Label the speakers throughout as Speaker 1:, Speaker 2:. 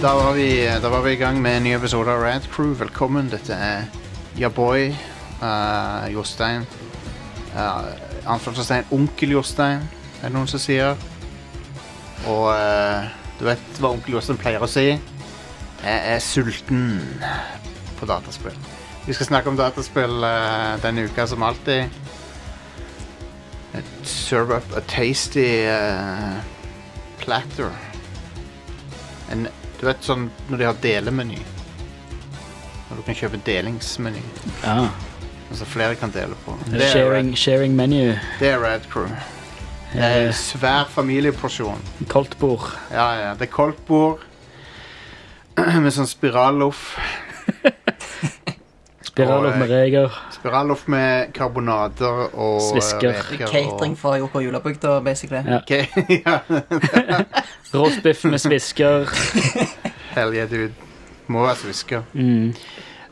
Speaker 1: Da var, vi, da var vi i gang med en ny episode av Rad Crew. Velkommen. Dette er Yaboy, uh, Jostein uh, Anførselstegn Onkel Jostein, er det noen som sier. Og eh, du vet hva onkel Jostein pleier å si. Jeg er sulten på dataspill. Vi skal snakke om dataspill eh, denne uka som alltid. Serve up a tasty eh, platter. En, du vet sånn når de har delemeny. Når du kan kjøpe delingsmeny.
Speaker 2: Ja.
Speaker 1: Altså flere kan dele på. Det er
Speaker 2: Sharing, sharing menu. Eh,
Speaker 1: Rad- Det er Rad Crew. Det er en svær familieporsjon.
Speaker 2: Koldtbord.
Speaker 1: Ja, ja. Det er koldt bord med sånn spiralloff.
Speaker 2: Spiralloff
Speaker 1: Og,
Speaker 2: med
Speaker 1: eh,
Speaker 2: reker.
Speaker 1: Spiralloff med karbonader og eh,
Speaker 2: Svisker.
Speaker 1: reker og-
Speaker 3: Catering fra Joko julebygda, basically.
Speaker 2: Ja.
Speaker 1: Ok, ja.
Speaker 2: Rostbiff med svisker.
Speaker 1: Hell yeah, dude. Må være svisker.
Speaker 2: Mm.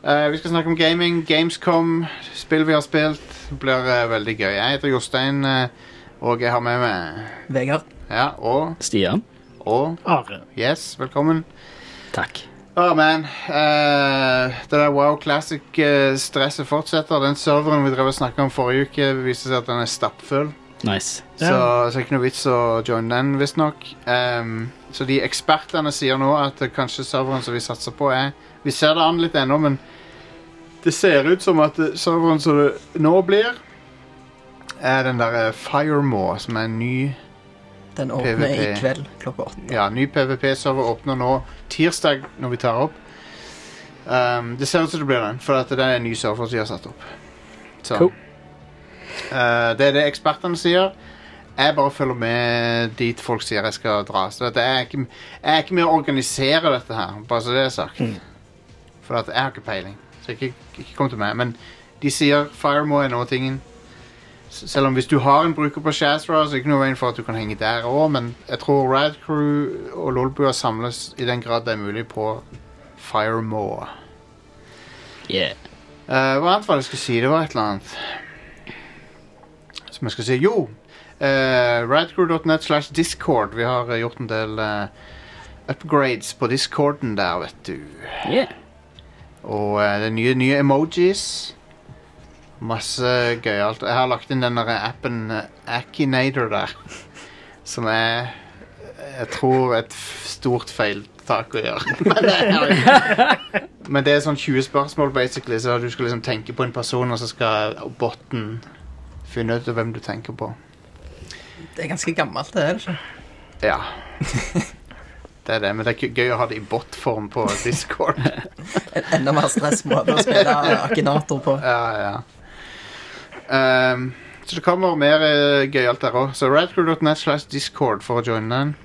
Speaker 1: Eh, vi skal snakke om gaming, Gamescom, spill vi har spilt. Det blir eh, veldig gøy. Jeg heter Jostein, eh, og jeg har med meg
Speaker 3: Vegard.
Speaker 1: Ja, og
Speaker 2: Stian.
Speaker 1: Og
Speaker 4: Are.
Speaker 1: Yes, velkommen.
Speaker 2: Takk.
Speaker 1: Å, man. eh, det der Wow Classic-stresset fortsetter. Den serveren vi drev og snakka om forrige uke, viste seg at den er stappfull.
Speaker 2: Nice.
Speaker 1: Så, så er det ikke noe vits å joine den, visstnok. Um, så de ekspertene sier nå at det kanskje serveren som vi satser på, er Vi ser det an litt ennå, men det ser ut som at eh, serveren som det nå blir, er den derre Firemaw, som er en ny
Speaker 3: Den åpner
Speaker 1: PvP.
Speaker 3: i kveld klokka åtte.
Speaker 1: ja, ny PVP-server åpner nå tirsdag når vi tar opp. Um, det ser ut som det blir den, for at det er en ny server som de har satt opp. Så.
Speaker 2: Cool.
Speaker 1: Uh, det er det ekspertene sier. Jeg bare følger med dit folk sier jeg skal dra. Så dette er ikke, jeg er ikke med å organisere dette her, bare så det er sagt. For at jeg har ikke peiling. Så ikke, ikke kom til meg. Men de sier Firemo er nå tingen. S- Selv om hvis du har en bruker på Shazra, så er det ikke noe veien for at du kan henge der òg, men jeg tror Rad Crew og Lolbua samles i den grad det er mulig på Firemoa.
Speaker 2: Yeah.
Speaker 1: Eh, hva annet var det jeg skulle si? Det var et eller annet som jeg skulle si. Jo! Uh, Radcrew.net slash discord. Vi har eh, gjort en del eh, upgrades på discorden der, vet du.
Speaker 2: Yeah.
Speaker 1: Og eh, det er nye, nye emojis. Masse gøyalt. Jeg har lagt inn den der appen eh, Akinator der. Som er Jeg tror et f- stort feiltak å gjøre. Men det er, men det er sånn 20 spørsmål, basically, så du skal liksom tenke på en person, og så skal botten finne ut hvem du tenker på.
Speaker 3: Det er ganske gammelt, det er det ikke?
Speaker 1: Ja. Det er det, men det er ikke gøy å ha det i bot-form på Discord.
Speaker 3: En enda mer stressmåte å spille Akinator på.
Speaker 1: Ja, ja. Ehm, så det kommer mer uh, gøyalt der òg. Så radcrew.net slash discord for å joine den.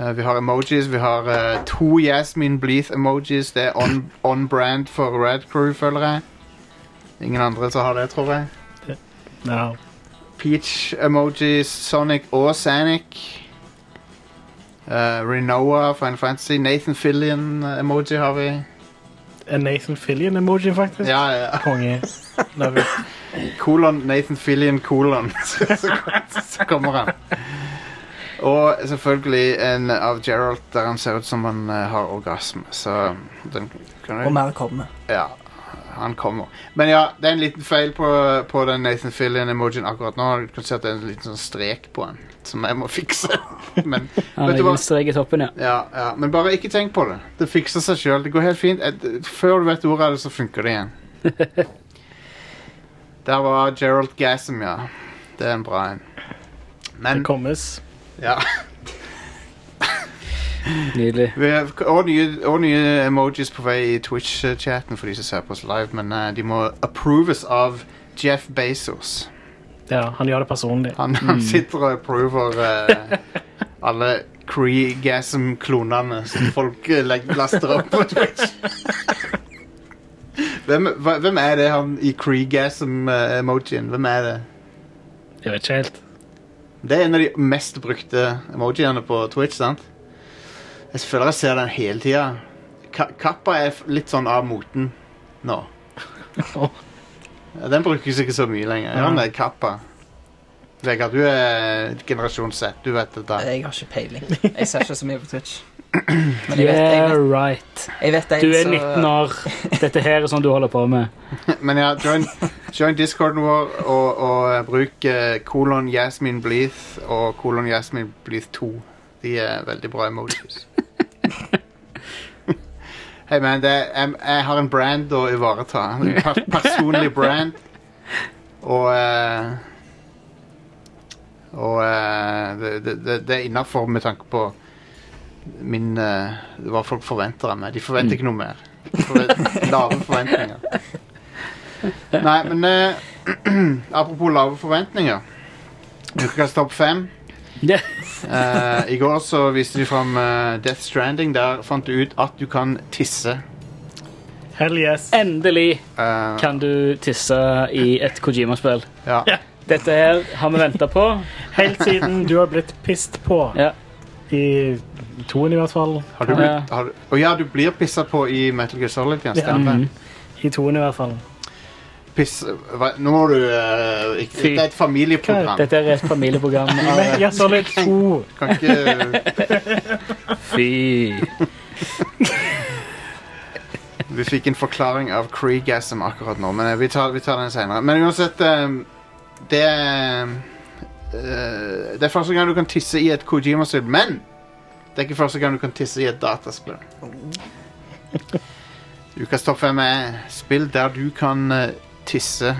Speaker 1: Eh, vi har emojis. Vi har eh, to Yasmin Bleeth-emojis. Det er on, on brand for Radcrew, føler jeg. Ingen andre som har det, tror jeg.
Speaker 4: Ja.
Speaker 1: Peach-emojis, Sonic og Sanic. Eh, Renoa, Final Fantasy, Nathan Fillion-emoji har vi.
Speaker 4: En Nathan Fillion-emoji, faktisk.
Speaker 1: Ja, ja.
Speaker 4: Konge. Love it.
Speaker 1: Kolon Nathan Fillion kolon så, så, så kommer han Og selvfølgelig en av Gerald Der han ser ut som han eh, har orgasme Så den
Speaker 3: Og
Speaker 1: kan du
Speaker 3: mer kommer.
Speaker 1: Ja, han kommer Men ja, det er en liten feil på, på den Nathan Fillion emojien akkurat nå Du kan se at det er en liten sånn strek på han Som jeg må fikse Men, Vet
Speaker 2: Han har
Speaker 1: du hva?
Speaker 2: ingen strek i toppen, ja.
Speaker 1: ja, ja, men bare ikke tenk på det Det fikser seg selv, det går helt fint Eh, d- Før du vet ordet av det så funker det igjen Der var Gerald Gassam, ja. Det er en bra en.
Speaker 4: Det
Speaker 1: Men
Speaker 4: kommes.
Speaker 1: ja.
Speaker 2: Nydelig.
Speaker 1: Vi har, og, nye, og nye emojis på vei i Twitch-chatten for de som ser på oss live, men eh, de må approves av Jeff Bezos.
Speaker 4: Ja, han gjør det personlig.
Speaker 1: Han, han sitter og approver eh, alle Cree Gassam-klonene som folk eh, legg- laster opp på Twitch. Hvem, hva- hvem er det han i Cree Gassam-emojien? Hvem er det?
Speaker 4: Jeg vet ikke helt.
Speaker 1: Det er en av de mest brukte emojiene på Twitch, sant? Jeg føler jeg ser den hele tida. Ka kappa er f- litt sånn av moten nå.
Speaker 4: Åh.
Speaker 1: Ja, Den brukes ikke så mye lenger. Ja,
Speaker 4: Ja.
Speaker 1: men det er kappa. Vegard, du er generasjon Z. Du vet dette.
Speaker 3: Jeg har ikke peiling. Jeg ser ikke så mye på Twitch. Men jeg vet, jeg
Speaker 2: Yeah,
Speaker 3: vet,
Speaker 2: right.
Speaker 3: jeg vet en
Speaker 2: Du er
Speaker 3: som-
Speaker 2: 19 år. Dette her er sånn du holder på med.
Speaker 1: Men ja, join, join discorden vår og, og eh, bruk eh, kolon Yasmin Bleeth og kolon Yasmin Bleeth 2. De er veldig bra emojis. Hei, man, det er, jeg, jeg har en brand å ivareta. En per, personlig brand. Og eh, Og eh, det, det, det, det er innafor med tanke på min eh, Hva folk forventer av meg. De forventer ikke noe mer. De forvent- Lave forventninger. Nei, men eh, apropos lave forventninger. Ukas topp fem.
Speaker 2: Ja.
Speaker 1: Eh, I går så viste de fram eh, Death Stranding. Der fant du ut at du kan tisse.
Speaker 4: Hell yes.
Speaker 2: Endelig
Speaker 1: Eh,
Speaker 2: kan du tisse i et Kojima-spill.
Speaker 1: ja.
Speaker 4: Ja.
Speaker 2: Dette her har vi venta på.
Speaker 4: Helt siden du har blitt pissed på.
Speaker 2: Ja.
Speaker 4: I toen, i hvert fall.
Speaker 1: Har du blitt, har, du- og ja, du blir pissa på i Metal Gear Solid. Ja, stemmer.
Speaker 2: Mhm.
Speaker 4: I toen, i hvert fall.
Speaker 1: Piss hva, Nå må du eh, ikke,
Speaker 2: Fy.
Speaker 1: Det er et familieprogram.
Speaker 2: Dette er et familieprogram.
Speaker 4: Men ja, så litt to.
Speaker 1: Du kan ikke
Speaker 2: Fy.
Speaker 1: Vi fikk en forklaring av Creegasm akkurat nå, men eh, vi tar, vi tar den senere. Men uansett ehm, Det er, eh, Det er første gang du kan tisse i et Kojima-spill, men det er ikke første gang du kan tisse i et dataspill. Ukas topp fem er spill der du kan eh, tisse.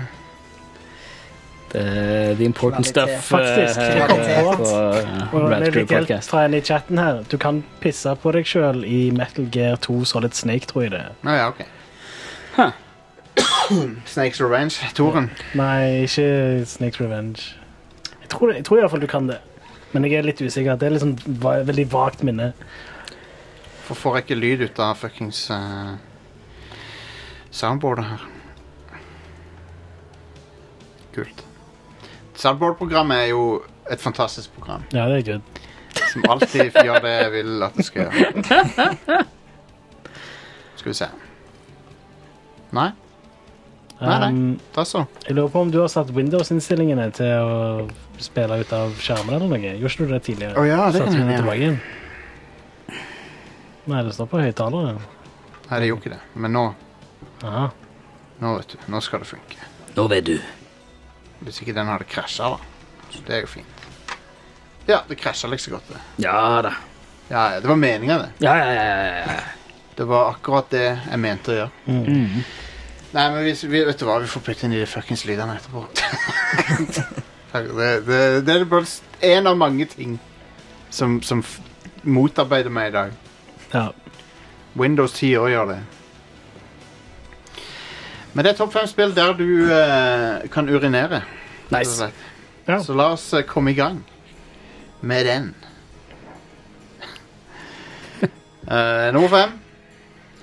Speaker 2: Det er eh, the important
Speaker 3: Kvalitet.
Speaker 2: stuff.
Speaker 4: Faktisk,
Speaker 2: eh,
Speaker 3: kvalitet.
Speaker 2: på, eh,
Speaker 4: Og
Speaker 2: Red
Speaker 4: det er
Speaker 2: Crew
Speaker 4: like helt
Speaker 2: Podcast.
Speaker 4: fra en i chatten her. Du kan pisse på deg sjøl i Metal Gear 2 Solid Snake, tror jeg det. er.
Speaker 1: Å ja, OK. Snakes Revenge. Toren.
Speaker 4: Nei, ikke Snakes Revenge. Jeg tror, det- jeg tror iallfall du kan det. Men jeg er litt usikker. Det er liksom va veldig vagt minne.
Speaker 1: Hvorfor får jeg ikke lyd ut av fuckings eh, soundboardet her? Kult. Soundboard-programmet er jo et fantastisk program
Speaker 4: Ja, det er good.
Speaker 1: som alltid gjør det jeg vil at det skal gjøre. Skal vi se. Nei, Nei, nei.
Speaker 4: Um,
Speaker 1: da så.
Speaker 4: jeg lurer på om du har satt Windows-innstillingene til å spille ut av skjermen eller noe. Gjorde ikke du det tidligere?
Speaker 1: Å ja, det kan
Speaker 4: Satte du
Speaker 1: hende, ja.
Speaker 4: tilbake igjen? Nei, det står på høyttaleren.
Speaker 1: Nei, det gjorde ikke det. Men nå,
Speaker 4: Aha.
Speaker 1: nå vet du, nå skal det funke.
Speaker 2: Nå vet du.
Speaker 1: Hvis ikke den hadde krasja, da. Så det er jo fint. Ja, det krasja like så godt, det.
Speaker 2: Ja da.
Speaker 1: Ja, ja, det var meninga, det.
Speaker 2: Ja, ja, ja, ja, ja.
Speaker 1: Det var akkurat det jeg mente å gjøre. Nei, men vi, vi, vet du hva, vi får putte inn i de fuckings lydene etterpå. det, det, det er bare én av mange ting som, som f- motarbeider meg i dag.
Speaker 4: Ja.
Speaker 1: Windows 10 også gjør det. Men det er topp fem spill der du eh, kan urinere. rett og
Speaker 2: Nice.
Speaker 1: slett.
Speaker 4: Ja.
Speaker 1: Så la oss eh, komme i gang med den. Eh, nummer fem.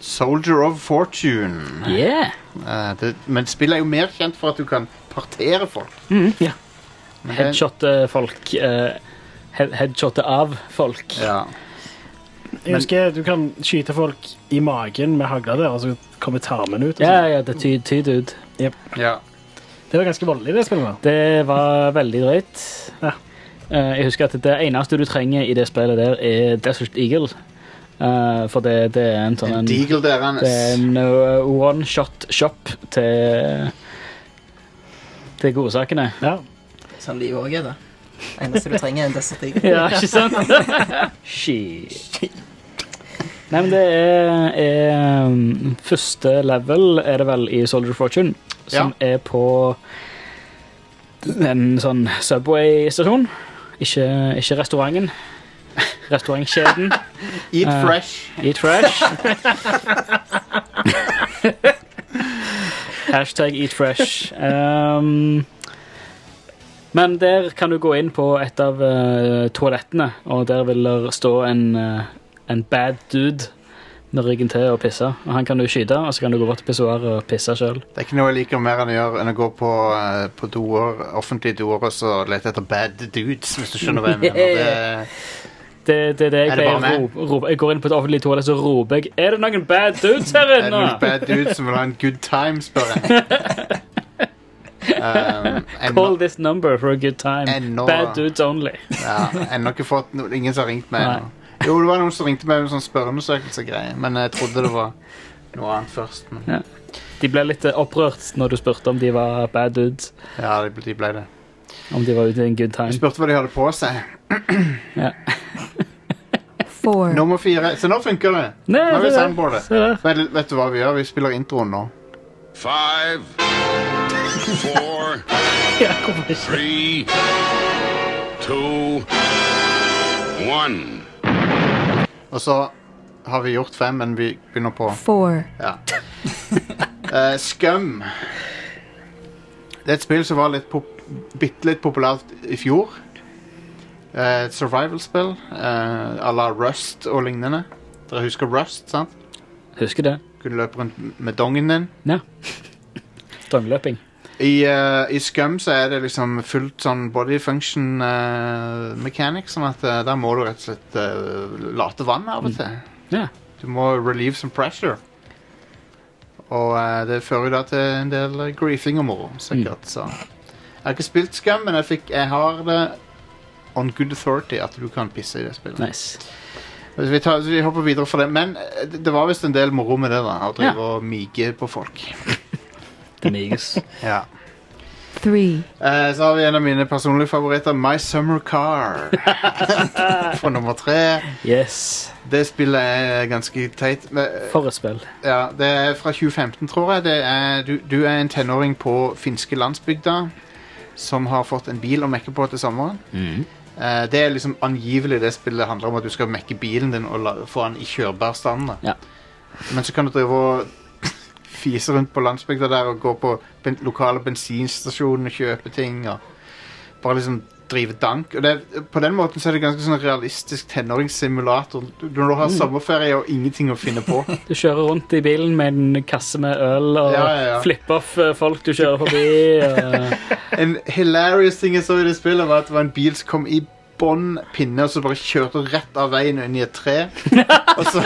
Speaker 1: Soldier of Fortune.
Speaker 2: Yeah.
Speaker 1: Eh, det, men spillet er jo mer kjent for at du kan partere folk.
Speaker 2: Mhm, ja.
Speaker 1: Men det-
Speaker 2: Headshotte folk. eh, head headshotte av folk.
Speaker 1: Ja.
Speaker 4: Jeg husker du kan skyte folk i magen med hagla der, og så kommer tarmen ut. Og
Speaker 2: Ja,
Speaker 4: sånn.
Speaker 2: ja, det tyder tyd ut.
Speaker 1: ja.
Speaker 4: Det var ganske voldelig, det spillet. da.
Speaker 2: Det var veldig drøyt.
Speaker 4: Ja.
Speaker 2: Eh, jeg husker at det eneste du trenger i det spillet der, er Desert Eagle. Eh, for det, det er en sånn
Speaker 1: En
Speaker 2: en,
Speaker 1: deagle der, Anders.
Speaker 2: det er en eh, one-shot-shop til til godsakene.
Speaker 4: Ja.
Speaker 3: Som de òg er, da. Eneste du trenger, er en Desert Eagle.
Speaker 2: Ja, ikke sant? Shit. Nei, men det er, er um, Første level er det vel i Soldier of Fortune, som er på en sånn Subway-stasjon. Ikke, ikke restauranten. Restaurantkjeden.
Speaker 1: Eat
Speaker 2: eh,
Speaker 1: fresh.
Speaker 2: Eat fresh. Hashtag eat fresh. Um, men der kan du gå inn på et av eh, toalettene, og der vil det stå en, eh, en bad dude med ryggen til og pisse. Og han kan du skyte, og så kan du gå bort til pissoaret og pisse sjøl.
Speaker 1: Det er ikke noe jeg liker mer enn å, gjøre, enn å gå på, eh, på doer, offentlige doer og så lete etter bad dudes, hvis du skjønner hva jeg mener. Det,
Speaker 2: Det, det, er det jeg
Speaker 1: Er det bare
Speaker 2: pleier å
Speaker 1: meg?
Speaker 2: rope- rope. Jeg går inn på et offentlig toalett så roper jeg Er det noen bad dudes her
Speaker 1: er det noen
Speaker 2: inne?
Speaker 1: bad dudes som vil ha en good time, spør jeg. Um,
Speaker 2: Call
Speaker 1: ennå,
Speaker 2: this number for a good time.
Speaker 1: Ennå.
Speaker 2: Bad dudes only.
Speaker 1: ja, ennå ikke fått no, Ingen som har ringt meg
Speaker 2: Nei.
Speaker 1: ennå. Jo, det var noen som ringte meg med sånn spørreundersøkelse-greie, men jeg trodde det var noe annet først. Men
Speaker 2: De ble litt eh, opprørt når du spurte om de var bad dudes.
Speaker 1: ja, de ble, de ble det.
Speaker 2: Om de var ute i en good
Speaker 1: Jeg
Speaker 2: time.
Speaker 1: spurte hva de hadde på seg.
Speaker 5: Four.
Speaker 1: Nummer fire. Så nå funker det. Nå
Speaker 2: Nei,
Speaker 1: er vi
Speaker 2: se der.
Speaker 1: soundboardet.
Speaker 2: Se der.
Speaker 1: Vel, vet du hva vi gjør? Vi spiller introen nå.
Speaker 6: Five, four,
Speaker 4: Ja, hvorfor ikke?
Speaker 6: three, two, one.
Speaker 1: Og så har vi gjort fem, men vi begynner på
Speaker 5: Four.
Speaker 1: Ja. Eh, Scum. Det er et spill som var litt pop bitte litt populært i fjor. Eh, et survival-spill eh, à la Rust og lignende. Dere husker Rust, sant?
Speaker 2: Husker det.
Speaker 1: Kunne løpe rundt med dongen din.
Speaker 2: Ja. Drongeløping.
Speaker 1: I, eh, I Scum så er det liksom fullt sånn body function eh, mechanics, sånn at eh, der må du rett og slett eh, late vann av og til.
Speaker 2: Mm. Ja.
Speaker 1: Du må relieve some pressure. Og eh, det fører jo da til en del eh, griefing og moro, sikkert.
Speaker 2: Mm.
Speaker 1: Så. Jeg har ikke spilt Scum, men jeg, fikk, jeg har det on good authority at du kan pisse i det spillet.
Speaker 2: Nice.
Speaker 1: Så Vi, tar, så vi hopper videre fra det. Men eh, det det var visst en del moro med det, da. Å drive
Speaker 2: Ja.
Speaker 1: og mige på folk.
Speaker 2: Det miges.
Speaker 1: Ja.
Speaker 5: Three.
Speaker 1: Eh, så har vi en av mine personlige favoritter, My Summer Car. På nummer tre.
Speaker 2: Yes.
Speaker 1: Det spillet er ganske teit. men, eh,
Speaker 2: For et spill.
Speaker 1: Ja, det er fra 2015, tror jeg. Det er, du, du er en tenåring på finske landsbygda som har fått en bil å mekke på til sommeren. Eh, det er liksom angivelig det spillet handler om at du skal mekke bilen din og la, få den i kjørbar stand. da.
Speaker 2: Ja.
Speaker 1: Men så kan du drive og fise rundt på landsbygda der og gå på ben lokale bensinstasjoner og kjøpe ting og bare liksom drive dank. Og det, er- på den måten så er det ganske sånn realistisk tenåringssimulator. Du- Når du har sommerferie og ingenting å finne på.
Speaker 2: Du kjører rundt i bilen med en kasse med øl og
Speaker 1: Ja, ja, ja.
Speaker 2: flipper off eh, folk du kjører forbi. Og...
Speaker 1: En hilarious ting jeg så i det spillet, var at det var en bil som kom i bånn pinne, og så bare kjørte rett av veien og inn i et tre. Og så,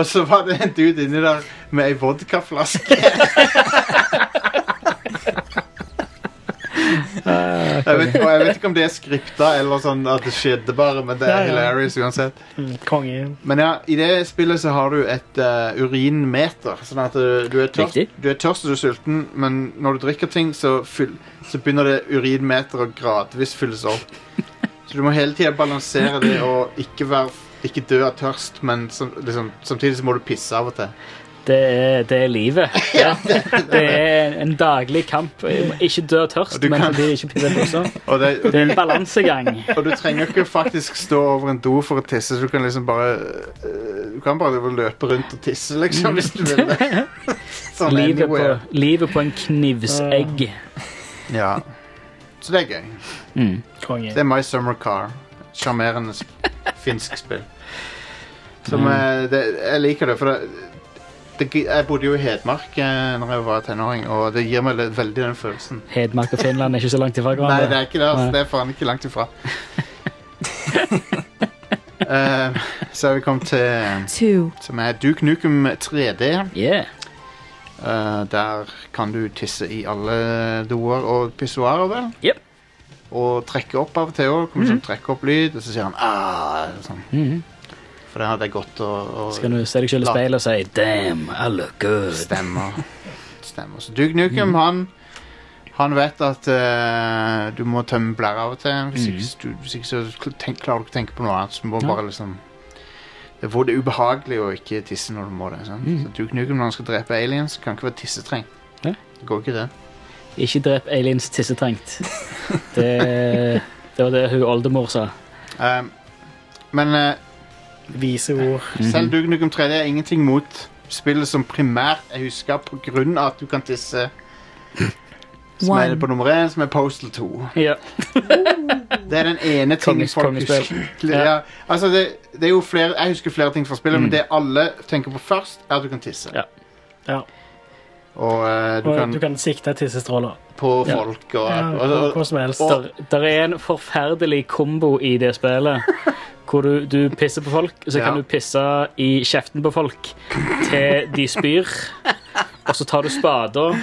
Speaker 1: og så var det en dude inni der med ei vodkaflaske.
Speaker 4: Ah,
Speaker 1: Jeg vet, og jeg vet ikke om det er skripta eller sånn at det skjedde bare, men det
Speaker 4: Ja,
Speaker 1: er
Speaker 4: ja.
Speaker 1: hilarious uansett.
Speaker 4: Mm, Konge.
Speaker 1: Men ja, i det spillet så har du et eh, urinmeter. Sånn at eh, du er, tørst,
Speaker 2: Riktig.
Speaker 1: du er tørst og du er sulten, men når du drikker ting, så, fyll, så begynner det urinmeter å gradvis fylles opp. Så du må hele tida balansere det og ikke, være, ikke dø av tørst, men som, liksom, samtidig så må du pisse av og til.
Speaker 2: Det er, det er livet. Det, det er en daglig kamp. Ikke dø tørst,
Speaker 1: Og du
Speaker 2: men
Speaker 1: kan-
Speaker 2: samtidig ikke pisse buksa.
Speaker 1: Og, det, og,
Speaker 2: Det er en balansegang.
Speaker 1: og du trenger ikke faktisk stå over en do for å tisse, så du kan liksom bare eh, Du kan bare løpe rundt og tisse, liksom, hvis du vil det. Sånn
Speaker 2: Livet på,
Speaker 1: anywhere.
Speaker 2: livet på en knivsegg.
Speaker 1: Ja. Så det er gøy.
Speaker 2: Mm.
Speaker 4: Konge.
Speaker 1: Det er My Summer Car. Sjarmerende sp- finsk spill. Som eh, det, Jeg liker det, for det, det gi- Jeg bodde jo i Hedmark eh, Når jeg var tenåring, og det gir meg le- veldig den følelsen.
Speaker 2: Hedmark og Finland er ikke så langt ifra
Speaker 1: Nei, det
Speaker 2: hverandre.
Speaker 1: er ikke det. Altså,
Speaker 2: Nei.
Speaker 1: det er faen ikke langt ifra. Eh, så er vi kommet til
Speaker 5: Two.
Speaker 1: Som er Duke Nukem 3D.
Speaker 2: Yeah.
Speaker 1: Eh, der kan du tisse i alle doer og pissoarer, vel?
Speaker 2: Jep.
Speaker 1: Og trekke opp av og til òg. Kommer sånn trekke opp lyd, og så sier han ah, sånn.
Speaker 2: Mhm.
Speaker 1: For det hadde jeg godt å å-
Speaker 2: Så kan du se deg selv i speilet og si Damn, I look good.
Speaker 1: Stemmer. Stemmer. Så Duke
Speaker 2: Mhm.
Speaker 1: Nukem, han han vet at eh, du må tømme blæra av og til. Hvis,
Speaker 2: Mhm.
Speaker 1: ikke, så- du, hvis ikke så kl- tenk, klarer du ikke å tenke på noe annet. Så du må
Speaker 2: Ja.
Speaker 1: bare liksom Det er hvor det er ubehagelig å ikke tisse når du må det. sant? Så Duke Nukem, når han skal drepe aliens, kan ikke være tissetrengt.
Speaker 2: Mhm. Ja.
Speaker 1: Det går ikke, det.
Speaker 2: Ikke drep aliens tissetrengt. Det, det var det hun oldemor sa.
Speaker 1: Um, men eh,
Speaker 4: Vise ord.
Speaker 2: Mhm.
Speaker 1: selv Duke Nukem 3D er ingenting mot spillet som primært er huska pga. at du kan tisse. Som er
Speaker 5: One.
Speaker 1: det på nummer én, som er Postal 2.
Speaker 2: Ja.
Speaker 1: Det er den ene tingen
Speaker 2: Konges-
Speaker 1: folk
Speaker 2: kongespill.
Speaker 1: husker.
Speaker 2: Ja.
Speaker 1: Ja. Altså det, det er jo flere, jeg husker flere ting fra spillet, men det alle tenker på først, er at du kan tisse.
Speaker 2: Ja.
Speaker 4: Ja.
Speaker 1: Og eh, du
Speaker 4: Og
Speaker 1: kan
Speaker 4: du kan sikte tissestråler.
Speaker 1: på
Speaker 2: Ja.
Speaker 1: folk og,
Speaker 4: Ja,
Speaker 1: og,
Speaker 4: hvor-
Speaker 1: og,
Speaker 4: hvor som helst.
Speaker 1: og-
Speaker 2: Der, der er en forferdelig kombo i det spillet. Hvor du, du pisser på folk, så
Speaker 1: Ja.
Speaker 2: kan du pisse i kjeften på folk til de spyr. Og så tar du spader, og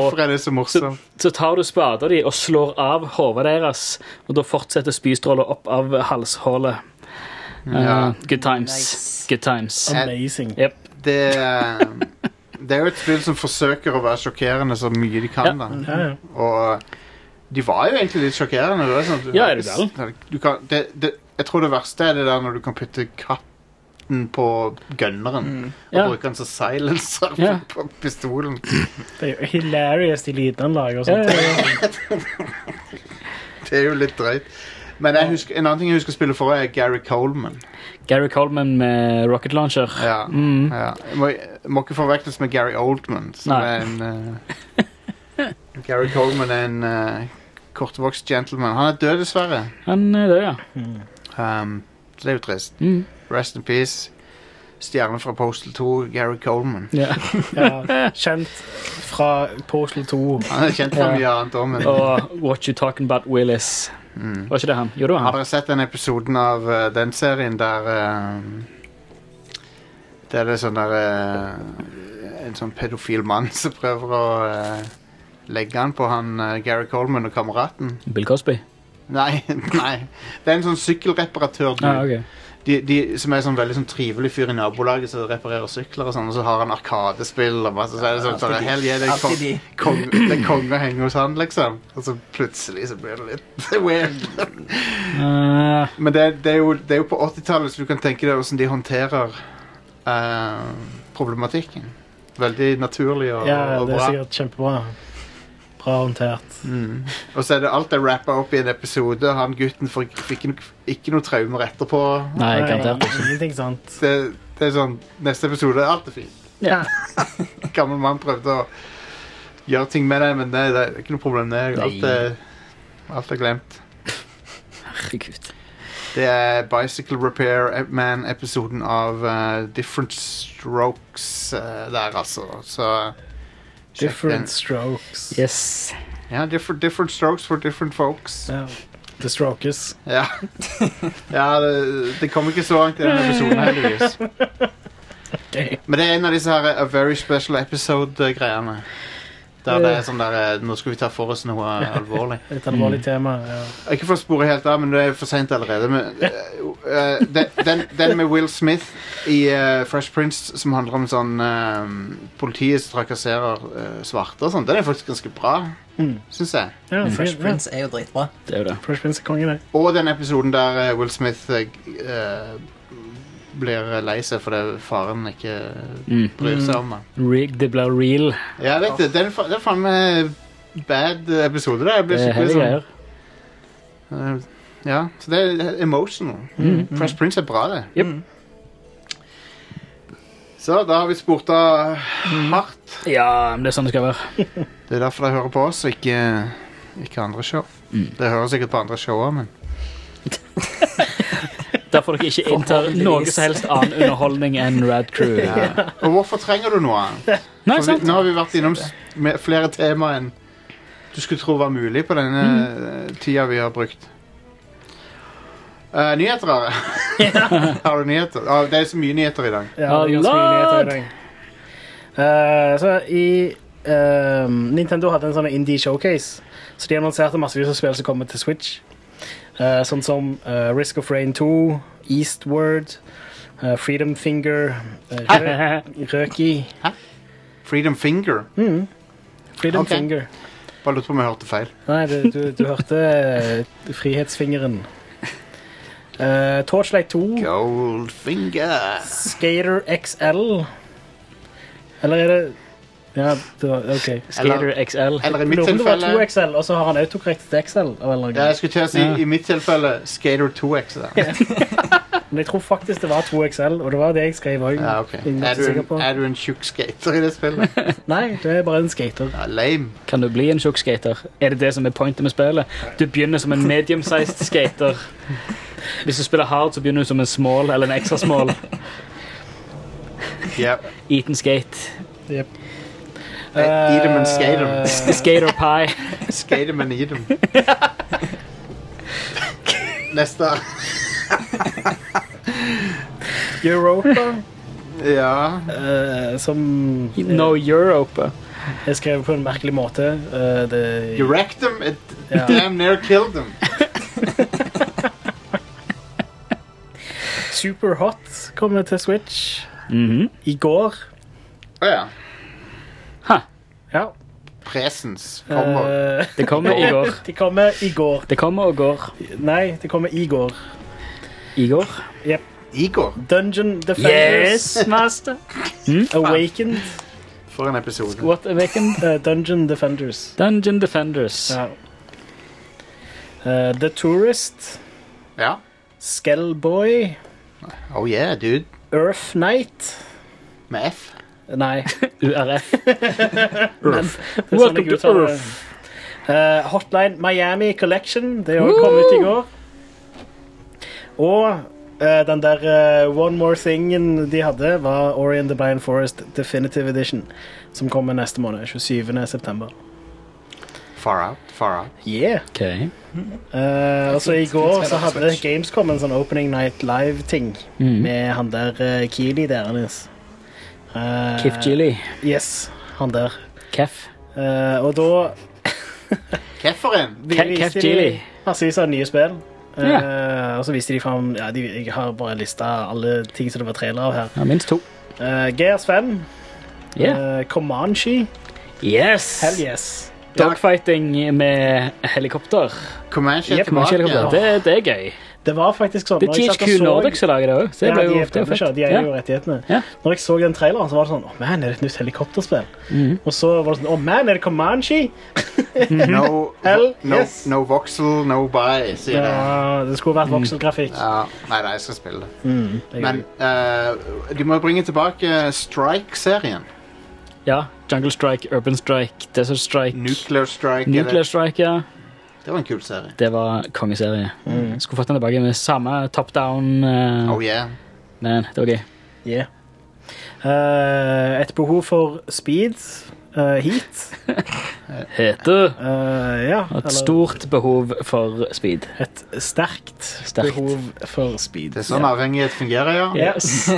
Speaker 1: Hvorfor er det så morsomt?
Speaker 2: så tar du spader de og slår av hodet deres. Og da fortsetter spystråla opp av halshullet. Uh,
Speaker 1: Ja.
Speaker 2: Good times.
Speaker 3: Nice.
Speaker 2: Good times.
Speaker 4: Amazing.
Speaker 2: Yep.
Speaker 1: Det, eh, det er jo et spill som forsøker å være sjokkerende så mye de kan. da.
Speaker 4: Ja, ja.
Speaker 1: Og de var jo egentlig litt sjokkerende. Det var sånn, at du-
Speaker 2: Ja, er det vel?
Speaker 1: Du kan, det, det, jeg tror det verste er det der når du kan putte katten på gunneren. Og
Speaker 2: Ja.
Speaker 1: bruke den som silencer på-
Speaker 2: Ja.
Speaker 1: på pistolen.
Speaker 4: Det er jo hilarious de lydene han lager. og
Speaker 2: Ja,
Speaker 4: sånt.
Speaker 2: ja, ja.
Speaker 1: Det er jo litt drøyt. Men jeg husker, en annen ting jeg husker å spille for, er Gary Coleman.
Speaker 2: Gary Coleman med rocket launcher.
Speaker 1: Ja,
Speaker 2: Mm.
Speaker 1: ja. Jeg må, jeg må ikke forveksles med Gary Oldman. Som
Speaker 2: Nei.
Speaker 1: er en, eh, Gary Coleman er en eh, kortvokst gentleman. Han er død, dessverre.
Speaker 2: Han er død, ja.
Speaker 1: Um, så det er jo trist.
Speaker 2: Mm.
Speaker 1: Rest in peace. Stjerne fra Postal 2, Gary Coleman.
Speaker 2: ja.
Speaker 4: Ja, kjent fra Postal 2.
Speaker 1: Han er kjent for
Speaker 2: Ja.
Speaker 1: mye annet òg, men
Speaker 2: Og What You Talking About Willis.
Speaker 1: mm.
Speaker 2: Var ikke det han? Jo, det var
Speaker 1: Har
Speaker 2: han.
Speaker 1: dere sett den episoden av eh, den serien der eh, Der det er sånn der eh, En sånn pedofil mann som prøver å eh, legge an på han eh, Gary Coleman og kameraten?
Speaker 2: Bill Cosby.
Speaker 1: Nei, nei. Det er en sånn sykkelreparatør dude,
Speaker 2: Ah, ok.
Speaker 1: de, de, som er sånn veldig sånn trivelig fyr i nabolaget som reparerer sykler og sånn, og så har han arkadespill og masse så er det sånn, sånn,
Speaker 3: Alltid de.
Speaker 1: Hell yeah, det er
Speaker 3: Alltid
Speaker 1: kong-
Speaker 3: de.
Speaker 1: kong- det er konge å henge hos han, liksom. Og så plutselig så blir det litt weird.
Speaker 2: Eh,
Speaker 1: Men det, det, er jo, det er jo på 80-tallet, så du kan tenke deg hvordan de håndterer eh, problematikken. Veldig naturlig og,
Speaker 4: Ja,
Speaker 1: og
Speaker 4: det er
Speaker 1: bra.
Speaker 4: sikkert kjempebra. Bra håndtert.
Speaker 1: Mm. Og så er det alt er rappa opp i en episode. Han gutten får fikk ikke, ikke noe traumer etterpå.
Speaker 2: nei, garantert.
Speaker 4: Ingenting sant.
Speaker 1: Det, det er sånn Neste episode er alt er fint.
Speaker 2: Ja.
Speaker 1: Gammel mann prøvde å gjøre ting med det, men det, det er ikke noe problem. Det. er- Alt, er, alt er glemt.
Speaker 2: Herregud.
Speaker 1: Det er Bicycle Repair Man-episoden av eh, Different Strokes eh, der, altså. Så sjekk
Speaker 4: Different strokes.
Speaker 2: Yes.
Speaker 1: den. Ja, different, different Strokes for Different Folks.
Speaker 4: Ja. The strokes.
Speaker 1: Ja, ja det, det kom ikke så langt i denne episoden, heldigvis. Men det er en av disse her eh, A Very Special Episode-greiene. Der det er sånn der eh, Nå skal vi ta for oss noe eh, alvorlig.
Speaker 4: Et
Speaker 2: Mm.
Speaker 4: alvorlig tema. Ja.
Speaker 1: Ikke for å spore helt av, men det er for seint allerede. Men, eh, eh, den, den, den med Will Smith i eh, Fresh Prince som handler om sånn eh, Politiet som trakasserer eh, svarte og sånn, den er faktisk ganske bra,
Speaker 4: Mm.
Speaker 1: syns jeg.
Speaker 4: ja
Speaker 3: Fresh
Speaker 4: ja.
Speaker 3: Prince er jo dritbra.
Speaker 2: Det er jo det.
Speaker 4: Fresh Prince er kongen, det.
Speaker 1: Og den episoden der eh, Will Smith eh, g- eh, blir lei seg fordi faren ikke
Speaker 2: Mm.
Speaker 1: bryr seg om ham.
Speaker 2: Rig, det blir real.
Speaker 1: Ja, jeg vet du, den, er fa- det er faen meg bad episode, det. Jeg
Speaker 2: Det
Speaker 1: blir
Speaker 2: er
Speaker 1: skikkelig
Speaker 2: hele
Speaker 1: sånn
Speaker 2: greier.
Speaker 1: Eh, Ja, så det er emotional. Fresh Prince er bra, det.
Speaker 2: Mm.
Speaker 1: Mm.
Speaker 2: Jep.
Speaker 1: Så da har vi spurt av hardt.
Speaker 2: Ja, men det er sånn det skal være.
Speaker 1: Det er derfor de hører på oss, og ikke, ikke andre show. Det hører sikkert på andre show òg, men
Speaker 2: Derfor dere ikke inntar
Speaker 3: Forhåpentligvis.
Speaker 2: noe som helst annen underholdning enn Rad Crew.
Speaker 1: ja. Og hvorfor trenger du noe annet?
Speaker 2: Nei,
Speaker 1: For vi,
Speaker 2: sant?
Speaker 1: nå har vi vært innom s- med flere temaer enn du skulle tro var mulig på denne
Speaker 2: Mm.
Speaker 1: eh, tida vi har brukt. Eh, nyheter, Are. har du nyheter? Ah, det er så mye nyheter i dag.
Speaker 4: Ja, det er ganske mye
Speaker 2: Alert!
Speaker 4: nyheter i dag. Eh, så i eh, Nintendo hadde en sånn indie showcase, så de annonserte massevis av spill som kommer til Switch. Eh, sånn som eh, Risk of Rain 2, Eastward, eh, Freedom Finger, eh, Rø- Røki
Speaker 1: Freedom Finger.
Speaker 4: mm. Freedom
Speaker 1: Ok.
Speaker 4: Finger.
Speaker 1: Bare lurte på om jeg hørte feil.
Speaker 4: Nei, du, du, du hørte eh, Frihetsfingeren. Eh, Torchlight 2.
Speaker 1: Goldfinger.
Speaker 4: Skater XL Eller er det Ja, det var, ok
Speaker 2: Skater XL.
Speaker 1: Eller i
Speaker 4: Jeg
Speaker 1: mitt
Speaker 4: lurer på om det var
Speaker 1: tilfelle
Speaker 4: 2XL, og så har han autokorrekt til XL av en eller annen
Speaker 1: Ja, jeg
Speaker 4: grunn.
Speaker 1: skulle til å si
Speaker 2: Ja.
Speaker 1: i mitt tilfelle Skater 2X. Da.
Speaker 4: Men jeg tror faktisk det var 2XL, og det var det jeg skrev òg.
Speaker 1: Ja, ok. Er, du en, er du en tjukk skater i det spillet?
Speaker 4: Nei, du er bare en skater.
Speaker 1: Ja, lame.
Speaker 2: Kan du bli en tjukk skater? Er det det som er pointet med spillet? Du begynner som en medium-sized skater. Hvis du spiller hard, så begynner du som en small eller en ekstra small.
Speaker 1: Ja.
Speaker 2: Eat and skate.
Speaker 4: Yep.
Speaker 1: Eat 'em and skate 'em.
Speaker 4: Eh,
Speaker 2: Skater pie.
Speaker 1: Skate men eat dem. Neste.
Speaker 4: Europa,
Speaker 1: Ja.
Speaker 4: eh, som
Speaker 2: No Europa.
Speaker 4: er skrevet på en merkelig måte. Eh, det,
Speaker 1: You wrecked them, it
Speaker 4: Ja.
Speaker 1: damn near killed them.
Speaker 4: Superhot kommer til Switch
Speaker 2: Mhm.
Speaker 4: i går.
Speaker 1: Å ja.
Speaker 2: Ha,
Speaker 4: Ja.
Speaker 1: Presens kommer.
Speaker 4: Eh,
Speaker 2: det kommer i går.
Speaker 4: de kommer i går.
Speaker 2: Det kommer og går.
Speaker 4: Nei, de kommer i går.
Speaker 2: I går.
Speaker 1: Igor,
Speaker 4: Dungeon Defenders Hmm?
Speaker 2: Yes, master.
Speaker 4: Awakened.
Speaker 1: for en episode.
Speaker 2: What awakened?
Speaker 4: Eh, Dungeon Defenders.
Speaker 2: Dungeon Defenders.
Speaker 4: Ja. Eh, The Tourist.
Speaker 1: Ja.
Speaker 4: Skellboy.
Speaker 1: Oh yeah, dude.
Speaker 4: Earth Knight.
Speaker 1: Med F.
Speaker 4: Nei.
Speaker 2: URF.
Speaker 4: Det er sånn
Speaker 2: Welcome
Speaker 4: jeg
Speaker 2: to
Speaker 4: uttaler det.
Speaker 2: Earth.
Speaker 4: Eh, Hotline Miami Collection. Det òg kom ut i går. Og eh, den der eh, One More Thing-en de hadde, var Ori and the Blind Forest Definitive Edition, som kommer neste måned. 27. september.
Speaker 1: Far out. Far out.
Speaker 4: Yeah.
Speaker 2: Ok.
Speaker 4: Eh, og så i går så hadde
Speaker 3: Switch.
Speaker 4: Gamescom en sånn Opening Night Live-ting
Speaker 2: Mm.
Speaker 4: med han der uh, Keeley deres. Uh,
Speaker 2: Kif Gilly.
Speaker 4: Yes, han der.
Speaker 2: Kef.
Speaker 4: Eh, og da
Speaker 1: Hvorfor en?
Speaker 4: De
Speaker 2: Ke- Kef
Speaker 4: viste
Speaker 2: Geely.
Speaker 4: de massevis av nye spill.
Speaker 2: Ja.
Speaker 4: Eh, og så viste de fram ja, de, Jeg har bare lista alle ting som det var trailer av her.
Speaker 2: Ja, minst to.
Speaker 4: Uh, GS5,
Speaker 2: Yeah.
Speaker 4: eh, Comanche,
Speaker 2: Yes!
Speaker 4: hell yes.
Speaker 2: Dogfighting med helikopter.
Speaker 1: Comanche er
Speaker 4: Yep,
Speaker 1: tilbake.
Speaker 2: Helikopter. Det, det er gøy.
Speaker 4: Det var faktisk sånn
Speaker 2: Det er
Speaker 4: når jeg satt og
Speaker 2: THQ
Speaker 4: så-
Speaker 2: Nordic som lager det òg. Det
Speaker 4: Ja,
Speaker 2: ble
Speaker 4: de
Speaker 2: jo
Speaker 4: er
Speaker 2: det er jo
Speaker 4: publisher,
Speaker 2: fett.
Speaker 4: de eier
Speaker 2: Ja.
Speaker 4: jo rettighetene.
Speaker 2: Ja.
Speaker 4: Når jeg så den traileren, så var det sånn Å, man, er det et nytt helikopterspill?
Speaker 2: Mhm.
Speaker 4: Og så var det sånn Å, man, er det Comanche?
Speaker 1: No,
Speaker 4: Hell,
Speaker 1: no,
Speaker 4: yes.
Speaker 1: no voxel, no buy, sier det.
Speaker 4: Ja, det skulle
Speaker 2: Mhm.
Speaker 4: vært vokselgrafikk.
Speaker 1: Ja, nei, nei, jeg skal spille det.
Speaker 4: Det er
Speaker 1: Men
Speaker 4: jo-
Speaker 1: eh, de må bringe tilbake eh, Strike-serien.
Speaker 2: ja. Jungle Strike, Urban Strike, Desert Strike,
Speaker 1: Nuclear Strike. eller-
Speaker 2: Nuclear Strike. ja.
Speaker 1: Det var en kul serie.
Speaker 2: Det var kongeserie.
Speaker 4: Mm.
Speaker 2: Skulle fått den tilbake med samme top down, eh,
Speaker 1: Oh yeah.
Speaker 2: men det var gøy.
Speaker 4: Yeah. Eh, et behov for speed, eh, heat.
Speaker 2: Heter
Speaker 4: Eh, ja.
Speaker 2: Et
Speaker 4: eller-
Speaker 2: stort behov for speed.
Speaker 4: Et sterkt,
Speaker 2: Sterkt.
Speaker 4: behov for speed.
Speaker 1: Det er sånn avhengighet fungerer, ja.
Speaker 2: Yes.
Speaker 4: Eh,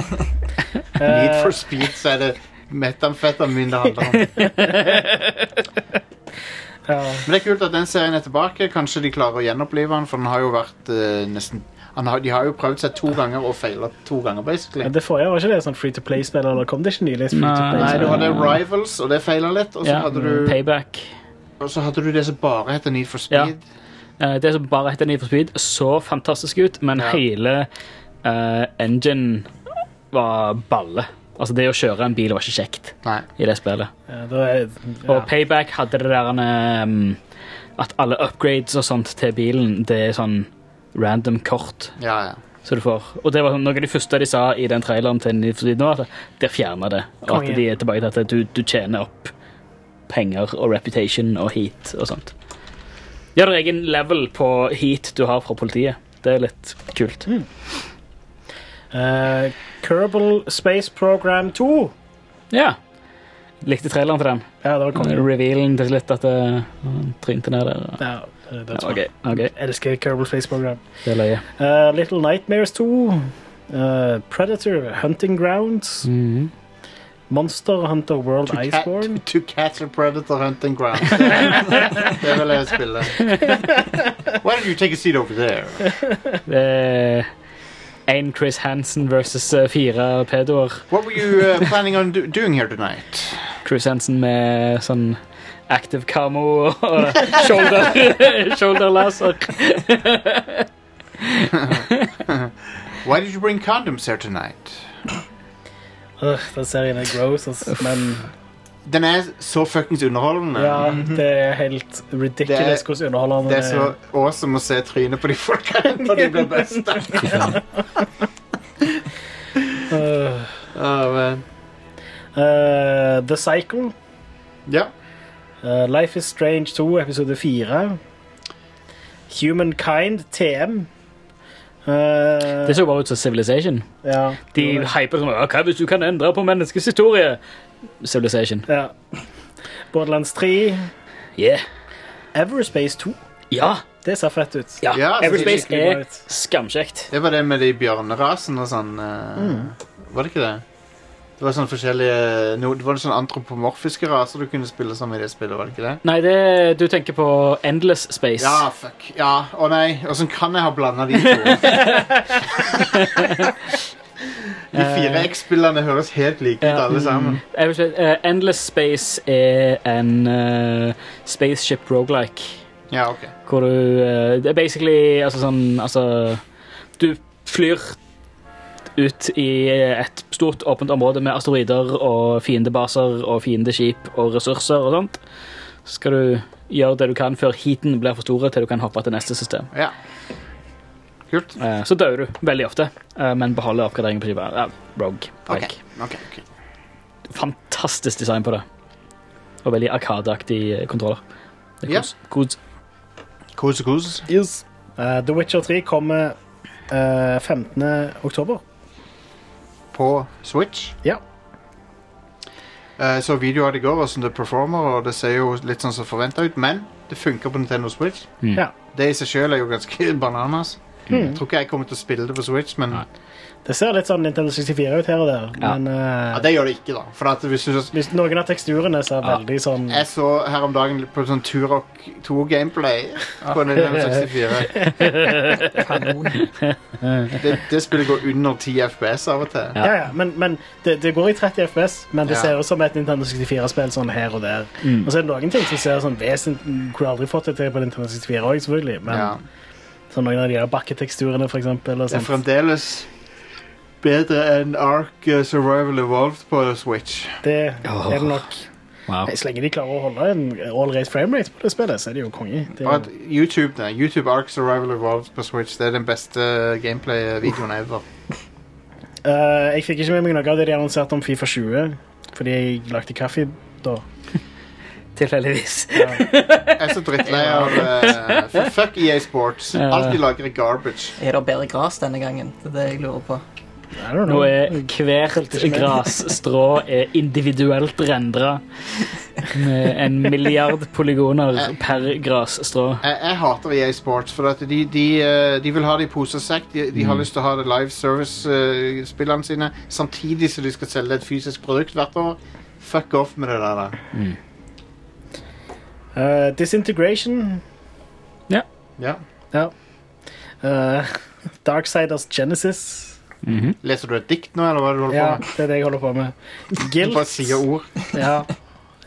Speaker 1: Need for speed, så er det metamfetamin det handler om. Men det er kult at den serien er tilbake. Kanskje de klarer å gjenopplive den, for den har jo vært eh, nesten han har, De har jo prøvd seg to ganger og feila to ganger, basically.
Speaker 4: Men det forrige var ikke det sånn free to play-spill, eller kom det ikke nylig? Free to play
Speaker 1: Nei,
Speaker 2: Nei,
Speaker 1: det var det Rivals, og det feila litt. Og så,
Speaker 2: Ja, Mm,
Speaker 1: hadde du,
Speaker 2: Payback.
Speaker 1: og så hadde du det som bare heter Need for Speed.
Speaker 2: Eh, Det som bare heter Need for Speed, så fantastisk ut, men
Speaker 1: Ja.
Speaker 2: hele eh, engine var balle. Altså, det å kjøre en bil var ikke kjekt
Speaker 1: Nei.
Speaker 2: i det spillet.
Speaker 4: Ja, da er, ja.
Speaker 2: Og Payback hadde det der um, at alle upgrades og sånt til bilen, det er sånn random kort
Speaker 1: Ja, ja.
Speaker 2: som du får. Og det var sånn, noe av de første de sa i den traileren til Need for Speed nå, at de fjerner det. Og at
Speaker 4: Konge.
Speaker 2: de er tilbake til at du, du tjener opp penger og reputation og heat og sånt. De har en egen level på heat du har fra politiet. Det er litt kult.
Speaker 4: Eh, Kerbal Space Program 2.
Speaker 2: Ja. Likte traileren til den.
Speaker 4: Ja, det var kongen.
Speaker 2: Revealen til litt at det trynte ned der.
Speaker 4: Ja, det, det
Speaker 2: Ja,
Speaker 4: tror jeg.
Speaker 2: OK. ok,
Speaker 4: Elsker Kerbal Space Program.
Speaker 2: Det er løye.
Speaker 4: Eh, Little Nightmares 2. eh, Predator, Hunting Grounds.
Speaker 2: Mhm.
Speaker 4: Monster Hunter World
Speaker 1: To,
Speaker 4: Iceborne.
Speaker 1: cat, to catch a predator hunting ground. det vil jeg spille. Why don't you take a seat over there?
Speaker 2: Det er én Eh, Chris Hansen versus eh, fire pedoer.
Speaker 1: What were you uh, planning on do doing here tonight?
Speaker 2: Chris Hansen med sånn active camo og shoulder, shoulder laser.
Speaker 1: Why did you bring condoms here tonight?
Speaker 4: Øh, den serien er gross, altså. men
Speaker 1: Den er så fuckings underholdende.
Speaker 4: ja, det er helt ridiculous
Speaker 1: Det er-
Speaker 4: hvordan underholdende
Speaker 1: Det er så awesome å se trynet på de folka når de blir besta.
Speaker 4: Øh,
Speaker 1: Åh, men-
Speaker 4: eh, The Cycle.
Speaker 1: ja.
Speaker 4: Eh, Life is Strange 2, episode 4. Humankind, TM. Eh,
Speaker 2: Det så bare ut som Civilization.
Speaker 4: ja,
Speaker 2: De hyper som «Ja, Hva hvis du kan endre på menneskets historie? Civilization.
Speaker 4: ja. Borderlands 3.
Speaker 2: Yeah.
Speaker 4: Everspace 2.
Speaker 2: Ja.
Speaker 4: Det ser fett ut.
Speaker 2: ja.
Speaker 1: Ja,
Speaker 2: Everspace
Speaker 4: det er
Speaker 2: er skamkjekt.
Speaker 1: Det var det med de bjørnerasen og sånn. eh, Var det ikke det? Det var sånne forskjellige no, Det var sånne antropomorfiske raser du kunne spille som i det spillet, var det ikke det?
Speaker 2: Nei, det, du tenker på Endless Space.
Speaker 1: Ja, fuck. Ja, å nei. Åssen kan jeg ha blanda de to? De fire X-spillerne høres helt like ut,
Speaker 2: Ja.
Speaker 1: alle sammen.
Speaker 2: Jeg vil si, eh, Endless Space er en eh, spaceship roguelike
Speaker 1: Ja, ok.
Speaker 2: Hvor du eh, Det er basically altså sånn Altså Du flyr ut i et stort åpent område med asteroider og fiendebaser og fiendeskip og ressurser og sånt. Så skal du gjøre det du kan før heaten blir for store til du kan hoppe til neste system.
Speaker 1: Ja. Kult.
Speaker 2: Eh, Så dør du veldig ofte, eh, men beholder oppgraderingen på skipet. Ja, rogue.
Speaker 1: Ok.
Speaker 2: Like.
Speaker 1: ok, ok.
Speaker 2: Fantastisk design på det. Og veldig arkadeaktig eh, kontroller. Det
Speaker 1: Ja.
Speaker 2: er kos. kos.
Speaker 1: Kos, kos.
Speaker 4: Yes. Eh, The Witcher 3 kommer eh, 15. oktober.
Speaker 1: På Switch.
Speaker 4: Ja.
Speaker 1: Eh, så videoer det går, hvordan det performer, og det ser jo litt sånn som forventa ut, men det funker på Nintendo Switch.
Speaker 2: Mm.
Speaker 4: Ja.
Speaker 1: Det i seg sjøl er jo ganske bananas. Jeg tror ikke jeg kommer til å spille det på Switch, men
Speaker 2: Nei.
Speaker 4: Det ser litt sånn Nintendo 64 ut her og der,
Speaker 2: Ja.
Speaker 4: men eh,
Speaker 1: ja, det gjør det ikke, da. For at hvis du
Speaker 4: hvis noen av teksturene ser
Speaker 2: Ja.
Speaker 4: veldig sånn
Speaker 1: Jeg så her om dagen på sånn Turok 2-gameplay på Nintendo 64.
Speaker 3: Kanon.
Speaker 1: Det, det spillet går under 10 FPS av og til.
Speaker 2: Ja.
Speaker 4: Ja, ja, men, men det, det går i 30 FPS, men det
Speaker 1: Ja.
Speaker 4: ser ut som et Nintendo 64-spill sånn her og der.
Speaker 2: Mm.
Speaker 4: Og så er det noen ting som ser sånn vesentlig Kunne aldri fått det til på Nintendo 64 også, selvfølgelig, men
Speaker 1: Ja.
Speaker 4: sånn noen av de der bakketeksturene, for eksempel. Og
Speaker 1: Det er
Speaker 4: sånt.
Speaker 1: fremdeles bedre enn Ark eh, Survival Evolved på Switch.
Speaker 4: Det
Speaker 2: Åh.
Speaker 4: er det nok.
Speaker 2: Wow.
Speaker 4: Nei, Så lenge de klarer å holde en all rate frame rate på det spillet, så er det jo konge. Det
Speaker 1: Bare
Speaker 4: er
Speaker 1: at
Speaker 4: jo,
Speaker 1: YouTube, da. YouTube Ark Survival Evolved på Switch Det er den beste gameplay-videoen ever.
Speaker 4: Eh, jeg fikk ikke med meg noe av det de annonserte om Fifa 20, fordi jeg lagde kaffe da.
Speaker 2: Tilfeldigvis.
Speaker 1: Jeg er så drittlei av eh, Fuck EA Sports. Alt de lager, er garbage.
Speaker 3: Er det bedre gras denne gangen? Det er det jeg lurer på.
Speaker 4: I don't
Speaker 2: Nå
Speaker 4: know.
Speaker 2: er hvert grasstrå er individuelt rendra med en milliard polygoner per grasstrå.
Speaker 1: Jeg, jeg hater EA Sports, for at de, de, eh, de vil ha det i pose og sekk. De, de
Speaker 4: Mm.
Speaker 1: har lyst til å ha det live service-spillene sine, samtidig som de skal selge et fysisk produkt hvert år. Fuck off med det der. da.
Speaker 4: Eh, Disintegration
Speaker 1: Ja.
Speaker 4: Ja. Eh, Darksiders Genesis.
Speaker 1: Leser du et dikt nå, eller hva er det du holder
Speaker 4: Ja,
Speaker 1: på med?
Speaker 4: det er det jeg holder på med.
Speaker 1: Du bare
Speaker 4: Gilt.
Speaker 1: sier ord.
Speaker 4: Ja,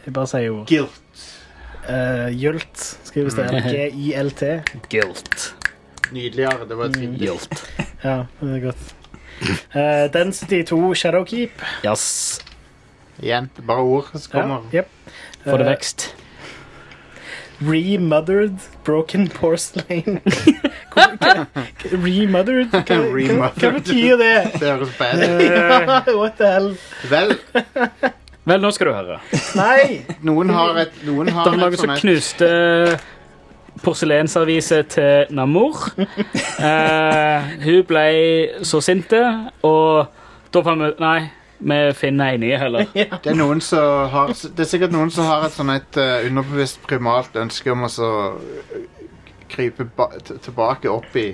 Speaker 4: jeg bare sier ord.
Speaker 1: Guilt.
Speaker 4: Uh, Jult skrives det. eller G-I-L-T.
Speaker 2: Guilt.
Speaker 1: Nydeligere. Det var et
Speaker 4: Mm.
Speaker 1: fint dikt.
Speaker 2: Guilt.
Speaker 4: Ja, det er godt. Eh, Density 2 Shadowkeep.
Speaker 2: Yes.
Speaker 1: Igjen. det er Bare ord som
Speaker 4: Ja,
Speaker 1: kommer.
Speaker 4: yep.
Speaker 2: Få det
Speaker 4: Eh,
Speaker 2: vekst.
Speaker 4: Remothered Broken Porcelain. Hvor- hva- Remothered? Hva, hva, hva
Speaker 1: Remothered.
Speaker 4: betyr det?
Speaker 1: Det høres bad ut.
Speaker 4: Eh, What the hell?
Speaker 1: Vel,
Speaker 2: Vel, nå skal du høre.
Speaker 4: Nei!
Speaker 1: noen har et Noen
Speaker 2: Det
Speaker 1: har
Speaker 2: var
Speaker 1: et
Speaker 2: noen som
Speaker 1: sånn et
Speaker 2: knuste porselensavise til Namor. Eh, hun ble så sint, og da fant vi ut Nei, vi finner ei ny heller.
Speaker 1: Det er noen som har Det er sikkert noen som har et sånn et eh, underbevisst primalt ønske om å så eh, krype ba t- tilbake opp i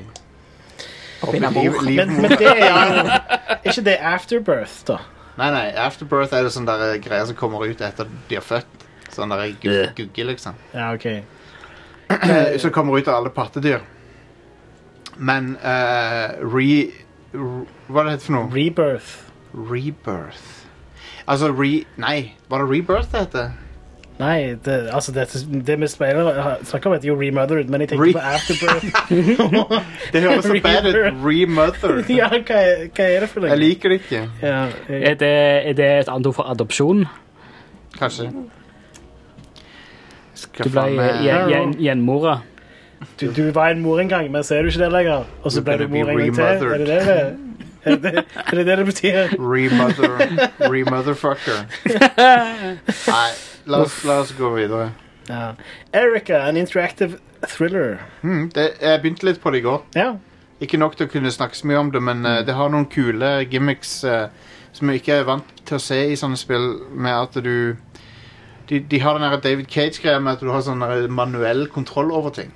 Speaker 1: Opp
Speaker 3: Opp
Speaker 1: i liv,
Speaker 3: i nabor.
Speaker 4: Men, men
Speaker 1: livmor.
Speaker 4: det er jo Er ikke det Afterbirth, da?
Speaker 1: Nei, nei, afterbirth er det sånn der eh, greier som kommer ut etter de er født. Sånn der gu-
Speaker 2: Øh.
Speaker 1: gugge, liksom.
Speaker 4: Ja, OK.
Speaker 1: Eh, Som kommer ut av alle pattedyr. Men eh, re, re... Hva er det heter for noe?
Speaker 4: Rebirth.
Speaker 1: Rebirth. Altså re... Nei, var det rebirth det heter?
Speaker 4: Nei, det, altså det, det vi spiller Snakker om heter jo Remothered, men jeg tenker
Speaker 1: Re-
Speaker 4: på Afterbirth.
Speaker 1: Det høres så bad ut. Remother.
Speaker 4: ja, hva er, hva er det for noe?
Speaker 1: Jeg liker det ikke.
Speaker 4: ja, jeg,
Speaker 2: Er det, er det et annet ord for adopsjon?
Speaker 1: Kanskje. Skal
Speaker 2: Du ble eh,
Speaker 1: faen meg-
Speaker 2: gjen- gjen- gjenmora.
Speaker 4: du, du var en mor en gang, men så er du ikke det lenger. Og så
Speaker 1: You're
Speaker 4: ble du
Speaker 1: gonna be
Speaker 4: mor en gang til. Er det det det er? det er det det det betyr?
Speaker 1: Remother Remotherfucker. Nei, la oss, la oss gå videre.
Speaker 4: Ja. Erica, an interactive thriller.
Speaker 1: Hmm, det, jeg begynte litt på det i går.
Speaker 4: Ja.
Speaker 1: Ikke nok til å kunne snakke så mye om det, men eh, det har noen kule gimmicks eh, som jeg ikke er vant til å se i sånne spill, med at du De, de har den der David Cage-greia med at du har sånn der manuell kontroll over ting.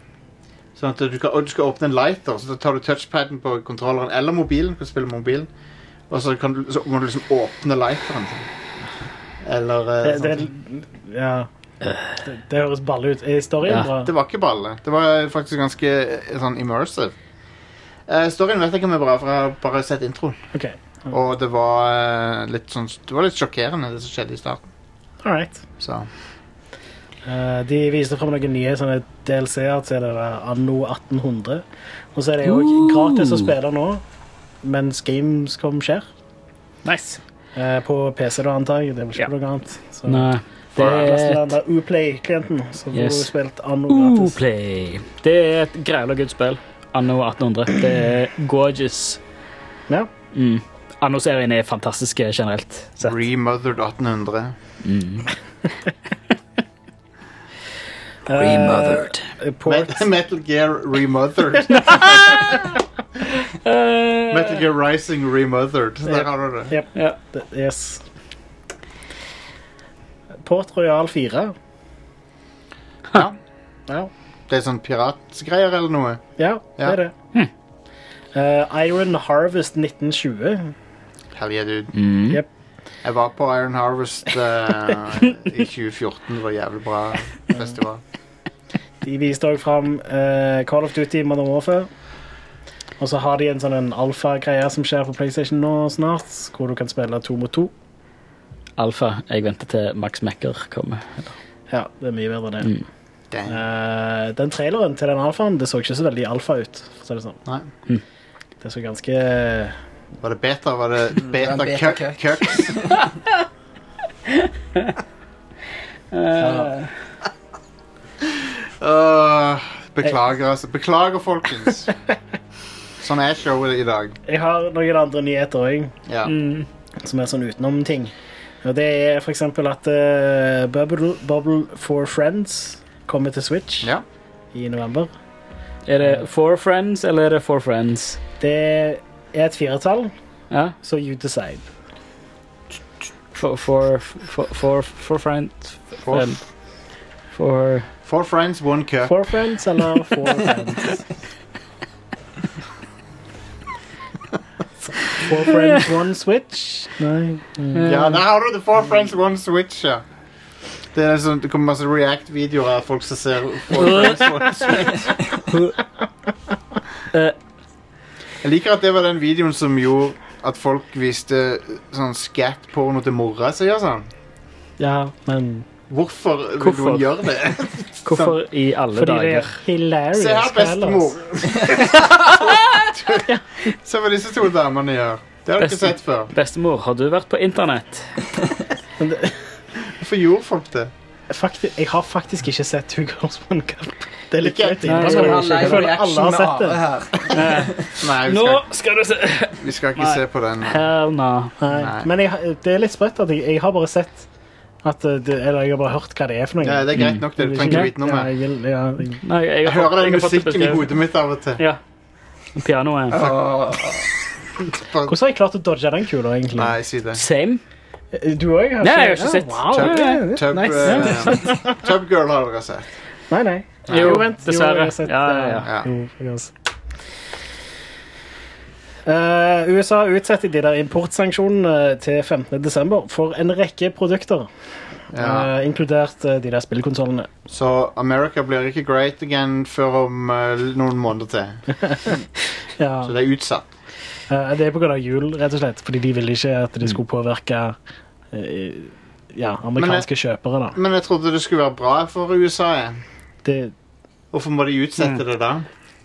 Speaker 1: Sånn at du, kan, og du skal åpne en lighter, så da tar du touchpaden på kontrolleren eller mobilen. Du kan spille mobilen Og så, kan du, så må du liksom åpne lighteren. Eller eh,
Speaker 4: Det,
Speaker 1: sånn.
Speaker 4: det, ja. det, det høres balle ut. Er historien
Speaker 2: Ja.
Speaker 4: bra?
Speaker 1: Det var ikke balle. Det var faktisk ganske eh, sånn immersive. Eh, storyen vet jeg ikke om er bra, for jeg har bare sett introen.
Speaker 4: OK.
Speaker 1: Og det var eh, litt sånn Det var litt sjokkerende, det som skjedde i starten.
Speaker 4: All right.
Speaker 1: Så
Speaker 4: Eh, de viste frem noen nye sånne DLC-er til det der eh, anno 1800. Og så er det jo gratis å spille nå, mens Gamescom skjer.
Speaker 2: Nice.
Speaker 4: Eh, på PC, da, antar jeg. Det er vel ikke
Speaker 2: Ja.
Speaker 4: noe annet. Så.
Speaker 2: Nei,
Speaker 4: Det
Speaker 2: det
Speaker 4: er nesten
Speaker 2: er
Speaker 4: den der Uplay-klienten som yes.
Speaker 2: Yes.
Speaker 4: har spilt anno gratis.
Speaker 2: Uplay. Det er et græla good spill. Anno 1800. Det er gorgeous.
Speaker 4: Ja.
Speaker 2: Mm. Anno-serien er fantastisk generelt sett.
Speaker 1: Remothered 1800.
Speaker 3: Remothered.
Speaker 4: Eh, Port,
Speaker 1: Met Metal Gear Remothered. Metal Gear Rising Remothered. Der har du det.
Speaker 2: Ja.
Speaker 4: det- yes. Port Royal 4.
Speaker 1: Ja.
Speaker 4: Ja.
Speaker 1: Det er sånn piratgreier eller noe.
Speaker 4: Ja, det
Speaker 1: Ja.
Speaker 4: er det.
Speaker 2: Hm.
Speaker 4: Eh, Iron Harvest 1920.
Speaker 1: Hell yeah, dude.
Speaker 2: Mm.
Speaker 4: Yep.
Speaker 1: Jeg var på Iron Harvest eh, i 2014. Det var jævlig bra festival.
Speaker 4: De viste også fram eh, Call of Duty Modern Warfare. Og så har de en sånn en alfa-greie som skjer på PlayStation nå snart, hvor du kan spille to mot to.
Speaker 2: Alfa. Jeg venter til Max Mekker kommer.
Speaker 4: Ja, det er mye bedre enn det.
Speaker 1: Damn.
Speaker 4: Eh, den traileren til den alfaen det så ikke så veldig alfa ut. For å si det, sånn.
Speaker 1: Nei.
Speaker 4: det så ganske
Speaker 1: Var det beta? Var Mm, det beta,
Speaker 3: beta
Speaker 1: beta
Speaker 3: cuck.
Speaker 1: cucks? Åh, beklager, altså. Beklager, folkens. Sånn er showet i dag.
Speaker 4: Jeg har noen andre nyheter òg,
Speaker 1: Ja.
Speaker 2: Mm.
Speaker 4: som er sånn utenomting. Og det er for eksempel at eh, Bubble, Bubble for Friends kommer til Switch
Speaker 1: ja.
Speaker 4: i november.
Speaker 2: Er det Four Friends eller er det Four Friends?
Speaker 4: Det er et firetall,
Speaker 2: Ja.
Speaker 4: så you decide.
Speaker 2: Four, four, four, four, four Friends
Speaker 1: Four,
Speaker 2: Friend. Four
Speaker 1: four friends, one cuck.
Speaker 4: Four friends eller four friends? Four friends, one switch? Nei.
Speaker 2: Eh,
Speaker 1: Ja, der har du The Four Friends One Switch, ja. Det, er sånn, det kommer masse React-videoer av folk som ser Four Friends One Switch.
Speaker 2: Eh.
Speaker 1: Jeg liker at det var den videoen som gjorde at folk viste sånn scat-porno til mora si og sånn.
Speaker 4: Ja, men
Speaker 1: Hvorfor vil
Speaker 2: Hvorfor?
Speaker 1: noen gjøre det?
Speaker 2: Hvorfor i alle
Speaker 4: Fordi det
Speaker 2: dager?
Speaker 4: er hilarious.
Speaker 1: Se her,
Speaker 4: hva ellers?
Speaker 1: bestemor. Se hva disse to damene gjør. Det har du ikke
Speaker 2: Bestem-
Speaker 1: sett før.
Speaker 2: Bestemor, har du vært på internett?
Speaker 4: Men det-
Speaker 1: Hvorfor gjorde folk det?
Speaker 4: Faktisk, jeg har faktisk ikke sett Two Girls One Cup. Det er litt
Speaker 1: Ikke-
Speaker 4: flaut.
Speaker 2: Nei,
Speaker 4: Jeg
Speaker 3: Nå skal vi ha
Speaker 2: Jeg
Speaker 4: føler
Speaker 3: live
Speaker 4: alle
Speaker 3: reaction
Speaker 4: har
Speaker 3: med
Speaker 4: sett
Speaker 3: Are
Speaker 4: det.
Speaker 3: her.
Speaker 1: Nei, vi
Speaker 2: Eh, Nå
Speaker 1: skal,
Speaker 2: skal du se
Speaker 1: vi skal ikke
Speaker 2: Nei. Mm.
Speaker 1: se på den.
Speaker 2: Hell no.
Speaker 4: Nei. Men jeg, det er litt sprøtt at jeg, jeg har bare sett at eh, det, Eller jeg har bare hørt hva det er for noe.
Speaker 1: Ja, det er greit nok, det. Du trenger ikke vite noe
Speaker 4: ja,
Speaker 1: mer.
Speaker 4: jeg vil- ja, jeg-
Speaker 2: Nei, jeg,
Speaker 1: Jeg
Speaker 2: har fått-
Speaker 1: hører den
Speaker 2: jeg har fått det
Speaker 1: musikken i
Speaker 2: beskrevet.
Speaker 1: hodet mitt av og til.
Speaker 2: Ja. Pianoet.
Speaker 3: Åh,
Speaker 4: Hvordan har jeg klart å dodge den kula, egentlig?
Speaker 1: Nei, si det.
Speaker 2: Same.
Speaker 4: Du òg?
Speaker 2: Nei, jeg har ikke sett.
Speaker 4: Wow.
Speaker 2: Tøp-
Speaker 4: Ja,
Speaker 1: Tub,
Speaker 4: nice.
Speaker 1: eh, Tub Girl har dere sett.
Speaker 4: Nei, nei.
Speaker 2: Jo,
Speaker 4: vent,
Speaker 2: dessverre.
Speaker 4: jeg har sett,
Speaker 2: Ja, ja,
Speaker 4: eh,
Speaker 1: ja.
Speaker 4: jo, jeg har sett. Eh, USA utsetter de der importsanksjonene til 15. desember for en rekke produkter,
Speaker 1: Ja.
Speaker 4: eh, inkludert eh, de der spillkonsollene.
Speaker 1: Så America blir ikke great again før om eh, noen måneder til.
Speaker 4: Ja.
Speaker 1: Så det er utsatt.
Speaker 4: Eh, det er pga. jul, rett og slett, fordi de ville ikke at det skulle påvirke eh, ja, amerikanske kjøpere. da.
Speaker 1: Men jeg trodde det skulle være bra for USA. jeg.
Speaker 4: Det,
Speaker 1: Hvorfor må de
Speaker 4: Mm.
Speaker 1: utsette det da?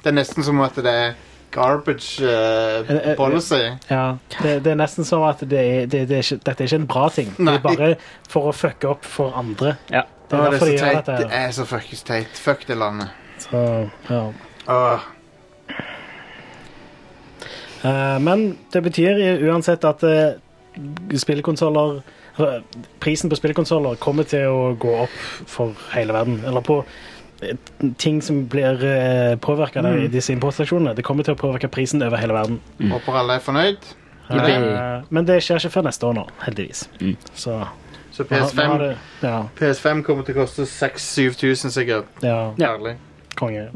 Speaker 1: Det er nesten som at det er garbage eh,
Speaker 4: Eh, eh,
Speaker 1: policy.
Speaker 4: ja, det, det er nesten som at det er, det, det er ikke, dette er ikke en bra ting.
Speaker 1: Nei.
Speaker 4: Det er bare for å fucke opp for andre.
Speaker 2: Ja.
Speaker 4: Det
Speaker 1: Å,
Speaker 4: er
Speaker 1: det,
Speaker 4: derfor de
Speaker 1: er så
Speaker 4: gjør
Speaker 1: teit.
Speaker 4: dette.
Speaker 1: det
Speaker 4: her.
Speaker 1: er så fuckings teit. Fuck det landet.
Speaker 4: Så, ja.
Speaker 1: Åh.
Speaker 4: Eh, men det betyr i- uansett at uh, spillkonsoller eller, Prisen på spillkonsoller kommer til å gå opp for hele verden. Eller på eh, ting som blir uh, påvirka av
Speaker 1: Mm.
Speaker 4: disse importsaksjonene. Det kommer til å påvirke prisen over hele verden.
Speaker 1: Håper alle er fornøyd.
Speaker 4: Eh, men det skjer ikke før neste år nå, heldigvis. Så
Speaker 1: Så
Speaker 4: nå har- nå
Speaker 1: Mm. PS5,
Speaker 4: har det- Ja,
Speaker 1: PS5 kommer til å koste 6000-7000 sikkert.
Speaker 4: ja,
Speaker 1: Ærlig.
Speaker 4: konge.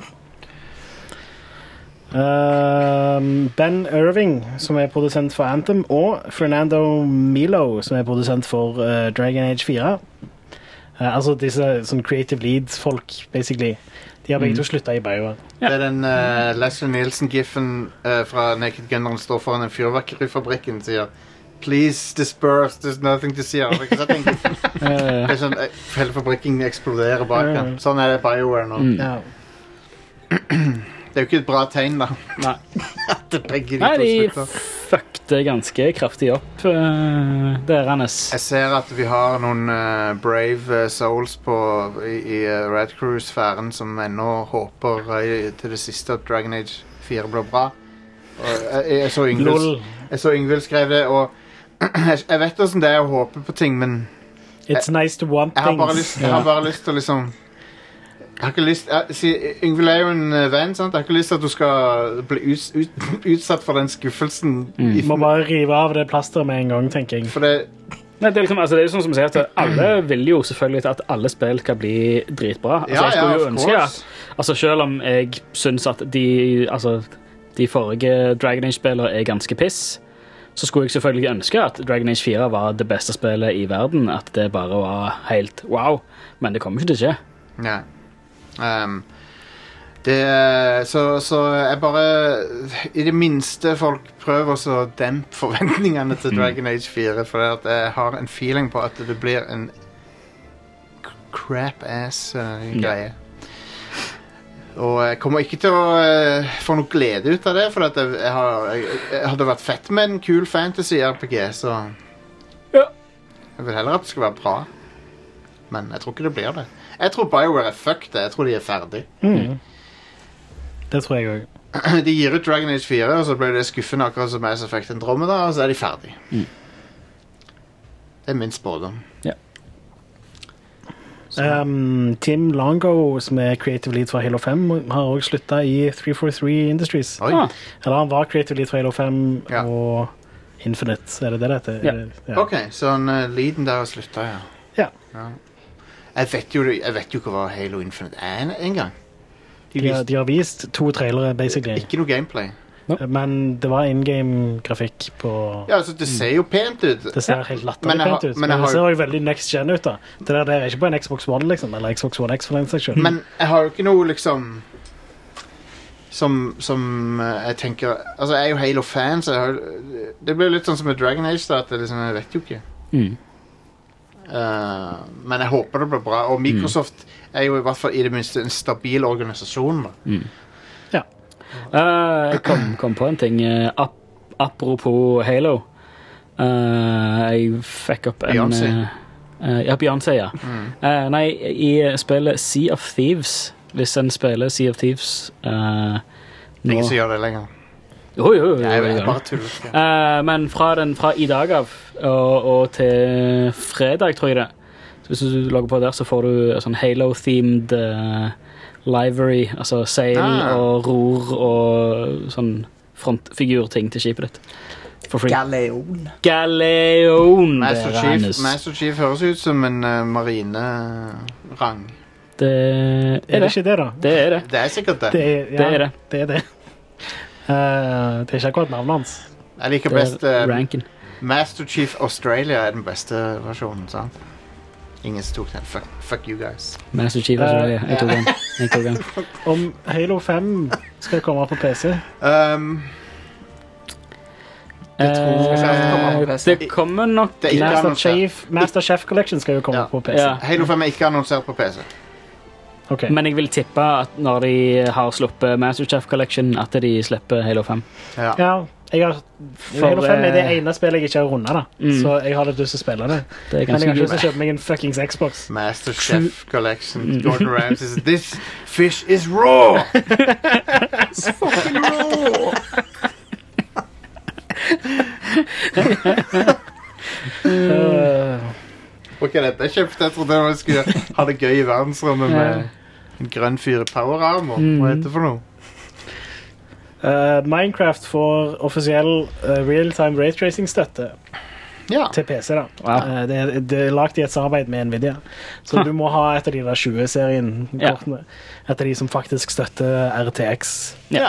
Speaker 4: Eh, Um, ben Irving, som er produsent for Anthem, og Fernando Milo, som er produsent for uh, Dragon Age 4. Uh, altså disse sånn creative leads-folk, basically.
Speaker 1: Mm.
Speaker 4: De har begge to slutta i Bioware.
Speaker 1: Det er den uh, Leslie Nielsen-giffen eh, fra Naked Gun når han står foran den fyrverkerifabrikken og sier Please disperse, there's nothing to see. Har dere ikke sett den giffen?
Speaker 2: Eh,
Speaker 1: Det er sånn, eh, Hele fabrikken eksploderer bak han. Sånn er det BioWare nå.
Speaker 4: Ja.
Speaker 1: Det er jo ikke et bra tegn, da.
Speaker 2: Nei.
Speaker 1: At begge de
Speaker 2: Nei,
Speaker 1: to
Speaker 2: de
Speaker 1: slutter.
Speaker 2: fuckte ganske kraftig opp uh, deres.
Speaker 1: Jeg ser at vi har noen eh, brave eh, souls på, i, i eh, Red Crew-sfæren som ennå håper eh, til det siste at Dragon Age 4 blir bra. Og jeg, jeg så Yngvild
Speaker 4: Lol.
Speaker 1: Jeg så Yngvild skrev det, og jeg, jeg vet åssen det er å håpe på ting, men
Speaker 4: It's nice to want
Speaker 1: jeg har bare lyst,
Speaker 4: things.
Speaker 1: jeg har bare lyst til å liksom jeg har ikke lyst, jeg, si, Yngvild er jo en eh, venn, sant? Jeg har ikke lyst til at du skal bli ut, ut, utsatt for den skuffelsen. i-
Speaker 4: Må bare rive av det plasteret med en gang, tenker jeg.
Speaker 1: For det,
Speaker 2: Nei, det, er liksom, altså, det er jo sånn som jeg sier at Alle vil jo selvfølgelig at alle spill skal bli dritbra. Altså,
Speaker 1: Ja,
Speaker 2: jeg skulle
Speaker 1: ja,
Speaker 2: jo
Speaker 1: of
Speaker 2: ønske at,
Speaker 1: course.
Speaker 2: altså, Selv om jeg syns at de, altså, de forrige Dragon Age-spillene er ganske piss, så skulle jeg selvfølgelig ønske at Dragon Age 4 var det beste spillet i verden. At det bare var helt wow. Men det kommer ikke til å skje.
Speaker 1: Nei. Ehm, det, er- så, så jeg bare I det minste folk prøver også å dempe forventningene
Speaker 2: Mm.
Speaker 1: til Dragon Age 4, for det at jeg har en feeling på at det blir en k- crap ass eh,
Speaker 2: Ja.
Speaker 1: greie. Og jeg kommer ikke til å eh, få noe glede ut av det, for at jeg, jeg, har, jeg, jeg hadde vært fett med en kul fantasy-RPG, så
Speaker 2: Ja.
Speaker 1: Jeg vil heller at det skal være bra. Men jeg tror ikke det blir det. Jeg tror BioWare er fucked. Jeg tror de er ferdig.
Speaker 4: Det tror jeg òg.
Speaker 1: De gir ut Dragon Age 4, og så ble det skuffende akkurat som Mass Effect Andromeda, og så er de ferdig.
Speaker 4: Mm.
Speaker 1: Det er min spådom.
Speaker 4: Um, Tim Longo, som er creative lead for Halo 5, har òg slutta i 343 Industries.
Speaker 1: Oi.
Speaker 2: Ah.
Speaker 4: Eller han var creative lead for Halo 5
Speaker 1: Ja.
Speaker 4: og Infinite, er det det det heter?
Speaker 2: Ja.
Speaker 4: Er det- ja.
Speaker 1: OK, så han, eh, lyden der har slutta, ja.
Speaker 4: Ja.
Speaker 1: Jeg vet, jo, jeg vet jo ikke hva Halo Infinite er en- engang. De
Speaker 4: De, har-
Speaker 1: viste
Speaker 4: de har vist to trailere, basically.
Speaker 1: ikke noe gameplay.
Speaker 4: Men det var in game-grafikk på
Speaker 1: Ja, altså, Det ser jo pent ut.
Speaker 4: Mm. Det ser helt latterlig
Speaker 1: Men jeg har-
Speaker 4: pent ut.
Speaker 1: men
Speaker 4: Men,
Speaker 1: jeg
Speaker 4: det
Speaker 1: har-
Speaker 4: ser jo veldig next gen ut. da Det der, det er ikke på en Xbox One, liksom. Eller Xbox One X, for den saks skyld.
Speaker 1: Men jeg har jo ikke noe liksom Som, som eh, jeg tenker Altså, jeg er jo Halo-fan, så jeg har, det blir litt sånn som med Dragon Age. Da, at jeg, liksom, jeg vet jo ikke.
Speaker 2: Mm.
Speaker 1: Eh, men jeg håper det blir bra. Og Microsoft er jo i hvert fall i det minste en stabil organisasjon. Da.
Speaker 2: Eh, jeg kom, kom på en ting. eh, ap apropos Halo. Eh, jeg fikk opp en
Speaker 1: Beyoncé. Mm.
Speaker 2: eh, eh, ja, Beyoncé, ja. Eh, nei, i spillet Sea of Thieves, hvis en spiller Sea of Thieves eh,
Speaker 1: Det er
Speaker 2: nå-
Speaker 1: Ingen som gjør det lenger.
Speaker 2: Jo, jo, jo, jo,
Speaker 1: Jeg,
Speaker 2: jo,
Speaker 1: jeg
Speaker 2: jo.
Speaker 1: bare tuller. Ja.
Speaker 2: Eh, men fra, den, fra i dag av og, og til fredag, tror jeg det Så Hvis du logger på der, så får du sånn Halo-themed eh, livery. Altså seil
Speaker 1: Ah.
Speaker 2: og ror og sånn frontfigurting til skipet ditt. For free.
Speaker 3: Galeon.
Speaker 2: Galeon!
Speaker 1: Master,
Speaker 2: dere,
Speaker 1: Chief,
Speaker 2: Hannes.
Speaker 1: Master Chief høres ut som en uh, marinerang.
Speaker 2: Det
Speaker 4: er
Speaker 2: er
Speaker 4: det
Speaker 2: det.
Speaker 4: ikke det, da?
Speaker 2: Det er det.
Speaker 1: Det er sikkert det.
Speaker 4: Det er, ja,
Speaker 2: Det er det.
Speaker 4: Det er det. Eh, det er ikke akkurat navnet hans.
Speaker 1: Jeg liker
Speaker 2: Det
Speaker 1: best eh,
Speaker 2: er ranken.
Speaker 1: Master Chief Australia er den beste versjonen, sant? Ingen som tok den. Fuck, fuck you guys.
Speaker 2: Master Chief. altså, jeg- jeg tok den. Jeg tok den.
Speaker 4: Om Halo 5 skal komme på PC
Speaker 1: Um,
Speaker 3: tror jeg skal komme på
Speaker 2: Eh,
Speaker 3: PC.
Speaker 2: det kommer nok
Speaker 1: det er ikke
Speaker 4: Master
Speaker 1: annonsert.
Speaker 4: Chief, Master Chef Collection skal jo komme
Speaker 1: Ja.
Speaker 4: på PC.
Speaker 2: Ja.
Speaker 1: Halo 5 er ikke annonsert på PC.
Speaker 4: Ok.
Speaker 2: Men jeg vil tippe at når de har sluppet Masterchef Collection, at de slipper Halo 5.
Speaker 1: Ja.
Speaker 4: Ja, jeg har,
Speaker 2: For,
Speaker 4: Halo 5 er
Speaker 2: eh,
Speaker 4: det ene spillet jeg ikke har runda, da.
Speaker 2: Mm.
Speaker 4: så jeg har litt lyst til å spille det.
Speaker 2: Det er
Speaker 4: Men jeg
Speaker 2: ganske
Speaker 4: har ikke lyst
Speaker 2: kult.
Speaker 4: til å kjøpe meg en fuckings Xbox.
Speaker 1: Master Chef Collection. Gordon Ramsay says, This fish is raw!
Speaker 3: Fucking raw!
Speaker 4: Øh,
Speaker 1: Ok, dette er kjøpt. Jeg trodde jeg skulle ha det gøy i verdensrommet
Speaker 4: eh.
Speaker 1: med en grønn fyr i power armor. Hva heter det for noe?
Speaker 4: øh, Minecraft får offisiell øh, real-time raytracing-støtte
Speaker 1: Ja.
Speaker 4: til PC. da
Speaker 2: Wow.
Speaker 4: Øh, det, er- det er lagt i et samarbeid med Nvidia, så du må ha et av de der 20-serien-kortene. Et av de som faktisk støtter RTX.
Speaker 1: ja.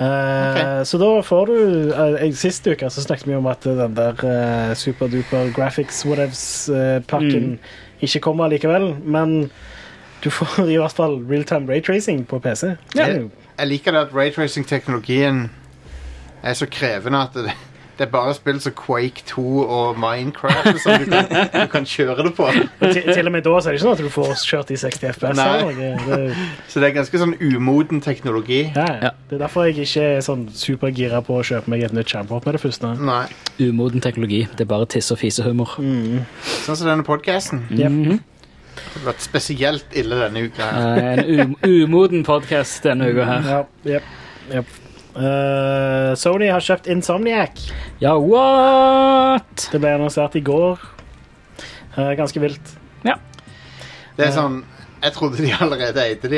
Speaker 4: Eh, Så da får du eh, jeg- Sist uke så snakket vi om at den der eh, superduper graphics whatevs-pakken ikke kommer likevel, men du får i hvert fall realtime raytracing på PC.
Speaker 1: Ja. Jeg liker det at raytracing-teknologien er så krevende at det, det er bare spill som Quake 2 og Minecraft som du kan, du kan kjøre det på.
Speaker 4: Og til, til og med da så er det ikke sånn at du får kjørt i 60 FPS.
Speaker 1: Nei.
Speaker 4: eller noe. Det,
Speaker 1: Så det er ganske sånn umoden teknologi.
Speaker 4: ja,
Speaker 2: Ja.
Speaker 4: det er derfor jeg ikke er sånn supergira på å kjøpe meg et nytt skjermkort med det første.
Speaker 1: Nei,
Speaker 2: Umoden teknologi. Det er bare tiss- og fisehumor.
Speaker 4: Mm.
Speaker 1: Sånn som denne podkasten.
Speaker 4: Yep.
Speaker 1: Det har vært spesielt ille denne uka. her.
Speaker 2: Eh, En um umoden podkast denne uka her.
Speaker 4: Ja, jep, jep. Eh, Sony har kjøpt Insomniac.
Speaker 2: Ja, what?
Speaker 4: Det ble annonsert i går. Eh, ganske vilt.
Speaker 1: Det er sånn Jeg trodde de allerede eide de.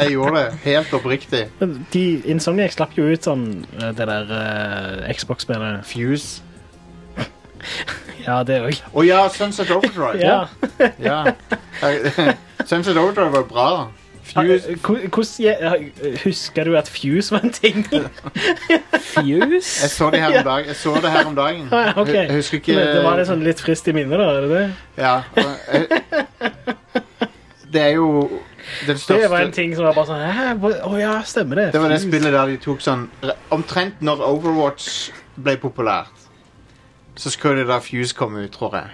Speaker 1: Jeg gjorde det helt oppriktig.
Speaker 4: Men De, Insomniac slapp jo ut sånn eh, det der eh, Xbox-spillet.
Speaker 1: Fuse.
Speaker 4: Ja, det òg.
Speaker 1: Å ja, Sunset Overdrive.
Speaker 4: Ja.
Speaker 1: Ja. Sunset Overdrive var bra. Fuse
Speaker 4: Eh, hvor- Hvordan jeg- Husker du at Fuse var en ting?
Speaker 1: Jeg
Speaker 2: Fuse?
Speaker 1: så det her om dagen. Jeg så det her om dagen.
Speaker 4: Ah, Ja, ok.
Speaker 1: Jeg husker ikke
Speaker 4: Men Det var litt sånn litt frist i minnet, da. er det det?
Speaker 1: Ja. Jeg- Det er jo den
Speaker 4: Det var en
Speaker 1: største
Speaker 4: ting som var bare sånn Hæ? Hva- Å ja, stemmer det.
Speaker 1: Det var det
Speaker 4: Fuse.
Speaker 1: spillet der de tok sånn Omtrent når Overwatch ble populært, så skulle det da Fuse komme ut, tror jeg.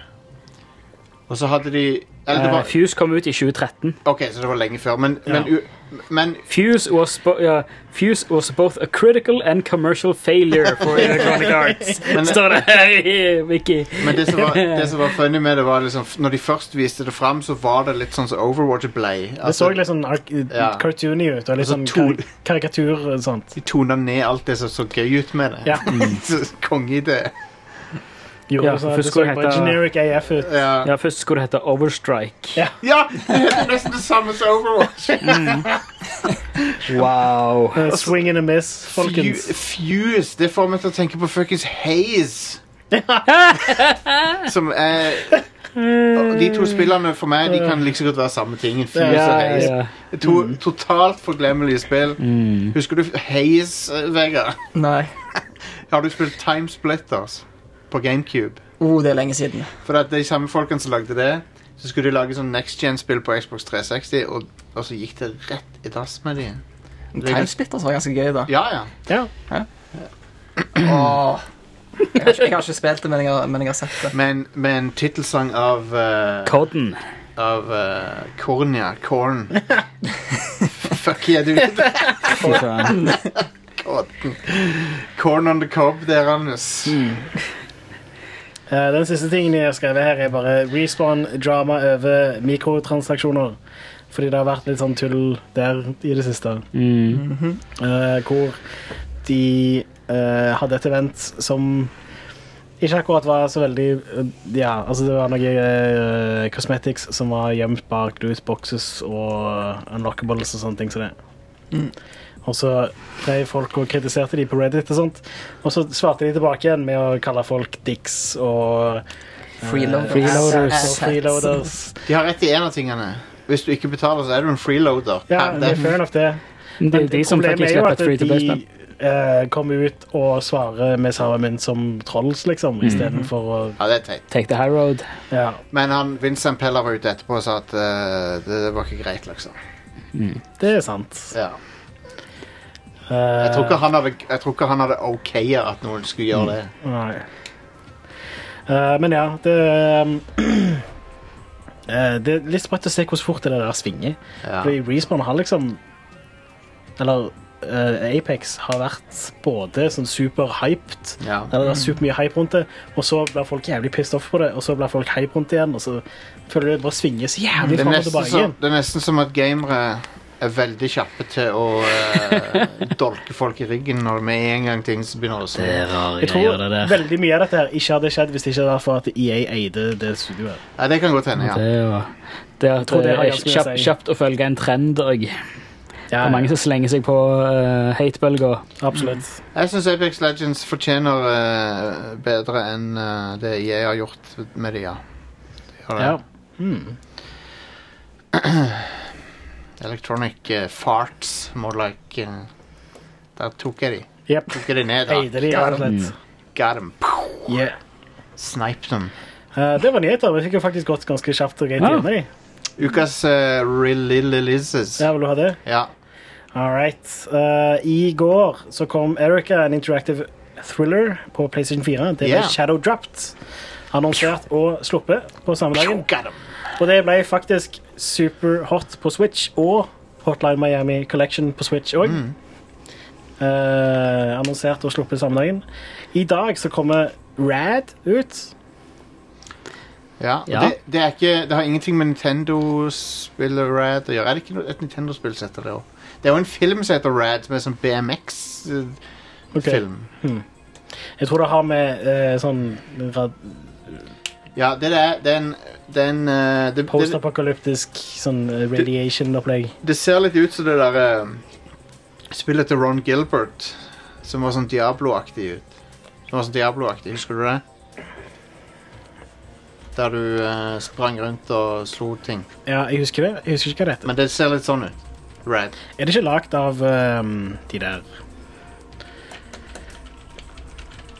Speaker 1: Og så hadde de Eller det
Speaker 2: Eh,
Speaker 1: var
Speaker 2: Fuse kom ut i 2013.
Speaker 1: OK, så det var lenge før. Men, men,
Speaker 4: Ja.
Speaker 1: u- men
Speaker 2: Fuse was, bo ja, Fuse was both a critical and commercial failure for Electronic Arts.
Speaker 1: Men-
Speaker 2: Står det her i Wiki.
Speaker 1: Men det som, var, det som var funny med det, var liksom Når de først viste det fram, så var det litt sånn som Overwatch ble.
Speaker 4: Det så
Speaker 1: Altså,
Speaker 4: litt sånn ark
Speaker 1: Ja.
Speaker 4: cartoony ut, og litt
Speaker 1: Altså,
Speaker 4: sånn
Speaker 1: to-
Speaker 4: kar karikatur og sånt.
Speaker 1: de tona ned alt det som så gøy ut med det.
Speaker 4: Ja.
Speaker 1: Så Kongeidé.
Speaker 4: Gjorde
Speaker 2: Ja,
Speaker 4: det sånn at
Speaker 2: først
Speaker 4: det så
Speaker 2: skulle det
Speaker 4: bare
Speaker 2: hete-
Speaker 4: generic AF ut. Eh,
Speaker 1: Ja.
Speaker 2: Ja, først skulle det hete Overstrike.
Speaker 1: ja! Det er nesten det samme som Overwatch.
Speaker 2: Wow.
Speaker 1: Altså-
Speaker 4: Uh, swing and a miss, folkens.
Speaker 1: Fu- Fuse. Det får meg til å tenke på fuckings Haze. Som er De to spillene for meg De kan like så godt være samme ting. Fuse og
Speaker 2: Ja,
Speaker 1: Haze.
Speaker 2: ja.
Speaker 1: To totalt forglemmelige spill. Husker du Haze, eh, Vegard?
Speaker 3: Nei.
Speaker 1: Har du spilt Time Splitters på GameCube?
Speaker 3: Oh, det er lenge siden.
Speaker 1: For at de samme folkene som lagde det, så skulle de lage sånn next gen-spill på Xbox 360, og, og så gikk det rett i dass med de. Det er gans-
Speaker 3: Timesplitters var ganske gøy, da.
Speaker 1: Ja, ja.
Speaker 4: Ja.
Speaker 3: Åh. Jeg, har ikke, jeg har ikke spilt det, men jeg har, men jeg har sett det.
Speaker 1: Men, men tittelsang av eh,
Speaker 2: Codden.
Speaker 1: Av eh, Korn, ja. Korn. Fuck yeah, du vet det.
Speaker 2: Fy faen.
Speaker 1: Korn. Korn on the cob der, Anders.
Speaker 4: Eh, Den siste tingen jeg har skrevet her, er bare respawn-drama over mikrotransaksjoner. Fordi det har vært litt sånn tull der i det siste.
Speaker 2: Mm.
Speaker 4: Eh, hvor de eh, hadde et event som ikke akkurat var så veldig eh, Ja, altså det var noe eh, cosmetics som var gjemt bak loot boxes og unlockables og sånne ting som det. Og så ble folk og kritiserte de på Reddit og sånt. Og så svarte de tilbake igjen med å kalle folk dicks og
Speaker 3: Freeloaders.
Speaker 2: Freeloaders.
Speaker 4: og freeloaders.
Speaker 1: De har rett i én av tingene. Hvis du ikke betaler, så er du en freeloader.
Speaker 4: Ja,
Speaker 1: Per
Speaker 4: det er
Speaker 1: def.
Speaker 4: fair enough, det.
Speaker 2: Det er jo de som
Speaker 4: Problemet
Speaker 2: faktisk
Speaker 4: er jo
Speaker 2: slipper
Speaker 4: at
Speaker 2: et free to play-spill.
Speaker 4: de eh, kommer ut og svarer med samme mynt som trolls,
Speaker 2: Mm.
Speaker 4: liksom, istedenfor å
Speaker 1: ja, det er teit.
Speaker 2: Take the high road.
Speaker 4: ja.
Speaker 1: Men han, Vincent Peller var ute etterpå og sa at eh, det, det var ikke greit, liksom.
Speaker 4: Det er sant.
Speaker 1: Ja.
Speaker 4: Eh,
Speaker 1: Jeg, tror ikke han hadde, jeg tror ikke han hadde okaya at noen skulle gjøre det.
Speaker 4: Nei. Eh, men ja, det eh, Det er litt sprøtt å se hvor fort det der svinger.
Speaker 1: Ja.
Speaker 4: Fordi Respawn har liksom Eller eh, Apex har vært både sånn superhyped
Speaker 1: Ja.
Speaker 4: Eller det er supermye hype rundt det, og så blir folk jævlig pissed off på det, og så blir folk hype rundt det igjen, og så føler du det bare svinger så jævlig
Speaker 1: Det, er
Speaker 4: fram og
Speaker 1: nesten
Speaker 4: tilbake
Speaker 1: som,
Speaker 4: igjen.
Speaker 1: det er nesten som at gamere er veldig kjappe til å eh, dolke folk i ryggen når med en gang ting så begynner å se.
Speaker 2: rare
Speaker 4: Jeg tror veldig mye av dette her ikke hadde skjedd hvis det ikke hadde vært for at EA eide det studioet.
Speaker 1: Ja, det kan godt hende,
Speaker 2: Det
Speaker 1: ja.
Speaker 2: er jo det at
Speaker 4: tror det
Speaker 2: det
Speaker 4: har
Speaker 2: er
Speaker 4: ganske mye å
Speaker 2: kjapt,
Speaker 4: si.
Speaker 2: kjapt å følge en trend òg. Det
Speaker 4: Ja,
Speaker 2: er mange som slenger seg på uh, hatebølga.
Speaker 4: absolutt.
Speaker 1: Jeg syns Apex Legends fortjener eh, bedre enn eh, det jeg har gjort med de, ja. De har det. Hmm.
Speaker 4: Ja.
Speaker 1: Electronic eh, farts, more like eh, Der tok jeg de.
Speaker 4: Yep.
Speaker 1: Tok jeg de ned, da.
Speaker 4: Eide de, rett og slett.
Speaker 1: Got 'em. Pow!
Speaker 4: Yeah.
Speaker 1: Sniped them.
Speaker 4: Eh, det var nyheter. Vi fikk jo faktisk gått ganske kjapt og greit
Speaker 2: Ja.
Speaker 4: gjennom de.
Speaker 1: Ukas uh, releases.
Speaker 4: Ja, vil du ha det?
Speaker 1: Ja.
Speaker 4: All right. Eh, I går så kom Erica, en interactive thriller på PlayStation 4. Det ble
Speaker 1: Ja.
Speaker 4: Shadow Dropped. Annonsert og sluppet på samme dagen.
Speaker 1: Got 'em.
Speaker 4: Og det ble faktisk superhot på Switch og Hotline Miami Collection på Switch òg. annonsert og sluppet samme dagen. I dag så kommer Rad ut.
Speaker 1: Ja, og
Speaker 2: Ja.
Speaker 1: Det, det, er ikke, det har ingenting med Nintendo-spillet Rad å gjøre. Er det ikke noe, et Nintendo-spill som heter det òg? Det er jo en film som heter Rad, som er sånn BMX-film.
Speaker 4: Ok. Jeg tror det har med eh, sånn rad-
Speaker 1: Ja, det er, det er en, det, er en eh, det, det,
Speaker 4: postapokalyptisk sånn eh, radiation-opplegg.
Speaker 1: det ser litt ut som det der eh, spillet til Ron Gilbert, som var sånn Diablo-aktig ut. Som var sånn Diablo-aktig, Husker du det? Der du eh, sprang rundt og slo ting.
Speaker 4: Ja, jeg husker det. Jeg husker ikke hva det heter.
Speaker 1: Men det ser litt sånn ut. Rad.
Speaker 4: Er det ikke lagd av ehm, de der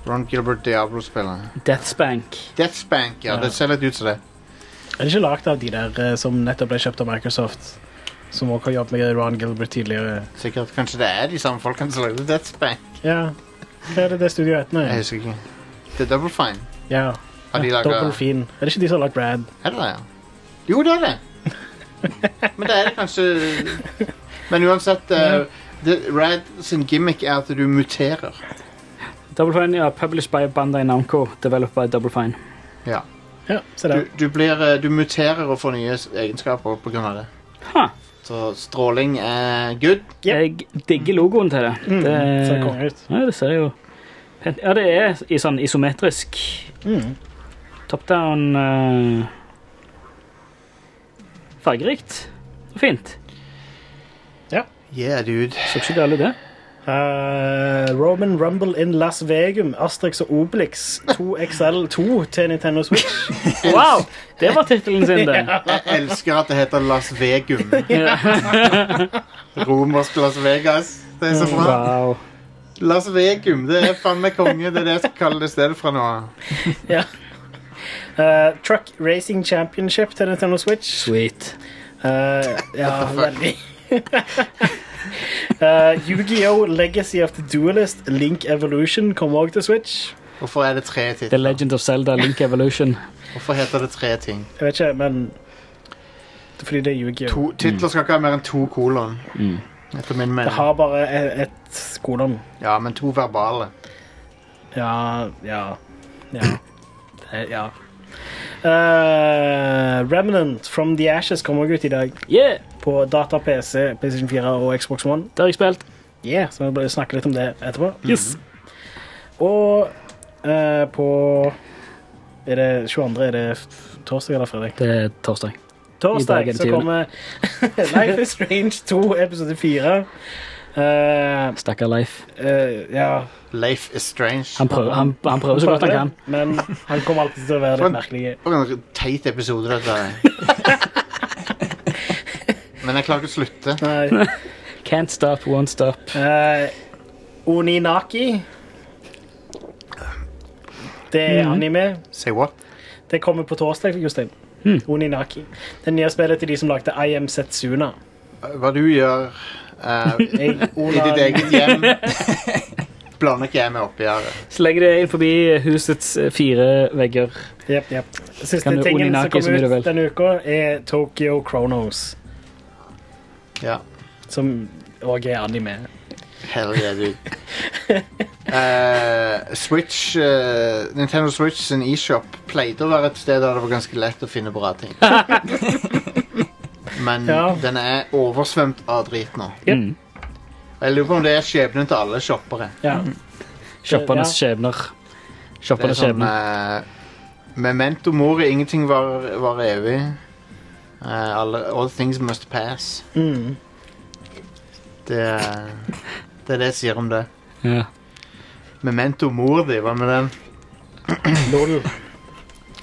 Speaker 1: Ron Gilbert Diablo-spillet.
Speaker 2: Deathspank.
Speaker 1: Deathspank, ja.
Speaker 4: Ja.
Speaker 1: Det ser litt ut som det.
Speaker 4: Er det ikke lagd av de der eh, som nettopp ble kjøpt av Microsoft? Som også har jobbet med Ron Gilbert tidligere.
Speaker 1: Sikkert, Kanskje det er de samme folkene som lagde Deathspank.
Speaker 4: Ja, Hva er det det studioet heter nå?
Speaker 1: Jeg husker ikke. Det er Double Fine.
Speaker 4: Ja.
Speaker 1: Har de laget-
Speaker 4: Dobbel fin. Er det ikke de som har lagd Brad?
Speaker 1: Er det det? ja? Jo, det er det. Men det er det kanskje Men uansett eh, det, Rad sin gimmick er at du muterer.
Speaker 2: Double Fine ja, published by Bandai Namco, developed by Double Fine.
Speaker 1: Ja.
Speaker 4: Ja, se
Speaker 1: Du,
Speaker 4: der.
Speaker 1: du, blir, eh, du muterer og får nye s- egenskaper på grunn av det.
Speaker 2: Huh.
Speaker 1: Så stråling er good.
Speaker 2: Jeg digger logoen til det.
Speaker 4: Mm,
Speaker 2: det
Speaker 4: Ser konge ut.
Speaker 2: ja, det ser jo pent Ja, det er i sånn isometrisk
Speaker 4: Mm.
Speaker 2: top down eh, Fargerikt og fint.
Speaker 1: Yeah, dude.
Speaker 2: Så ikke dårlig det.
Speaker 4: Eh, Roman Rumble in Las Vegum, Asterix og Obelix 2XL2 til Nintendo Switch.
Speaker 2: Wow! Det var tittelen sin, det.
Speaker 1: Jeg elsker at det heter Las Vegum. Romersk Las Vegas. Det er så bra.
Speaker 2: Wow.
Speaker 1: Las Vegum, det er faen meg konge. Det er det jeg skal kalle det stedet fra nå av.
Speaker 4: Eh, Truck Racing Championship til Nintendo Switch.
Speaker 2: Sweet.
Speaker 4: Eh, ja, veldig. Eh, Yu-Gi-Oh! Legacy of the Duelist Link Evolution kommer også til Switch.
Speaker 1: Hvorfor er det tre
Speaker 2: The
Speaker 1: titler?
Speaker 2: Legend of Zelda, Link Evolution.
Speaker 1: Hvorfor heter det tre ting?
Speaker 4: Jeg vet ikke, men det er Fordi det er Yu-Gi-Oh!
Speaker 1: To, titler skal ikke ha mer enn to kolon.
Speaker 2: Mm.
Speaker 1: Etter min
Speaker 4: Det
Speaker 1: mening.
Speaker 4: har bare e- ett kolon.
Speaker 1: Ja, men to verbale.
Speaker 4: Ja, ja, ja. Det, ja. Eh, Remnant from the Ashes kommer også ut i dag
Speaker 2: Yeah!
Speaker 4: på data-PC, PlayStation 4 og Xbox One.
Speaker 2: Det har jeg spilt.
Speaker 4: Yeah, så vi bør snakke litt om det etterpå.
Speaker 2: Yes.
Speaker 4: Og eh, på Er det 22. Er det f- torsdag eller fredag?
Speaker 2: Det er torsdag. I dag
Speaker 4: Torsdag
Speaker 2: er det
Speaker 4: så
Speaker 2: tiende.
Speaker 4: kommer Life is Strange 2, episode 4. Eh,
Speaker 2: Stakkar Leif.
Speaker 4: eh, ja
Speaker 1: Leif is strange.
Speaker 2: Han prøver, han, han prøver så godt han kan.
Speaker 4: Men han kommer alltid til å være litt
Speaker 1: Men-
Speaker 4: merkelig.
Speaker 1: For en teit episode, dette. er. Men jeg klarer ikke å slutte.
Speaker 4: Nei.
Speaker 2: Can't stop, won't stop.
Speaker 4: Eh, Oninaki. Det er
Speaker 2: Mhm.
Speaker 4: anime.
Speaker 1: Say what?
Speaker 4: Det kommer på torsdag, Jostein.
Speaker 2: Hmm.
Speaker 4: Oninaki. Det nye spillet til de som lagde I Am Setsuna.
Speaker 1: Hva du gjør eh,
Speaker 4: Jeg,
Speaker 1: i ditt eget hjem Blander ikke jeg meg opp i her.
Speaker 2: Så lenge det er inn forbi husets eh, fire vegger.
Speaker 4: Yep, yep.
Speaker 2: Kan
Speaker 4: Siste
Speaker 2: du
Speaker 4: tingen som
Speaker 2: Oninaki så mye
Speaker 4: kommer
Speaker 2: du vil.
Speaker 4: ut denne uka, er Tokyo Chronos,
Speaker 1: Ja.
Speaker 4: som òg er anime.
Speaker 1: Hell yeah, dude. Eh, Switch eh, Nintendo Switch sin eShop pleide å være et sted der det var ganske lett å finne bra ting. Men
Speaker 4: Ja.
Speaker 1: den er oversvømt av drit nå.
Speaker 4: Yep.
Speaker 2: Mm.
Speaker 1: Jeg lurer på om det er skjebnen til alle shoppere.
Speaker 4: Ja.
Speaker 2: Shoppernes skjebner.
Speaker 1: Det er
Speaker 2: Shoppernes
Speaker 1: sånn
Speaker 2: skjebne.
Speaker 1: eh, Memento mori, ingenting var, var evig. Eh, alle, all things must pass.
Speaker 4: Mm.
Speaker 1: Det, er- det er det jeg sier om det.
Speaker 2: Ja.
Speaker 1: Memento mori, hva med den?
Speaker 4: Lol.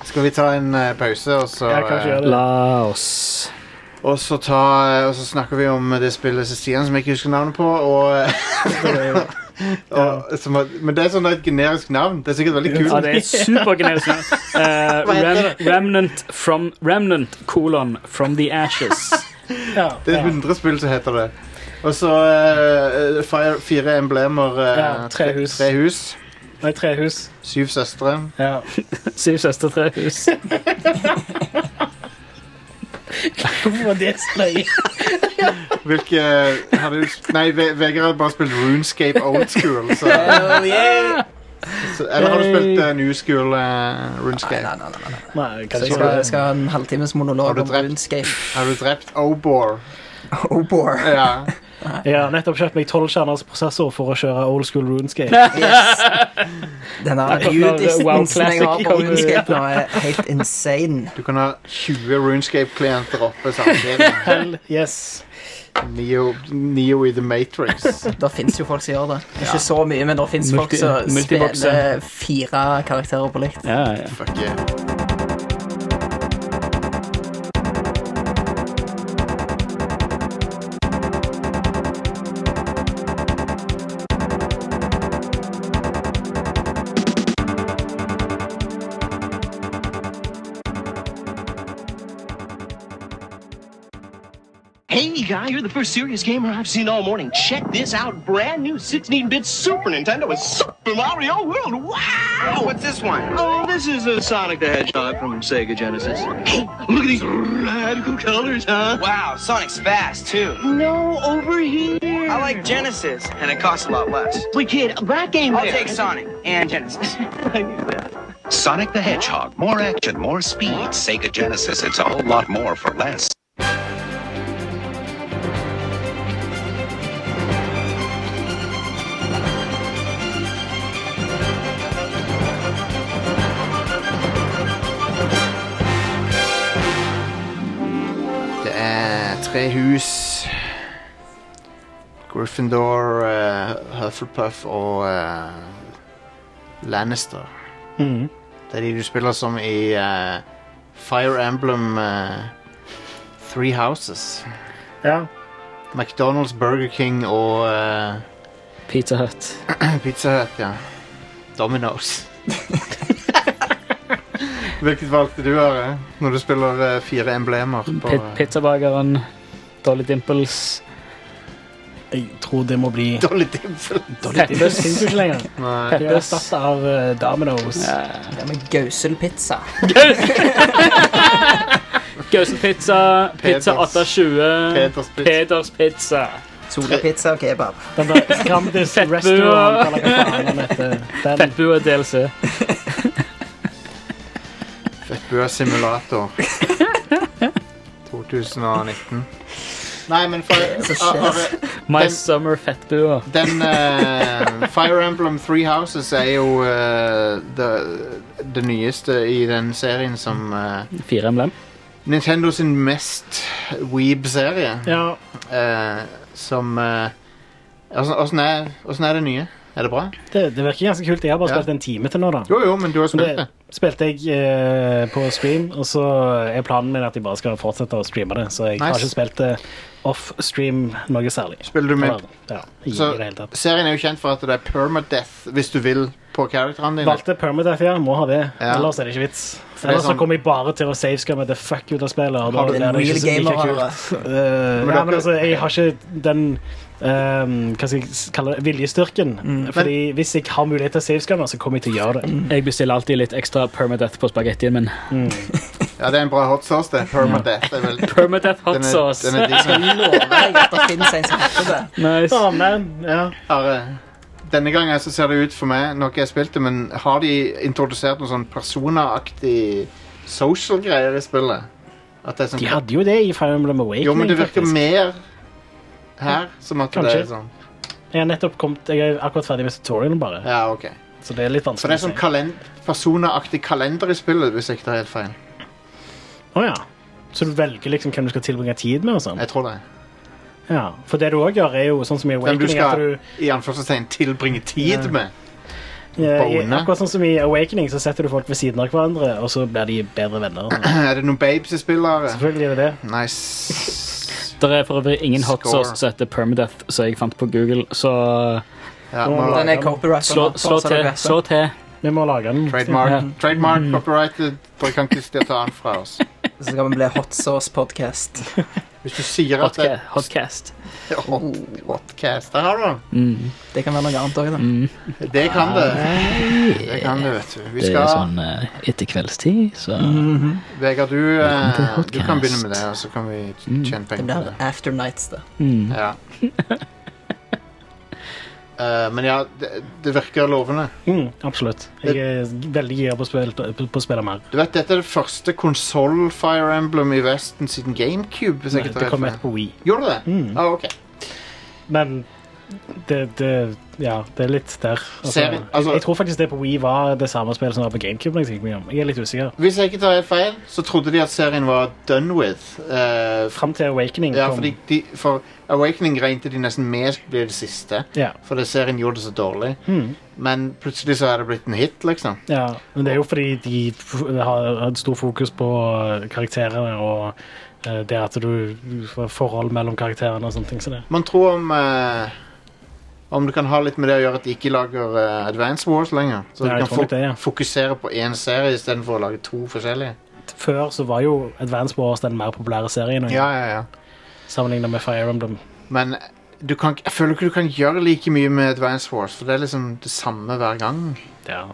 Speaker 1: Skal vi ta en eh, pause, og så
Speaker 4: Ja, kanskje
Speaker 1: eh,
Speaker 4: gjør det.
Speaker 2: La oss
Speaker 1: Og så, ta, eh, og så snakker vi om det spillet til Stian som jeg ikke husker navnet på. Og, eh, og, som, har- men det er sånn et generisk navn. Det er sikkert veldig
Speaker 2: Ja,
Speaker 1: kult.
Speaker 2: det er supergenerisk. Uh, rem, remnant, from, remnant, kolon, from the ashes.
Speaker 4: Ja,
Speaker 1: Det er
Speaker 4: ja.
Speaker 1: 100 spill som heter det. Og så eh, fire, fire emblemer. eh,
Speaker 4: Ja, tre hus.
Speaker 1: tre hus.
Speaker 4: Nei, trehus.
Speaker 1: Syv søstre.
Speaker 4: Ja.
Speaker 2: Syv søstre, tre hus.
Speaker 4: Hvorfor var det så løye?
Speaker 1: Hvilke eh, har du, Nei, Ve- Vegard har bare spilt Runescape Old School. Så,
Speaker 3: Oh, yeah.
Speaker 1: så, eller har du spilt eh, New School eh,
Speaker 3: Nei,
Speaker 1: Runescape?
Speaker 3: nei, nei, nei. nei.
Speaker 4: Nei,
Speaker 3: Så
Speaker 4: kanskje
Speaker 3: jeg skal,
Speaker 4: ikke.
Speaker 3: jeg skal ha en halvtimes
Speaker 1: Har
Speaker 3: monolog
Speaker 1: du
Speaker 3: om
Speaker 1: drept?
Speaker 3: Runescape.
Speaker 1: Har du drept Obor?
Speaker 3: Oh, bore.
Speaker 1: Ja.
Speaker 4: Jeg har nettopp kjøpt meg 12 kjerners prosessor for å kjøre old school runescape.
Speaker 3: Yes. Den der
Speaker 2: Nei, Wow
Speaker 3: ljuddistansen
Speaker 2: Classic
Speaker 3: jeg har på
Speaker 2: kommer.
Speaker 3: Runescape nå, er helt insane.
Speaker 1: Du kan ha 20 Runescape-klienter oppe samtidig.
Speaker 4: Hell yes.
Speaker 1: Neo, Neo i The Matrix.
Speaker 3: Det fins jo folk som gjør det. Ikke så mye, men det fins folk
Speaker 2: Multi-
Speaker 3: som
Speaker 2: multiboxer.
Speaker 3: spiller eh, fire karakterer på likt.
Speaker 2: Ja, ja.
Speaker 1: Fuck yeah.
Speaker 7: Hey, guy, you're the first serious gamer I've seen all morning. Check this out. Brand new 16-bit Super Nintendo with Super Mario World. Wow! what's this one? Oh, this is a Sonic the Hedgehog from Sega Genesis. Hey, look at these radical colors, huh?
Speaker 8: Wow, Sonic's fast too.
Speaker 7: No, over here.
Speaker 8: I like Genesis, and it costs a lot less.
Speaker 7: Wait, kid, that game
Speaker 8: I'll
Speaker 7: there.
Speaker 8: take Sonic and Genesis.
Speaker 7: I knew that.
Speaker 9: Sonic the Hedgehog. More action, more speed. Sega Genesis, it's a whole lot more for less.
Speaker 1: Det er tre hus. Gryffindor, eh, Hufflepuff og eh, Lannister. Det er de du spiller som i eh, Fire Emblem eh, Three Houses.
Speaker 4: Ja.
Speaker 1: McDonald's, Burger King og eh,
Speaker 2: Pizza Hut.
Speaker 1: Pizza Hut, ja. Domino's. Hvilket valgte du, Are, når du spiller eh, fire emblemer? På,
Speaker 2: Pi- Pizzabakeren. Dolly Dimples.
Speaker 4: Jeg tror det må bli
Speaker 1: Dolly Dimple.
Speaker 4: Det finnes jo ikke lenger.
Speaker 1: Nei.
Speaker 4: Det er erstatta av eh, Domino's.
Speaker 3: Det er med Gauselpizza.
Speaker 2: Gausen Pizza. Pizza
Speaker 1: Peders.
Speaker 2: 820.
Speaker 1: Peters Pizza.
Speaker 2: Peders Pizza.
Speaker 3: Solapizza og kebab.
Speaker 4: Den der Grandis
Speaker 2: Fettbua.
Speaker 4: Restaurant, eller hva faen den heter. Den.
Speaker 2: Fettbua DLC.
Speaker 1: Fettbua simulator. 2019. Nei, men Fire,
Speaker 3: Så
Speaker 1: Ah, ah,
Speaker 2: My
Speaker 1: Den-
Speaker 2: Summer Fettbua.
Speaker 1: den eh, Fire Emblem Three Houses er jo eh, det- det nyeste i den serien som eh,
Speaker 2: Fire emblem.
Speaker 1: Nintendo sin mest weeb-serie.
Speaker 4: Ja.
Speaker 1: Eh, som eh, altså, åssen, er, åssen er det nye? Er det bra?
Speaker 4: Det, det virker ganske kult. Jeg har bare
Speaker 1: Ja.
Speaker 4: spilt en time til nå, da.
Speaker 1: Jo, jo, men du har
Speaker 4: Men
Speaker 1: spilt det.
Speaker 4: det spilte jeg eh, på stream, og så er planen min at jeg bare skal fortsette å streame det. Så jeg har
Speaker 1: Nice.
Speaker 4: ikke spilt det off-stream noe særlig.
Speaker 1: Spiller du med
Speaker 4: Eller, ja, i
Speaker 1: Så
Speaker 4: det hele tatt.
Speaker 1: serien er jo kjent for at det er permadeath hvis du vil på karakterene dine.
Speaker 4: Valgte permadeath, ja. Må ha det.
Speaker 1: Ja.
Speaker 4: Ellers er det ikke vits.
Speaker 1: det er
Speaker 4: Ellers så
Speaker 1: sånn-
Speaker 4: kommer jeg bare til å savescamme the fuck ut av spillet. Og da
Speaker 1: Har du
Speaker 3: En
Speaker 4: er det ikke
Speaker 3: real
Speaker 4: så-
Speaker 3: gamer
Speaker 4: like kult.
Speaker 3: har
Speaker 4: Eh,
Speaker 1: Men
Speaker 4: ja,
Speaker 1: dere-
Speaker 4: men altså, jeg har ikke den ehm, Hva skal jeg s- kalle det? Viljestyrken.
Speaker 3: Mm.
Speaker 4: Fordi hvis jeg har mulighet til å savescanne, så kommer jeg til å gjøre det.
Speaker 2: Jeg bestiller alltid litt ekstra permadeath på spagettien min.
Speaker 1: Ja, det er en bra hot sauce, det. Permadeath. Det er vel- Den
Speaker 2: Permadeath hot
Speaker 1: er-
Speaker 2: sauce.
Speaker 1: Den er decent.
Speaker 3: lover deg at det finnes en som heter det.
Speaker 2: Nice.
Speaker 4: Å, men, ja.
Speaker 1: Are, eh, Denne gangen så ser det ut for meg, nå har ikke jeg spilt det, men har de introdusert noen sånn personaaktig social greier i spillet? At det er sånn,
Speaker 4: De hadde jo det i Fire Emblem Awakening.
Speaker 1: jo, men det virker
Speaker 4: faktisk.
Speaker 1: mer her, som at det er
Speaker 4: Kanskje.
Speaker 1: sånn.
Speaker 4: Jeg er nettopp kommet, jeg er akkurat ferdig med tutorialen, bare.
Speaker 1: Ja, ok.
Speaker 4: Så det er litt
Speaker 1: Så det
Speaker 4: vanskelig
Speaker 1: er sånn kalen personaaktig kalender i spillet, hvis jeg ikke tar helt feil.
Speaker 4: Å, ja. Så du velger liksom hvem du skal tilbringe tid med? og sånn.
Speaker 1: Jeg tror det.
Speaker 4: Ja, For det du òg gjør, er jo sånn som i
Speaker 1: Hvem du
Speaker 4: Awakening. at
Speaker 1: skal,
Speaker 4: du,
Speaker 1: i anførselstegn, tilbringe tid med.
Speaker 4: Ja, i,
Speaker 1: Bone.
Speaker 4: akkurat sånn som i Awakening, så setter du folk ved siden av hverandre, og så blir de bedre venner.
Speaker 1: Er det noen babes i spillet? her?
Speaker 4: Selvfølgelig er det det.
Speaker 1: Nice.
Speaker 2: Det er for øvrig ingen hot
Speaker 1: Score.
Speaker 2: sauce som heter permadeath, som jeg fant på Google, så
Speaker 1: Ja,
Speaker 4: Nå må
Speaker 1: må-
Speaker 4: du
Speaker 3: Den er copyrightet.
Speaker 2: slå, slå til. Slå til.
Speaker 4: Vi må lage den.
Speaker 1: trademark,
Speaker 2: Ja.
Speaker 1: trademark
Speaker 3: Mm.
Speaker 1: copyrighted. Dere kan ikke still ta den fra oss.
Speaker 3: Så skal vi bli Hot Sauce Podcast.
Speaker 1: Hvis du sier at det
Speaker 2: Hotca hotcast.
Speaker 1: er hot, hotcast Der har du den.
Speaker 2: Mm,
Speaker 3: Oh, Det kan være noe annet òg, da.
Speaker 2: mm.
Speaker 1: Det kan det. Det kan det, vet du. Vi
Speaker 2: Det er
Speaker 1: skal
Speaker 2: sånn eh, etter kveldstid, så
Speaker 1: Vegard, du,
Speaker 2: Velkommen til
Speaker 1: eh, du kan
Speaker 2: podcast.
Speaker 1: begynne med det, og så kan vi tjene
Speaker 3: Mm.
Speaker 1: penger
Speaker 3: Det
Speaker 1: på
Speaker 3: blir
Speaker 1: det.
Speaker 3: After Nights, det.
Speaker 2: mm.
Speaker 1: Ja. Eh, men ja, det, det virker lovende.
Speaker 4: Mm, absolutt. Jeg er veldig gira på å spille- på å spille mer.
Speaker 1: Du vet, Dette er det første konsoll-Fire Emblem i Vesten siden GameCube. hvis jeg ikke tar
Speaker 4: Det
Speaker 1: helt
Speaker 4: kom
Speaker 1: feil.
Speaker 4: et på Wii.
Speaker 1: Gjorde det?
Speaker 4: Mm.
Speaker 1: Ah, ok.
Speaker 4: Men det, det Ja, det er litt der.
Speaker 1: Serien- altså-
Speaker 4: jeg tror faktisk det på Wii var det samme spillet som var på GameCube. når Jeg tenker meg om. Jeg er litt usikker.
Speaker 1: Hvis jeg ikke tar helt feil, så trodde de at serien var done with. eh,
Speaker 4: Fram til Awakening
Speaker 1: ja,
Speaker 4: kom.
Speaker 1: fordi de, for Awakening regnet de nesten med skulle bli det siste,
Speaker 4: Ja.
Speaker 1: fordi serien gjorde det så dårlig.
Speaker 4: Mm,
Speaker 1: Men plutselig så er det blitt en hit, liksom.
Speaker 4: ja. Men det er jo fordi de f- har hatt stor fokus på eh, karakterene og eh, det at du får forhold mellom karakterene og sånne ting. Så det.
Speaker 1: Man tror om eh, Om det kan ha litt med det å gjøre at de ikke lager eh, Advance Wars lenger. Så
Speaker 4: Ja,
Speaker 1: de
Speaker 4: jeg
Speaker 1: kan
Speaker 4: tror
Speaker 1: fok
Speaker 4: nok det, ja.
Speaker 1: fokusere på én serie istedenfor å lage to forskjellige.
Speaker 4: Før så var jo Advance Wars den mer populære serien
Speaker 1: Ja, ja, ja.
Speaker 4: sammenlignet med Fire Emblem.
Speaker 1: Men du kan, ikke- jeg føler ikke du kan gjøre like mye med Advance Wars, for det er liksom det samme hver gang.
Speaker 4: Ja.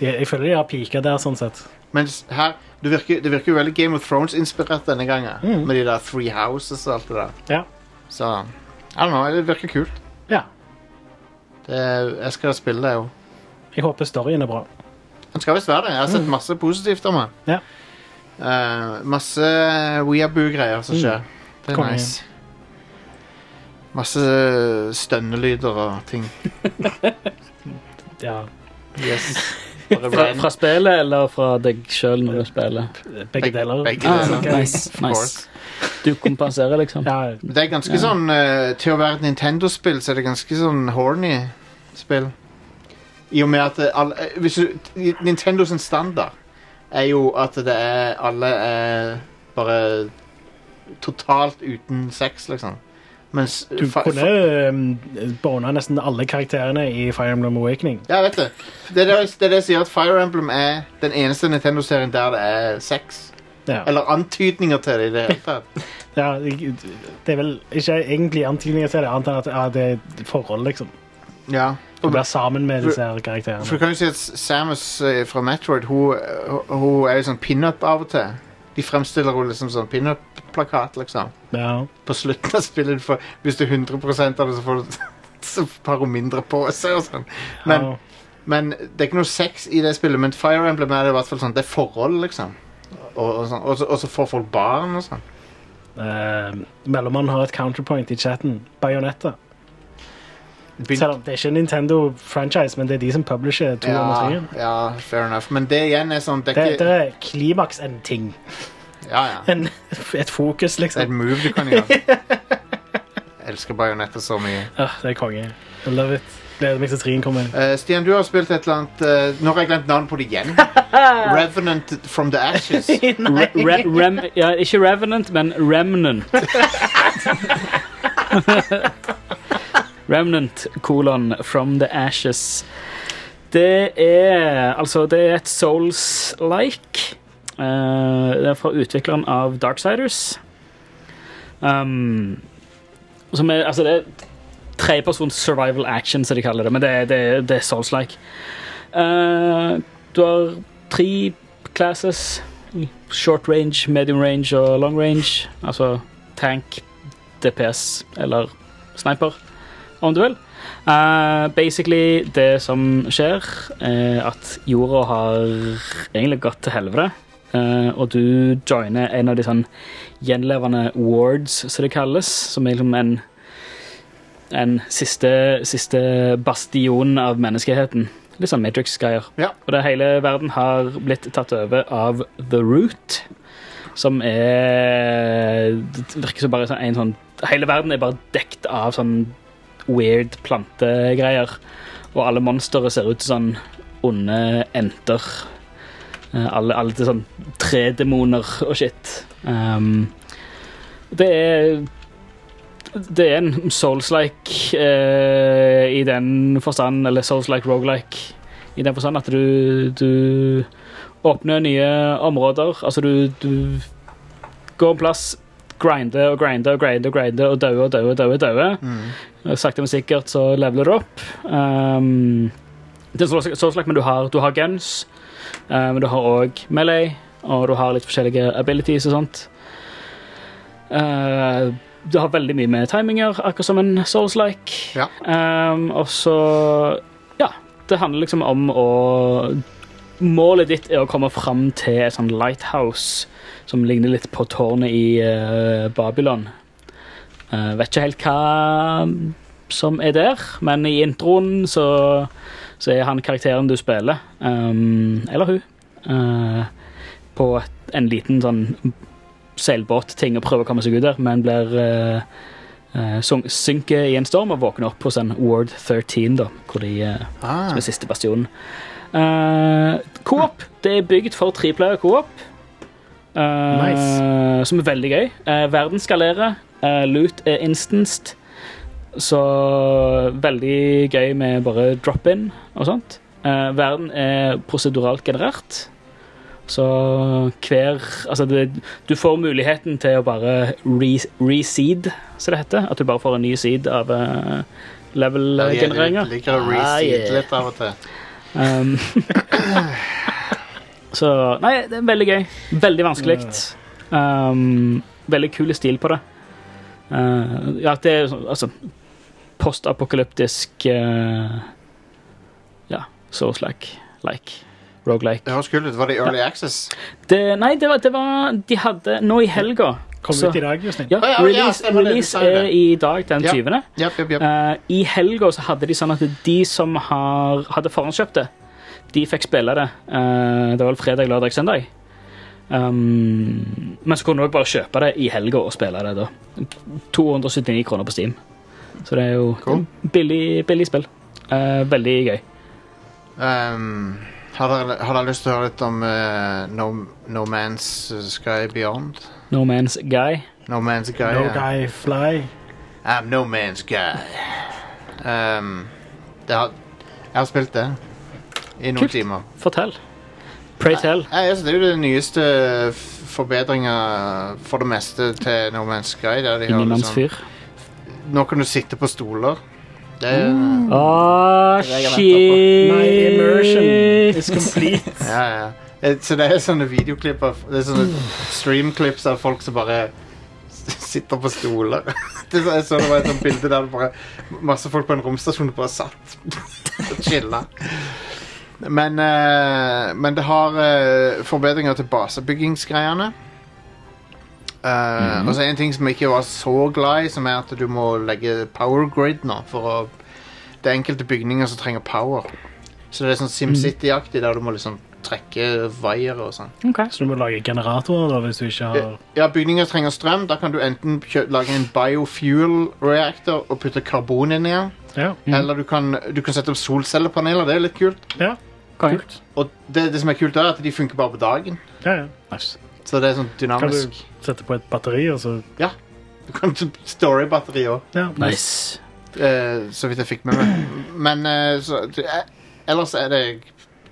Speaker 4: De, jeg føler de har pika der, sånn sett.
Speaker 1: Mens her Det virker, det virker jo veldig Game of Thrones-inspirert denne gangen, med de der Three Houses og alt det der.
Speaker 4: Mm. Ja.
Speaker 1: Så I don't know, det virker kult.
Speaker 4: ja.
Speaker 1: Det, jeg skal spille det, jo.
Speaker 4: Jeg håper storyen er bra.
Speaker 1: Den skal visst være det. Jeg har sett masse positivt om den.
Speaker 4: Mm. Ja.
Speaker 1: Eh, masse weaboo-greier
Speaker 4: Mm.
Speaker 1: som skjer. Det er
Speaker 4: Konge.
Speaker 1: nice. Masse stønnelyder og ting.
Speaker 4: Ja,
Speaker 1: Yes.
Speaker 2: fra, fra spillet eller fra deg sjøl når du spiller?
Speaker 4: begge deler.
Speaker 1: Begge
Speaker 2: Ah,
Speaker 1: deler.
Speaker 2: nice,
Speaker 1: Of course.
Speaker 2: nice. Du kompenserer, liksom?
Speaker 4: Ja,
Speaker 1: Det er ganske sånn eh, Til å være et Nintendo-spill, så er det ganske sånn horny spill. I og med at eh, alle, eh, hvis du, i- Nintendos standard er jo at det er Alle er bare totalt uten sex, liksom. Mens
Speaker 4: du
Speaker 1: fa-
Speaker 4: kunne
Speaker 1: fa-
Speaker 4: um, bona nesten alle karakterene i Fire Emblem Awakening.
Speaker 1: Ja, vet du. Det er det, det er det jeg sier, at Fire Emblem er den eneste Nintendo-serien der det er sex.
Speaker 4: Ja.
Speaker 1: Eller antydninger til det i det hele tatt.
Speaker 4: Ja, jeg- det er vel ikke egentlig antydninger til det, annet enn at ja, det er et forhold, liksom.
Speaker 1: Ja.
Speaker 4: Du blir sammen med disse her karakterene.
Speaker 1: For du kan jo si at Samus eh, fra Metroid Hun, hun er jo sånn pinup av og til. De fremstiller henne liksom sånn pinup-plakat, liksom.
Speaker 4: Ja.
Speaker 1: På slutten av spillet, du får, hvis du er 100 av det, så får du så har hun mindre på seg og sånn. Men,
Speaker 4: Ja.
Speaker 1: men det er ikke noe sex i det spillet, men Fire Emblem er det i hvert fall sånn. Det er forhold, liksom. Og, og, sånn. og, så, og så får folk barn og sånn.
Speaker 4: Eh, Mellommann har et counterpoint i chatten. Bajonetta.
Speaker 1: Begyn-
Speaker 4: Selv om det er ikke en Nintendo-franchise, men det er de som publisher to av
Speaker 1: ja,
Speaker 4: serien.
Speaker 1: ja, fair enough. Men det igjen er sånn Det
Speaker 4: Det,
Speaker 1: er
Speaker 4: det
Speaker 1: ikke
Speaker 4: er klimaks en ting.
Speaker 1: Ja, ja.
Speaker 4: En, et fokus,
Speaker 1: Det er et
Speaker 4: liksom.
Speaker 1: move du kan gjøre. Jeg elsker bajonetter så mye.
Speaker 4: Ja, Ah, det er konge. I love it. Gleder meg til trien kommer.
Speaker 1: Eh, Stian, du har spilt et eller annet eh, Nå har jeg glemt navnet på det igjen. Revenant from the Ashes.
Speaker 2: Re re rem ja, ikke Revenant, men Remnant. Remnant, kolon, From the Ashes. Det er altså det er et Souls-like. Eh, det er fra utvikleren av Darksiders. Um, som er, altså det er tredjepersons survival action, som de kaller det. Men det, er- det, er- det er Souls-like. Eh, du har tre classes. Short range, medium range og long range. Altså tank, DPS eller sniper, om du vil. Eh, basically, det som skjer, er at jorda har egentlig gått til helvete. eh, og du joiner en av de sånn gjenlevende wards, som det kalles. Som er liksom en, en siste, siste bastion av menneskeheten. Litt sånn Matrix-greier.
Speaker 1: Ja.
Speaker 2: Og det hele verden har blitt tatt over av The Root. Som er Det virker som bare sånn en sånn Hele verden er bare dekt av sånn weird plantegreier. Og alle monstre ser ut som sånn onde enter. Eh, alle, alle til sånn tredemoner og shit. Ehm, det er det er en Souls-like eh, i den forstand, eller Souls-like roguelike i den forstand at du, du åpner nye områder. Altså, du, du går en plass, grinder og grinder og grinder og grinder og dauer og dauer og dauer. og dauer. Og Sakte, men sikkert så leveler du opp. Um, det er Souls- Souls-like, men du har, du har guns, eh, men du har òg melee, og du har litt forskjellige abilities og sånt. Eh, du har veldig mye med timinger, akkurat som en Souls-like.
Speaker 1: Ja.
Speaker 2: Ehm, og så Ja. Det handler liksom om å Målet ditt er å komme fram til et sånt lighthouse som ligner litt på tårnet i eh, Babylon. Eh, vet ikke helt hva som er der, men i introen så, så er han karakteren du spiller, ehm, eller hun, eh, på et- en liten sånn seilbåtting og prøver å komme seg ut der, men blir eh, eh, sunk- synker i en storm og våkner opp hos en Ward 13, da, hvor de, eh,
Speaker 1: Ah.
Speaker 2: som er siste bastionen. Eh, Coop. Det er bygd for treplayer coop. Uh,
Speaker 4: Nice.
Speaker 2: Som er veldig gøy. Eh, verden skalerer. eh, loot er instanced. Så veldig gøy med bare drop-in og sånt. Eh, verden er proseduralt generert. Så hver Altså, det, du får muligheten til å bare re, reseed, som det heter. At du bare får en ny seed av eh, level-genereringer.
Speaker 1: Jeg liker å
Speaker 4: Ah,
Speaker 1: reseed litt av og til.
Speaker 2: Um, så Nei, det er veldig gøy. Veldig vanskelig. Um, veldig kul stil på det. Uh, ja, det er sånn, altså postapokalyptisk uh, Ja, Souls-like. Like. Roguelike.
Speaker 1: Det høres kult ut. Var det Early Access?
Speaker 2: Det, nei, det var, det var De hadde Nå i helga
Speaker 4: Kom
Speaker 2: så-
Speaker 4: ut i dag, Justin.
Speaker 2: Ja,
Speaker 1: Å, ja, ja,
Speaker 2: release,
Speaker 1: stemmer det, du
Speaker 2: release
Speaker 1: sa jo
Speaker 2: er
Speaker 1: det.
Speaker 2: i dag, den
Speaker 1: Ja.
Speaker 2: 20.
Speaker 1: Japp, japp, japp.
Speaker 2: Eh, I helga så hadde de sånn at de som har, hadde forhåndskjøpt det, de fikk spille det. Eh, det var vel fredag, lørdag, søndag. Um, men så kunne du også bare kjøpe det i helga og spille det da. 279 kroner på Steam. Så det er jo
Speaker 1: Cool.
Speaker 2: billig, billig spill. Eh, veldig gøy.
Speaker 1: Um, har, dere, har dere lyst til å høre litt om eh, no, no Man's Sky Beyond?
Speaker 2: No Man's Guy.
Speaker 1: No Man's Guy.
Speaker 4: No
Speaker 1: ja.
Speaker 4: guy fly.
Speaker 1: I'm No Man's Guy. Um, det har, jeg har spilt det i noen
Speaker 2: Kult.
Speaker 1: timer.
Speaker 2: Fortell. Pray tell.
Speaker 1: Nei, altså, det er jo det nyeste f- forbedringer for det meste til No Man's Sky. Der de har liksom,
Speaker 4: sånn-
Speaker 2: Ingenmannsfyr.
Speaker 1: nå kan du sitte på stoler. Det er,
Speaker 2: Åh,
Speaker 3: Det er jeg venter på.
Speaker 2: shit!
Speaker 4: My immersion is complete.
Speaker 1: ja, ja. Eh, Så det er sånne videoklipp av Det er sånne streamklips av folk som bare s- sitter på stoler. Det er så, jeg så det var et sånt bilde der det bare masse folk på en romstasjon bare satt og chilla. Men, eh, men det har eh, forbedringer til basebyggingsgreiene. Eh, Og så en ting som jeg ikke var så glad i, som er at du må legge power grid nå. For å, det er enkelte bygninger som trenger power. Så det er sånn SimCity-aktig, der du må liksom trekke vaiere og sånn.
Speaker 2: Ok.
Speaker 4: Så du må lage generatorer da, hvis du ikke har
Speaker 1: Ja, bygninger trenger strøm. Da kan du enten kjø lage en biofuel-reactor og putte karbon inn igjen.
Speaker 4: Ja.
Speaker 1: Eller du kan, du kan sette opp solcellepaneler. Det er litt kult.
Speaker 4: ja.
Speaker 2: Konge.
Speaker 4: Kult.
Speaker 1: Og det, det som er kult, er at de funker bare på dagen.
Speaker 4: Ja, ja. Nice.
Speaker 1: Så det er sånn
Speaker 4: Kan du
Speaker 1: dynamisk.
Speaker 4: sette på et batteri, og så
Speaker 1: Ja. Du kan story-batteri òg.
Speaker 4: ja.
Speaker 2: Nice.
Speaker 1: Eh, så vidt jeg fikk med meg. Men eh, så, det er- ellers er det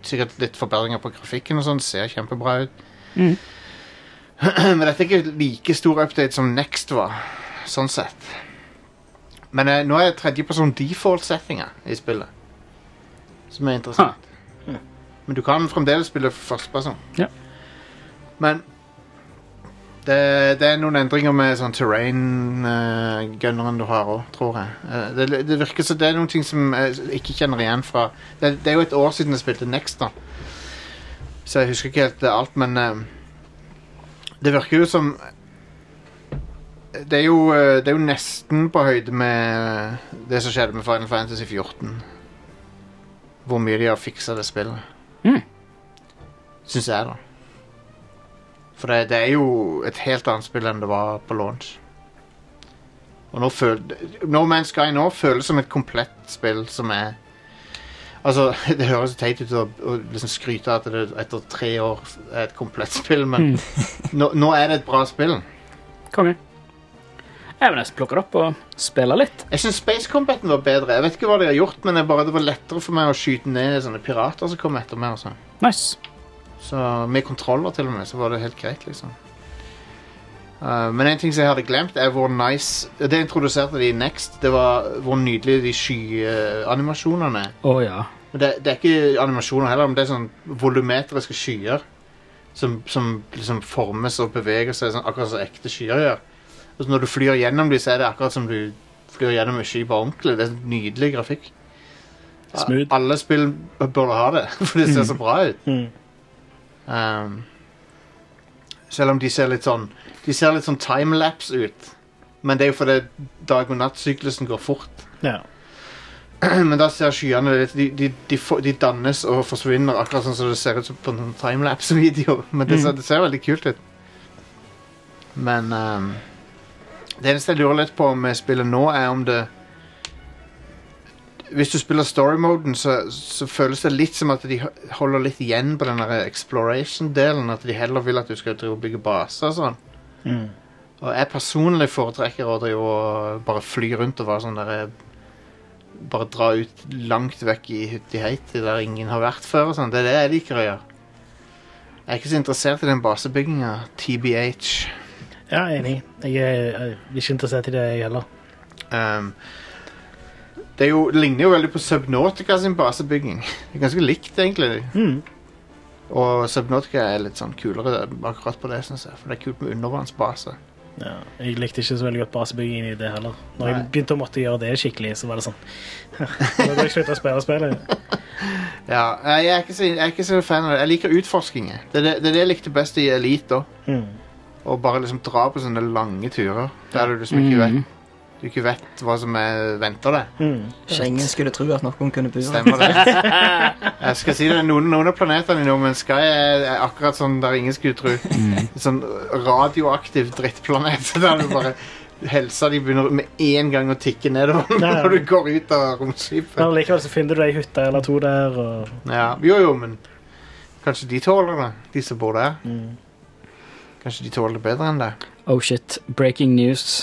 Speaker 1: sikkert litt forbedringer på grafikken og sånn. Ser kjempebra ut.
Speaker 2: Mhm.
Speaker 1: Men dette er ikke like stor update som Next var, sånn sett. Men eh, nå er tredjeperson default-settinger i spillet, som er interessant. Men du kan fremdeles spille førsteperson.
Speaker 2: Ja.
Speaker 1: Men det, det er noen endringer med sånn terrain-gunneren du har òg, tror jeg. Eh, det, det virker som det er noen ting som jeg ikke kjenner igjen fra Det, det er jo et år siden jeg spilte Next, da. Så jeg husker ikke helt eh, alt, men eh, Det virker jo som det er, jo, eh, det er jo nesten på høyde med det som skjedde med Final Fantasy 14. Hvor mye de har fiksa det spillet.
Speaker 2: Mm.
Speaker 1: Syns jeg, da. For det, det er jo et helt annet spill enn det var på launch. Og nå føl No Man's Sky nå føles som et komplett spill som er Altså, Det høres teit ut å, å liksom skryte av at det etter tre år er et komplett spill, men nå, nå er det et bra spill.
Speaker 2: Konge. Jeg vil nesten plukke det opp og spille litt.
Speaker 1: Jeg syns Space Combaten var bedre. Jeg vet ikke hva de har gjort, men det, er bare, det var lettere for meg å skyte ned sånne pirater som kom etter meg. og sånn.
Speaker 2: Nice.
Speaker 1: Så Med kontroller til og med, så var det helt greit, liksom. Uh, men en ting som jeg hadde glemt, er hvor nice Det introduserte de i Next. Det var hvor nydelige de skyanimasjonene er.
Speaker 2: Å ja.
Speaker 1: Men Det, det er ikke animasjoner heller, men det er sånn volumetriske skyer som, som liksom formes og beveger seg sånn, akkurat som ekte skyer gjør. Og så når du flyr gjennom dem, så er det akkurat som du flyr gjennom en sky på ordentlig. Det er sånn nydelig grafikk.
Speaker 4: Smooth.
Speaker 1: Alle spill bør ha det, for det ser så bra ut.
Speaker 4: Mm.
Speaker 1: Um, selv om de ser litt sånn De ser litt sånn timelapse ut. Men det er jo fordi dag- og nattsyklusen går fort.
Speaker 4: Ja.
Speaker 1: Men da ser skyene litt de, de, de, får- de dannes og forsvinner, akkurat sånn som det ser ut som på en timelapse-video. Men det, ser- det ser veldig kult ut. Men ehm, Det eneste jeg lurer litt på med spillet nå, er om det Hvis du spiller story-moden, så, så føles det litt som at de holder litt igjen på den der exploration-delen. At de heller vil at du skal drive og bygge baser og sånn.
Speaker 4: Mm.
Speaker 1: Og jeg personlig foretrekker å drive og bare fly rundt og være sånn der Bare dra ut langt vekk i hytt i heit, der ingen har vært før og sånn. Det er det jeg liker å gjøre. Jeg er ikke så interessert i den basebygginga. TBH.
Speaker 4: ja, enig. Jeg er, jeg er ikke interessert i det, jeg heller.
Speaker 1: Um, det, er jo, det ligner jo veldig på Subnautica sin basebygging. Det er ganske likt, egentlig.
Speaker 4: Mm.
Speaker 1: Og Subnautica er litt sånn kulere akkurat på det, syns jeg. For det er kult med undervannsbase.
Speaker 4: Ja, jeg likte ikke så veldig godt basebyggingen i det heller. Når jeg
Speaker 1: Nei.
Speaker 4: begynte å måtte gjøre det skikkelig, så var det sånn Nå må jeg slutte å spille spillet.
Speaker 1: Ja, jeg er ikke så, jeg er ikke så fan av det. Jeg liker utforsking. jeg. Det er det, det er det jeg likte best i Elite. da.
Speaker 4: Mm.
Speaker 1: Og bare liksom dra på sånne lange turer der du liksom
Speaker 2: Mm.
Speaker 1: ikke vet, du ikke vet hva som er, venter deg.
Speaker 4: Mm.
Speaker 3: Ingen skulle tro at noen kunne bo her.
Speaker 1: Stemmer det? Jeg skal si det er noen, noen av planetene i nå, men Sky er, er akkurat sånn der ingen skulle tro.
Speaker 4: Mm.
Speaker 1: Sånn radioaktiv drittplanet der du bare Helsa di begynner med en gang å tikke nedover
Speaker 4: Ja, ja.
Speaker 1: når du går ut av romskipet.
Speaker 4: Men likevel så finner du deg ei hytte eller to der, og
Speaker 1: Ja, jo, jo, men kanskje de tåler det, de som bor der.
Speaker 4: Mm.
Speaker 1: Kanskje de tåler det bedre enn det.
Speaker 2: Oh shit. Breaking news.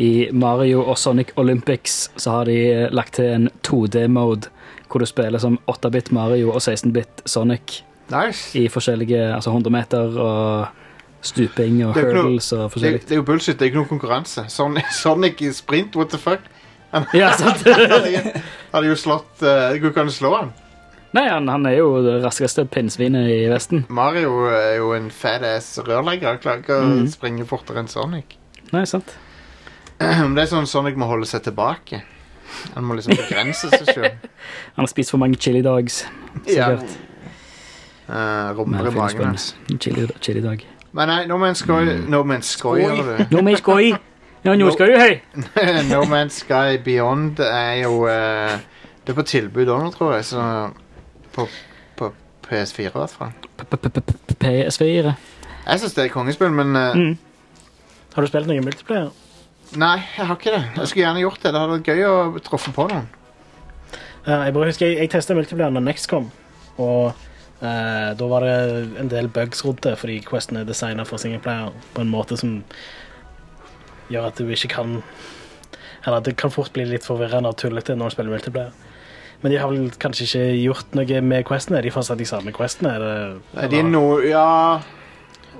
Speaker 2: I Mario og Sonic Olympics så har de eh, lagt til en 2D-mode hvor du spiller som 8-bit Mario og 16-bit Sonic
Speaker 1: Nice.
Speaker 2: i forskjellige altså 100 meter og stuping og
Speaker 1: Det er ikke noe-
Speaker 2: hurdles og
Speaker 1: Det,
Speaker 2: forskjellig.
Speaker 1: det er jo bullshit, det er ikke noen konkurranse. Sonic, Sonic i sprint, what the fuck?
Speaker 2: Ja, sant.
Speaker 1: Hadde, hadde jo slått eh, Det går ikke an å slå han.
Speaker 2: Nei, han, han er jo det raskeste pinnsvinet i Vesten.
Speaker 1: Mario er jo en fat ass rørlegger. Han klarer ikke å
Speaker 2: Mhm.
Speaker 1: springe fortere enn Sonic.
Speaker 2: Nei, sant.
Speaker 1: Men det er sånn Sonic må holde seg tilbake. Han må liksom begrense seg selv
Speaker 2: Han har spist for mange chili dogs.
Speaker 1: Ja.
Speaker 2: Sikkert.
Speaker 1: Uh,
Speaker 2: Men
Speaker 1: Rumper i
Speaker 2: det finnes Mm.
Speaker 1: magen
Speaker 2: på en
Speaker 1: hans.
Speaker 2: Chili, chili dog.
Speaker 1: Men nei, No Man's Sky No Man's Sky, eller du?
Speaker 2: Nå må jeg skåi! Ja, nå skal jeg høy!
Speaker 1: no Man's Sky Beyond er jo eh, Det er på tilbud òg, tror jeg. Så på, på PS4, i hvert fall.
Speaker 2: PS4.
Speaker 1: Jeg syns det er kongespill, men eh,
Speaker 2: Mm.
Speaker 4: Har du spilt noe multiplayer?
Speaker 1: Nei, jeg har ikke det. Jeg skulle gjerne gjort det. Det hadde vært gøy å treffe på noen.
Speaker 4: Ja, jeg bare husker jeg, jeg testa multiplayer når Next kom, og eh, da var det en del bugs rundt det, fordi Questen er designa for singleplayer på en måte som gjør at du ikke kan Eller at det kan fort bli litt forvirrende og tullete når du spiller multiplayer. Men de har vel kanskje ikke gjort noe med Questene? Er de fortsatt de samme Questene? Er det,
Speaker 1: Nei, de er no, ja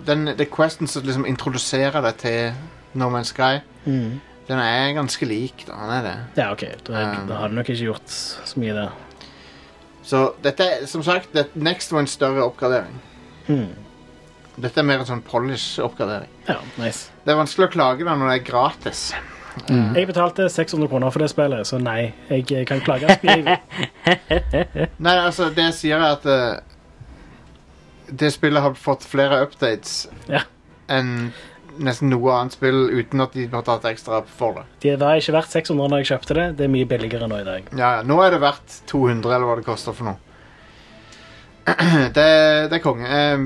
Speaker 1: den, Det er questen som liksom introduserer deg til No Man's Sky.
Speaker 4: Mm.
Speaker 1: Den er ganske lik, da. Den er det.
Speaker 4: Ja, OK. Da,
Speaker 1: Um.
Speaker 4: da har du nok ikke gjort så mye der.
Speaker 1: Så dette er, som sagt, det, Next var en større oppgradering.
Speaker 4: Mm.
Speaker 1: Dette er mer en sånn polish-oppgradering.
Speaker 4: Ja, nice.
Speaker 1: Det er vanskelig å klage da når det er gratis. Mm.
Speaker 4: Jeg betalte 600 kroner for det spillet, så nei, jeg kan klage. Jeg,
Speaker 1: Nei, altså, det jeg sier er at eh, det spillet har fått flere updates
Speaker 4: Ja.
Speaker 1: enn nesten noe annet spill uten at de har tatt ekstra for det.
Speaker 4: Det var ikke verdt 600 når jeg kjøpte det. Det er mye billigere nå i dag.
Speaker 1: Ja, ja. Nå er det verdt 200, eller hva det koster for noe. Det, det er konge. Eh,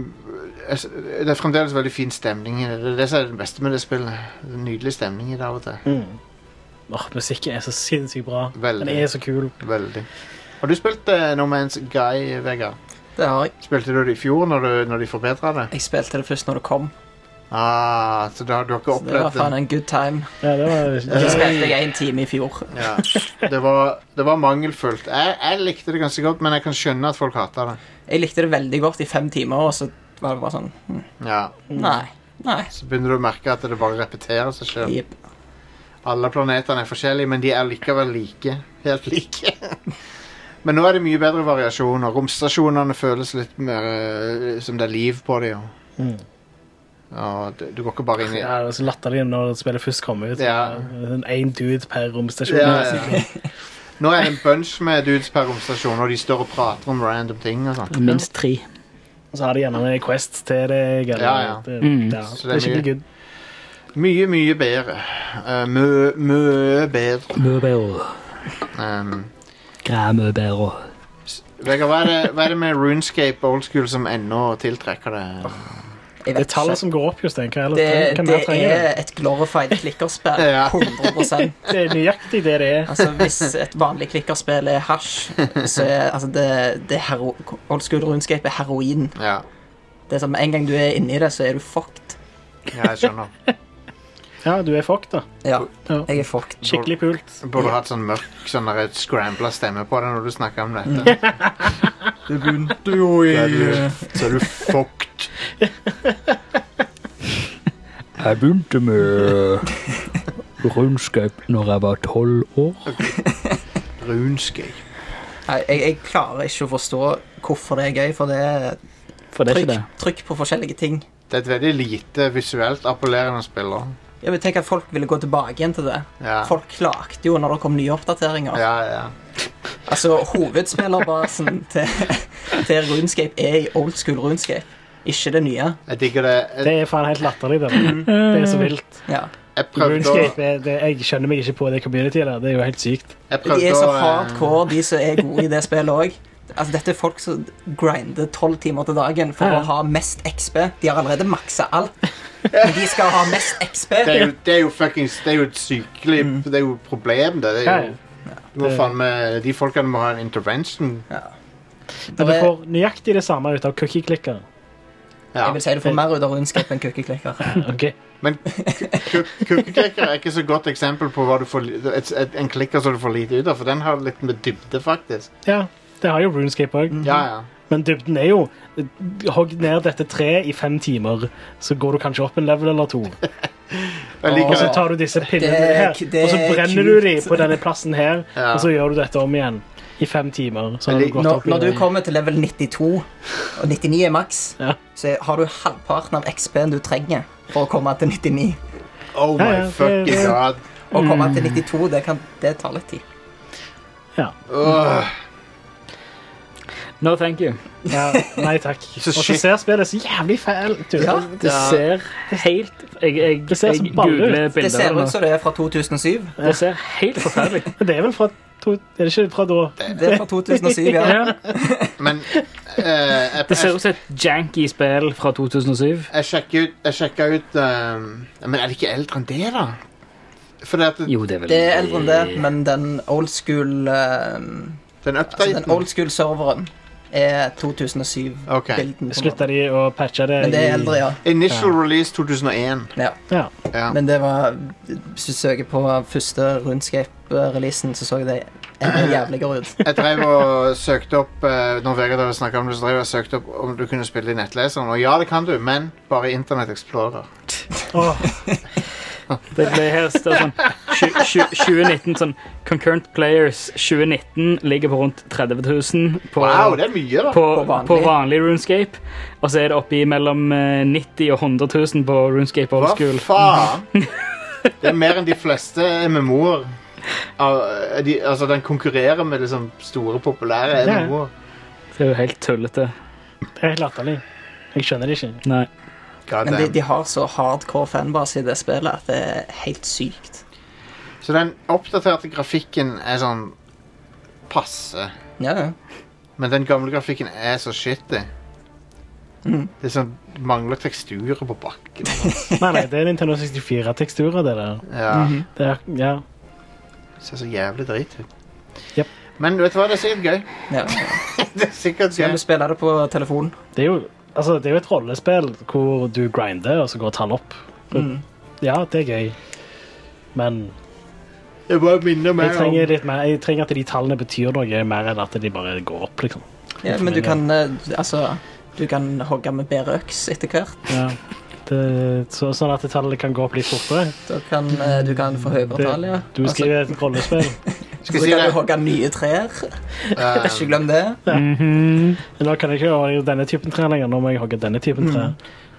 Speaker 1: jeg s- Det er fremdeles veldig fin stemning. i Det Det er det som er det beste med det spillet. Det er Nydelig stemning i det av og til.
Speaker 4: Mm. Åh, musikken er så sinnssykt bra.
Speaker 1: Veldig.
Speaker 4: Den er så kul.
Speaker 1: Veldig. Har du spilt eh, No Man's Guy, Vegard?
Speaker 3: Det har jeg.
Speaker 1: Spilte du det i fjor når, du, når de forbedra det?
Speaker 3: Jeg spilte det først når det kom.
Speaker 1: Ah, så da har du ikke
Speaker 3: Så det var
Speaker 1: opplevd
Speaker 3: faen
Speaker 1: det?
Speaker 3: en good time.
Speaker 4: Ja, det var
Speaker 3: Det spilte jeg en time i fjor.
Speaker 1: Ja. Det, var, det var mangelfullt. Jeg, jeg likte det ganske godt, men jeg kan skjønne at folk hater det.
Speaker 3: Jeg likte det veldig godt i fem timer, og så var det bare sånn hm,
Speaker 1: Ja.
Speaker 3: Nei. Nei.
Speaker 1: Så begynner du å merke at det bare repeterer seg sjøl.
Speaker 3: Jep.
Speaker 1: Alle planetene er forskjellige, men de er likevel like. Helt like. Men nå er det mye bedre variasjoner. Romstasjonene føles litt mer eh, som det er liv på dem.
Speaker 4: Mm.
Speaker 1: Og du, du går ikke bare inn i
Speaker 4: Ja, det var så latterlig når spillet først kom ut.
Speaker 1: Ja.
Speaker 4: Én dude per romstasjon. Altså,
Speaker 1: Ja, ja. Nå er det en bunch med dudes per romstasjon, og de står og prater om random ting. og sånt.
Speaker 2: Minst tre.
Speaker 4: Og så har de gjerne en quest til deg. Eller,
Speaker 1: Ja, ja.
Speaker 4: Det,
Speaker 2: Mm.
Speaker 4: ja.
Speaker 1: Så det
Speaker 4: det
Speaker 1: er
Speaker 4: er skikkelig good.
Speaker 1: Mye, mye bedre. Eh, mø, mø bedre.
Speaker 2: Møbel.
Speaker 1: Um,
Speaker 2: Græmøbel.
Speaker 1: Vegard, hva er, det, hva er det med runescape old school som ennå tiltrekker deg?
Speaker 3: Jeg
Speaker 4: Det er
Speaker 3: vet ikke.
Speaker 4: tallet som går opp, Jostein. Hva ellers
Speaker 3: Det,
Speaker 4: trenger- hva
Speaker 3: det
Speaker 4: mer trenger du?
Speaker 3: er et glorified klikkerspill.
Speaker 1: Ja.
Speaker 3: 100
Speaker 4: Det er nøyaktig det det er.
Speaker 3: Altså, Hvis et vanlig klikkerspill er hasj, så er altså, det, det er hero old school runescape er heroin.
Speaker 1: Ja,
Speaker 3: Det er som En gang du er inni det, så er du fucked.
Speaker 1: ja jeg skjønner.
Speaker 4: Ja, du er fucked, da.
Speaker 3: Ja,
Speaker 4: Ja.
Speaker 3: jeg er fucked.
Speaker 4: Skikkelig pult.
Speaker 1: Du burde hatt sånn mørk sånn der scrambla stemme på deg når du snakker om dette.
Speaker 3: Det begynte jo
Speaker 1: Så er du, så er du fucked.
Speaker 2: Jeg begynte med rundskap når jeg var tolv år.
Speaker 1: Runescape.
Speaker 3: Nei, jeg, jeg klarer ikke å forstå hvorfor det er gøy, for det er
Speaker 2: For det er ikke
Speaker 3: trykk,
Speaker 2: det.
Speaker 3: trykk på forskjellige ting.
Speaker 1: Det er et veldig lite visuelt appellerende spill. da.
Speaker 3: Jeg vil tenke at Folk ville gå tilbake igjen til det.
Speaker 1: Ja.
Speaker 3: Folk klagde jo når det kom nye oppdateringer.
Speaker 1: Ja, ja.
Speaker 3: Altså, Hovedspillerbasen til, til Runescape er i old school Runescape, ikke det nye.
Speaker 1: Jeg digger det. Jeg,
Speaker 4: Det er faen helt latterlig. Det, det er så vilt.
Speaker 3: Ja.
Speaker 1: jeg Mm. prøvde å
Speaker 4: Runescape, er- det, jeg skjønner meg ikke på det communityet der. Det er jo helt sykt.
Speaker 1: jeg prøvde
Speaker 3: De er så
Speaker 1: å, eh,
Speaker 3: hardcore, de som er gode i det spillet òg. Altså, dette er folk som grinder tolv timer til dagen for
Speaker 4: Ja.
Speaker 3: å ha mest XB. De har allerede maksa alt, men de skal ha mest XB.
Speaker 1: det er jo, det er jo fuckings Det er jo et sykelig
Speaker 3: Mm.
Speaker 1: Det er jo et problem, det. det
Speaker 4: Ja,
Speaker 1: er
Speaker 4: ja.
Speaker 1: jo, du må faen med, de folkene må ha en intervention.
Speaker 4: Men du får nøyaktig det samme ut av cookie-klikkere.
Speaker 1: Ja.
Speaker 3: Jeg vil si du får mer ut av Runescape enn cookie-klikker.
Speaker 4: Ok.
Speaker 1: Men kukkeklikker er ikke så godt eksempel på hva du får, li- et, et, en klikker som du får lite ut av, for den har litt med dybde, faktisk.
Speaker 4: Ja, det har jo Runescape òg.
Speaker 1: Ja, ja.
Speaker 4: Men dybden er jo Hogg ned dette treet i fem timer, så går du kanskje opp en level eller to.
Speaker 1: Jeg
Speaker 4: Og
Speaker 1: liker
Speaker 4: så tar du disse pinnene
Speaker 3: Det er
Speaker 4: her,
Speaker 3: k- det
Speaker 4: og så
Speaker 3: er
Speaker 4: brenner
Speaker 3: kult.
Speaker 4: du dem på denne plassen her,
Speaker 1: Ja.
Speaker 4: og så gjør du dette om igjen i fem timer. Så har
Speaker 1: Men
Speaker 4: du
Speaker 1: det-
Speaker 4: gått
Speaker 3: Når,
Speaker 4: opp i
Speaker 3: når du
Speaker 4: det.
Speaker 3: kommer til level 92, og 99 er maks,
Speaker 4: Ja.
Speaker 3: så har du halvparten av XB-en du trenger for å komme til 99.
Speaker 1: Oh
Speaker 4: Ja, ja,
Speaker 1: my
Speaker 4: det-
Speaker 1: fucking
Speaker 4: det-
Speaker 1: god.
Speaker 3: Å komme til 92, det, kan, det tar litt tid.
Speaker 1: Åh,
Speaker 2: No, thank you.
Speaker 4: Ja, nei takk.
Speaker 1: Så
Speaker 4: Og så
Speaker 1: shit.
Speaker 4: ser spillet så jævlig fælt ut.
Speaker 3: Ja,
Speaker 2: Det
Speaker 1: Ja.
Speaker 2: ser helt Jeg, jeg,
Speaker 4: Det ser
Speaker 2: jeg
Speaker 4: som baller ut.
Speaker 2: googler
Speaker 3: Det
Speaker 2: bilder
Speaker 3: ser
Speaker 2: av
Speaker 3: ut
Speaker 2: det.
Speaker 3: som det er fra 2007.
Speaker 2: nå. Det ser helt forferdelig ut.
Speaker 4: Men det er vel fra to, Er det ikke fra da?
Speaker 3: Det er fra 2007, ja.
Speaker 1: Men eh, jeg,
Speaker 2: Det ser
Speaker 1: jeg,
Speaker 2: ut som et janky spill fra 2007.
Speaker 1: jeg sjekker ut, jeg sjekker ut eh, Men er det ikke eldre enn det, da? For det at
Speaker 2: Jo, det er vel
Speaker 3: Det er eldre enn det, men den old school eh,
Speaker 1: den
Speaker 3: altså Den
Speaker 1: updaten
Speaker 3: old school serveren er 2007-bilden.
Speaker 1: Ok.
Speaker 4: Slutta de å patche det?
Speaker 3: Men det er
Speaker 4: i-
Speaker 3: eldre, ja.
Speaker 1: Initial release 2001.
Speaker 3: ja.
Speaker 4: Ja.
Speaker 1: Ja.
Speaker 3: Men det var Hvis du søker på første Rundscape-releasen, så så det enda jævligere ut.
Speaker 1: Jeg drev og søkte opp eh, Når Vegard hadde snakket om det, så drev jeg og søkte opp om du kunne spille i nettleseren. Og ja, det kan du, men bare i Internett Explorer.
Speaker 4: Åh,
Speaker 2: Det ble her står sånn tju- tju- 2019 sånn Concurrent Players 2019 ligger på rundt 30 000 på,
Speaker 1: Wow, det er mye, da.
Speaker 2: på,
Speaker 3: På vanlig.
Speaker 2: på vanlig RuneScape. Og så er det oppe i mellom eh, 90 og 100 000 på RuneScape
Speaker 1: Hva
Speaker 2: Old School.
Speaker 1: faen? Det er mer enn de fleste MMO-er. Al- de- Altså, den konkurrerer med liksom store, populære
Speaker 4: Ja.
Speaker 1: MMO-er.
Speaker 2: Det er jo helt tullete.
Speaker 4: det er helt latterlig. Jeg skjønner det ikke.
Speaker 2: Nei.
Speaker 1: God
Speaker 3: Men de,
Speaker 1: damn.
Speaker 3: de har så hardcore fanbase i det spillet at det er helt sykt.
Speaker 1: Så den oppdaterte grafikken er sånn passe.
Speaker 3: Ja, ja.
Speaker 1: Men den gamle grafikken er så shitty. Det er sånn, det mangler teksturer på bakken.
Speaker 4: Nei, nei, det er Nintendo 64-teksturer, det der.
Speaker 1: Ja,
Speaker 4: Det er, ja.
Speaker 1: Det ser så jævlig drit ut.
Speaker 4: Jep.
Speaker 1: Men vet du hva, det er sikkert gøy.
Speaker 3: Ja.
Speaker 1: Det er sikkert
Speaker 3: Kan
Speaker 1: gøy.
Speaker 3: du spille det på telefon?
Speaker 4: Det er jo, altså, det er jo et rollespill hvor du grinder, og så går tall opp.
Speaker 3: Mm.
Speaker 4: Ja, det er gøy. Men
Speaker 1: Jeg bare minner
Speaker 4: jeg
Speaker 1: meg om
Speaker 4: trenger, litt mer, jeg trenger at de tallene betyr noe mer enn at de bare går opp, liksom.
Speaker 3: Ja, men du kan eh, altså Du kan hogge med bedre øks etter hvert.
Speaker 4: Ja. Det, så, sånn at tallene kan gå opp litt fortere.
Speaker 3: Da kan eh, du kan få høyere
Speaker 4: Det,
Speaker 3: tall, ja. Altså-
Speaker 4: du skriver et rollespill.
Speaker 1: Skal jeg si
Speaker 3: så kan
Speaker 1: det? Eh,
Speaker 3: du hogge nye trær. Ikke glem det.
Speaker 2: Mhm.
Speaker 4: Nå kan jeg ikke gjøre denne typen tre lenger. Nå må jeg hogge denne typen tre.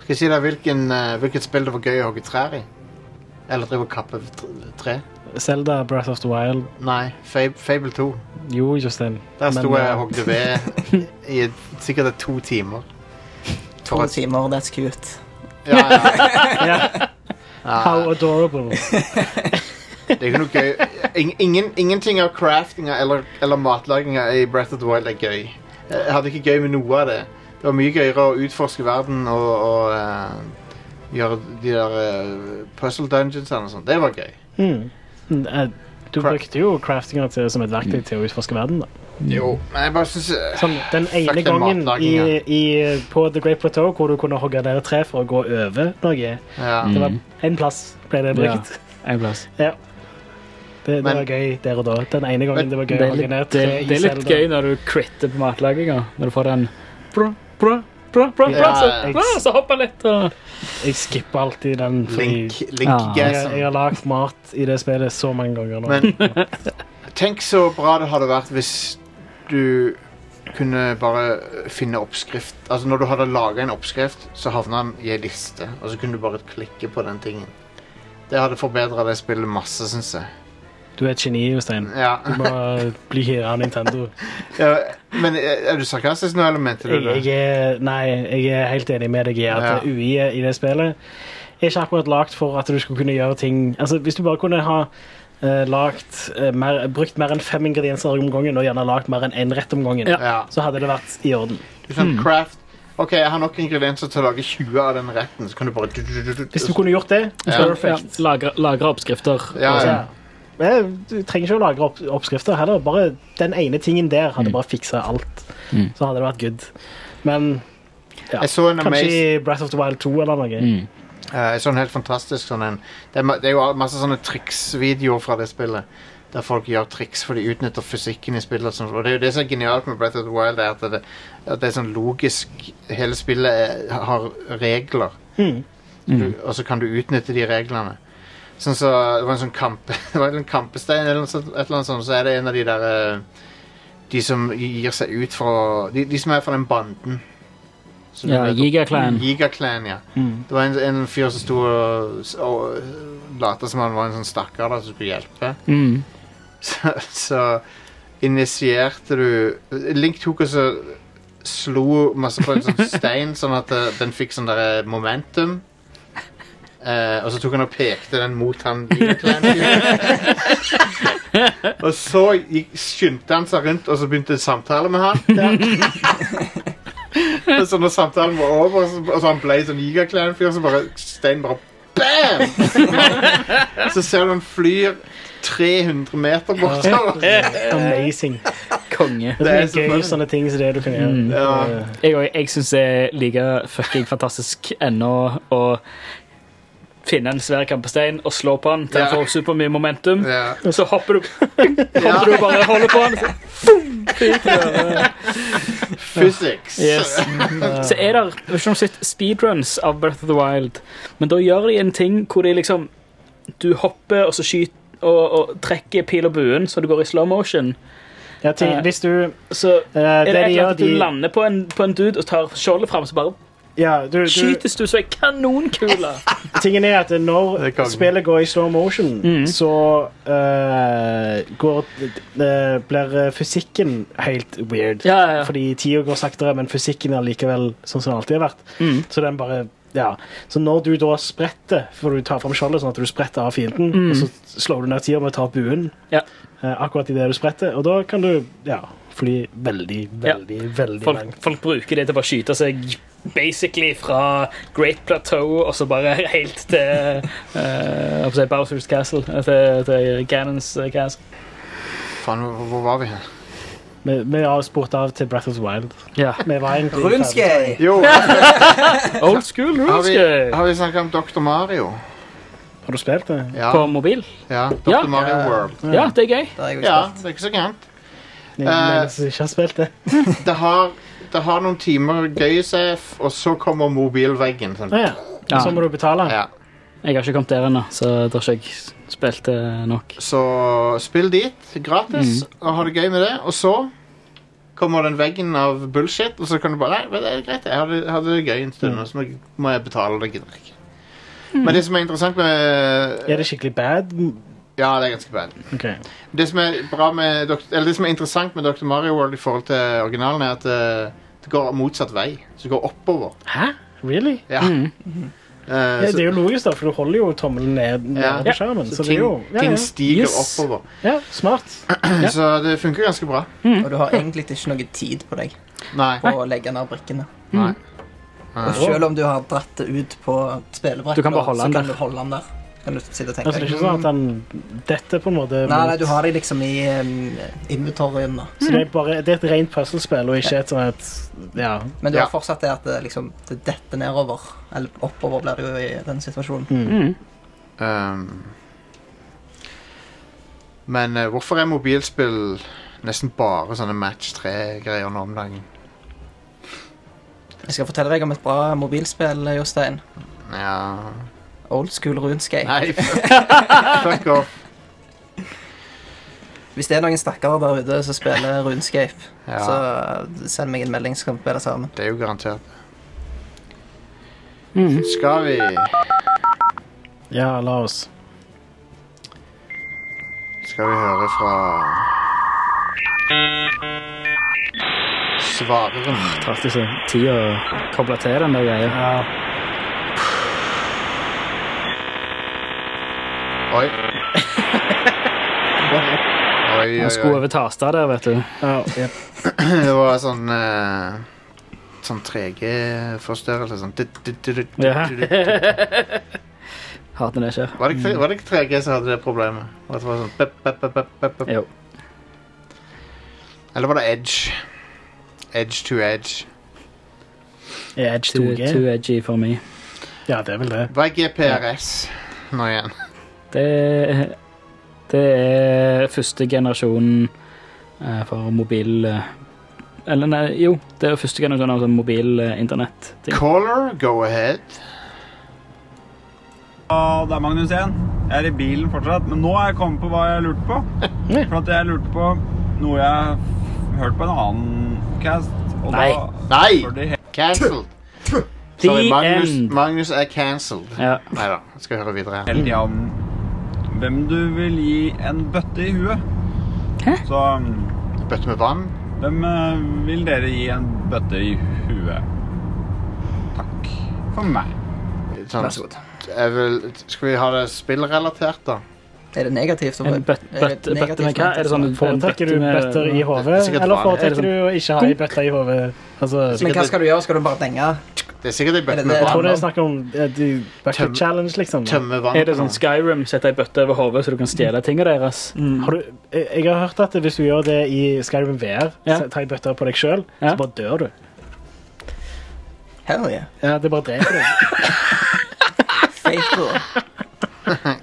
Speaker 1: Skal jeg si deg hvilken, eh, hvilket spill det var gøy å hogge trær i? Eller drive og kappe tr- tre?
Speaker 4: Zelda, Breath of the Wild.
Speaker 1: Nei, Fab Fable 2.
Speaker 4: Jo, Justin.
Speaker 1: Der
Speaker 4: Men,
Speaker 1: sto jeg og
Speaker 4: eh,
Speaker 1: hogde ved i sikkert to timer.
Speaker 3: To timer, that's cute.
Speaker 1: Ja, ja.
Speaker 4: How adorable.
Speaker 1: Det er ikke noe gøy. Ing- Ingen, ingenting av craftinga eller, eller matlaginga i Breath of the Wild er gøy. Jeg hadde ikke gøy med noe av det. Det var mye gøyere å utforske verden og, og eh, gjøre de der eh, puzzle dungeonsene og sånn. Det var gøy.
Speaker 4: Mm. Eh, Du
Speaker 1: Cra-
Speaker 4: brukte jo craftinga til, som et verktøy til å utforske verden. da.
Speaker 1: Jo, men jeg bare eh, syns
Speaker 4: Sånn, den ene
Speaker 1: Mm. den
Speaker 4: gangen i,
Speaker 1: matlagingen.
Speaker 4: i, på The Great Plateau hvor du kunne hogge ned et tre for å gå over noe,
Speaker 1: ja.
Speaker 4: det var én plass ble det brukt.
Speaker 2: En plass.
Speaker 4: Det, det
Speaker 1: Men-
Speaker 4: var gøy der og da. Den ene
Speaker 1: Men-
Speaker 4: gangen det var
Speaker 2: Det
Speaker 4: gøy å
Speaker 2: er
Speaker 4: hogge
Speaker 2: litt,
Speaker 4: ned et
Speaker 2: det,
Speaker 4: tre i
Speaker 2: det er litt
Speaker 4: Zelda.
Speaker 2: gøy når du critter på matlaginga. Når du får den bra, bra, bra, bra, bra, så,
Speaker 1: Ja, ja.
Speaker 2: bra, så hopper litt. Og...
Speaker 4: Jeg skipper alltid den. Fordi
Speaker 1: Link,
Speaker 2: Ja.
Speaker 4: jeg, jeg
Speaker 1: Link-gassen.
Speaker 4: har lagd mat i det spillet så mange ganger nå.
Speaker 1: Men tenk så bra det hadde vært hvis du kunne bare finne oppskrift. Altså Når du hadde laga en oppskrift, så havna den i ei liste, og så kunne du bare klikke på den tingen. Det hadde forbedra det spillet masse, syns jeg.
Speaker 4: Du er et geni, Jostein.
Speaker 1: Ja.
Speaker 4: Du må bli hyra av Nintendo.
Speaker 1: Ja, Men eh, er er du sarkastisk nå, eller mente du
Speaker 4: Jeg,
Speaker 1: det?
Speaker 4: jeg, er, nei, jeg er helt enig med deg i at
Speaker 1: Ja.
Speaker 4: UI i det spillet er ikke akkurat lagd for at du skulle kunne gjøre ting Altså, Hvis du bare kunne ha eh, lagt, eh, mer, brukt mer enn fem ingredienser om gangen, og gjerne lagd mer enn én rett om gangen,
Speaker 1: Ja.
Speaker 4: så hadde det vært i orden.
Speaker 1: Du kan
Speaker 4: Hmm.
Speaker 1: craft OK, jeg har nok ingredienser til å lage 20 av den retten, så kan du bare du- du- du- du-
Speaker 4: Hvis du kunne gjort det,
Speaker 1: Ja.
Speaker 2: Ja,
Speaker 4: perfect.
Speaker 2: lagre, lagre oppskrifter.
Speaker 1: Ja, ja.
Speaker 4: Men Eh, Du trenger ikke å lagre opp, oppskrifter heller. Bare den ene tingen der hadde bare fiksa alt. Så hadde det vært good. Men ja.
Speaker 1: Jeg så en
Speaker 4: kanskje
Speaker 1: amazing
Speaker 4: i Breath of the Wild 2 eller noe.
Speaker 1: Eh, en sånn helt fantastisk sånn en det er, ma- det er jo al- masse sånne triksvideoer fra det spillet. Der folk gjør triks, for de utnytter fysikken i spillet. Og, sånt. og det er jo det som er genialt med Breath of the Wild, er at det, at det er sånn logisk Hele spillet er, har regler. Du, og så kan du utnytte de reglene. Sånn så, det var en sånn kamp, det var en kampestein eller noe sånt, et eller annet sånt, så er det en av de der eh, De som gir seg ut fra De, de som er fra den banden. som du
Speaker 2: Ja,
Speaker 1: møter.
Speaker 2: Giga Clan.
Speaker 1: Giga Clan, ja. Det var en, en fyr som sto og, s- og lata som han var en sånn stakkar da, som skulle hjelpe.
Speaker 2: Mm.
Speaker 1: Så, så initierte du Link tok og så slo masse på en sånn stein, sånn at eh, den fikk sånn der momentum. Eh, og så tok han og pekte den mot han Giga Clan-fyren. og så gikk, skyndte han seg rundt, og så begynte en samtale med han. Og så når samtalen var over, så, og så han ble sånn gigaklær-fyr, så bare Stein bare BAM! så ser du han flyr 300 meter bortover.
Speaker 4: Amazing.
Speaker 2: sånn Konge.
Speaker 4: Det er,
Speaker 1: er så
Speaker 4: gøy sånn-
Speaker 1: funny.
Speaker 4: sånne ting som det du kan gjøre.
Speaker 1: Ja.
Speaker 2: Jeg, og- jeg syns det er like fucking fantastisk ennå å finne en svær kampestein og slå på den til den
Speaker 1: Ja.
Speaker 2: får supermye momentum.
Speaker 1: Ja.
Speaker 2: Og så hopper du Hopper du bare holder på den. Så,
Speaker 1: Physics.
Speaker 2: yes. så er det jeg vet ikke om du har sett speedruns av Breath of the Wild, men da gjør de en ting hvor de liksom Du hopper, og så skyter og, og trekker pil og buen, så du går i slow motion.
Speaker 4: Ja, ting,
Speaker 2: Eh,
Speaker 4: hvis du
Speaker 2: Så
Speaker 4: eh,
Speaker 2: er det
Speaker 4: Det de
Speaker 2: et eller
Speaker 4: gjør,
Speaker 2: annet at
Speaker 4: de
Speaker 2: du lander på en, på en dude og tar skjoldet fram, så bare
Speaker 4: ja, du, du,
Speaker 2: skytes du som ei kanonkule.
Speaker 4: Tingen er at
Speaker 1: Det er
Speaker 4: når
Speaker 1: kongen.
Speaker 4: spillet går i slow motion,
Speaker 2: Mm.
Speaker 4: så eh, går, eh, blir fysikken helt weird.
Speaker 2: Ja, ja, ja.
Speaker 4: Fordi tida går saktere, men fysikken er likevel sånn som den alltid har vært.
Speaker 2: Mm.
Speaker 4: Så den bare ja. Så når du da spretter, for du tar fram skjoldet sånn at du spretter av fienden, og så slår du ned tida med å ta buen
Speaker 2: Mm. Ja.
Speaker 4: eh, akkurat idet du spretter, og da kan du ja, fly veldig, veldig, veldig
Speaker 2: Folk,
Speaker 4: langt.
Speaker 2: folk bruker det til å bare skyte seg basically fra Great Plateau og så bare helt til eh, hva skal jeg si, Bowsers Castle. eh, Til, til Ganons eh, Castle.
Speaker 1: Faen, hvor, hvor var vi her?
Speaker 4: Vi, vi har spurt av til Breath of the Wild.
Speaker 2: Ja.
Speaker 4: Vi var egentlig ferdig.
Speaker 3: Runescape!
Speaker 1: Jo, har
Speaker 2: Old school
Speaker 1: vi,
Speaker 2: runescape.
Speaker 1: har vi snakket om Dr. Mario?
Speaker 4: Har du spilt det?
Speaker 1: Ja,
Speaker 2: På mobil.
Speaker 1: ja Dr.
Speaker 2: Ja.
Speaker 1: Mario World.
Speaker 2: Ja, det er gøy.
Speaker 3: Det har jeg jo
Speaker 1: Ja,
Speaker 3: spilt.
Speaker 1: det er ikke så gærent.
Speaker 4: Nei, men jeg ikke har spilt det.
Speaker 1: Det har, det har noen timer gøy sef, og så kommer mobilveggen. Sånn.
Speaker 4: Ah, ja.
Speaker 2: Ja.
Speaker 4: Så må du betale.
Speaker 1: Ja.
Speaker 2: Jeg har ikke kommet der ennå, så jeg tror ikke jeg spilte nok.
Speaker 1: Så spill dit, gratis, og ha det gøy med det. Og så kommer den veggen av bullshit, og så kan du bare Nei, det er greit, jeg hadde, hadde det gøy en stund, og så må- må jeg betale, det gidder jeg ikke. Men det som er interessant med
Speaker 4: Er det skikkelig bad?
Speaker 1: Ja, det er ganske bad.
Speaker 4: Ok.
Speaker 1: Det som er, bra med, Dokt- eller det som er interessant med Dr. Mario World i forhold til originalen, er at eh, det går motsatt vei. Så det går oppover.
Speaker 4: Hæ? Really?
Speaker 1: Ja. Eh,
Speaker 4: Mm. Ja,
Speaker 1: så,
Speaker 4: det er jo logisk, da, for du holder jo tommelen ned
Speaker 1: Ja.
Speaker 4: ned på skjermen. Så
Speaker 1: så
Speaker 4: det er
Speaker 1: ting,
Speaker 4: jo ja,
Speaker 1: ting
Speaker 4: ja.
Speaker 1: stiger
Speaker 2: Yes.
Speaker 1: oppover.
Speaker 4: ja, smart.
Speaker 1: Så det funker ganske bra.
Speaker 3: Og du har egentlig ikke noe tid på deg
Speaker 1: Nei.
Speaker 3: på å legge ned brikkene.
Speaker 1: Nei.
Speaker 3: Og selv om du har dratt det ut på spillebrettet,
Speaker 2: Du kan bare holde
Speaker 3: så
Speaker 2: den
Speaker 3: kan
Speaker 2: der.
Speaker 3: du holde den der. Kan du sitte og tenke
Speaker 4: Altså, det er ikke sånn at den detter på en
Speaker 3: Nei,
Speaker 4: måte. mot-
Speaker 3: nei, du har dem liksom i um, inventoryen, da.
Speaker 4: Så det er, bare, det er et rent puslespill, og ikke et sånn et Ja.
Speaker 3: Men du har
Speaker 1: Ja.
Speaker 3: fortsatt det at det liksom det detter nedover. Eller oppover blir det jo i den situasjonen.
Speaker 4: Mm.
Speaker 1: Ehm. men eh, hvorfor er mobilspill nesten bare sånne match 3-greier nå om dagen?
Speaker 3: Jeg skal fortelle deg om et bra mobilspill, Jostein.
Speaker 1: Ja
Speaker 3: Old school runescape.
Speaker 1: Nei, fuck off.
Speaker 3: Hvis det er noen stakkarer der ute som spiller runescape,
Speaker 1: Ja.
Speaker 3: så send meg en melding, så kan vi spille sammen.
Speaker 1: Det er jo garantert.
Speaker 2: Mhm.
Speaker 1: Skal vi
Speaker 4: ja, la oss.
Speaker 1: Skal vi høre fra Svareren.
Speaker 2: Traff ikke tid å koble til den der greia.
Speaker 4: Ja.
Speaker 1: Oi. Oi, oi,
Speaker 2: Han skulle
Speaker 1: oi.
Speaker 2: over tasta der, vet du.
Speaker 4: Ja, ja.
Speaker 1: Det var sånn eh, Sånn 3G-forstørrelse. Sånn dit, dit, dit, dit,
Speaker 2: Ja.
Speaker 1: dit, dit, dit.
Speaker 2: Hater når det skjer.
Speaker 1: Var det ikke, var det ikke 3G som hadde det problemet? At det var sånn pep, pep, pep, pep, pep, pep.
Speaker 2: Jo.
Speaker 1: Eller var det Edge? Edge to edge.
Speaker 4: Er Edge
Speaker 2: Too,
Speaker 4: 2G?
Speaker 2: too edgy for meg.
Speaker 4: Ja, det er vel det.
Speaker 1: Hva er GPRS nå igjen?
Speaker 2: Det, det er første generasjon eh, for mobil eh, Eller nei, jo. Det er første generasjon av sånn mobil eh, internett. ting.
Speaker 1: Caller, go ahead.
Speaker 10: Ja, det er Magnus igjen. Jeg er i bilen fortsatt, men nå har jeg kommet på hva jeg lurte på. For at jeg lurte på noe jeg hørte på en annen cast. Og
Speaker 2: Nei.
Speaker 10: da
Speaker 1: Nei!
Speaker 10: var det helt
Speaker 1: Cancelled.
Speaker 2: The
Speaker 1: Sorry, Magnus,
Speaker 2: end.
Speaker 1: Magnus er cancelled.
Speaker 2: Ja.
Speaker 1: Nei da, skal høre videre. her.
Speaker 10: tiden om hvem du vil gi en bøtte i huet. Så mm,
Speaker 1: Bøtte med vann.
Speaker 10: hvem eh, vil dere gi en bøtte i huet? Takk for meg.
Speaker 1: Sånn,
Speaker 3: Vær så god.
Speaker 1: jeg vil- skal vi ha det spillrelatert, da?
Speaker 3: Er det negativt?
Speaker 2: En bøtt, bøtt, bøtte med hva? Er det sånn en
Speaker 4: Foretrekker du
Speaker 2: bøtte med-
Speaker 4: bøtter i hodet,
Speaker 1: Det er sikkert liksom. bra.
Speaker 4: eller
Speaker 2: Er det
Speaker 4: foretrekker
Speaker 2: sånn-
Speaker 4: du å ikke ha ei bøtte i hodet? Altså,
Speaker 3: Men hva skal du gjøre? Skal du bare denge?
Speaker 1: Det er sikkert ei bøtte
Speaker 3: det-
Speaker 1: med
Speaker 3: det-
Speaker 4: jeg tror
Speaker 1: vann.
Speaker 4: det er snakk om eh, du-
Speaker 1: Tøm-
Speaker 4: bucket challenge, liksom.
Speaker 1: Tømme vann.
Speaker 2: Er det sånn Skyrim, sette ei bøtte over hodet så du kan stjele tingene deres?
Speaker 1: Mm.
Speaker 4: Har du, jeg jeg har hørt at hvis du gjør det i Skyrim VR,
Speaker 2: Ja.
Speaker 4: så tar jeg bøtter på deg sjøl,
Speaker 2: Ja.
Speaker 4: så bare dør du.
Speaker 3: Hell yeah.
Speaker 4: Ja, det bare dreper deg.
Speaker 3: Fatal.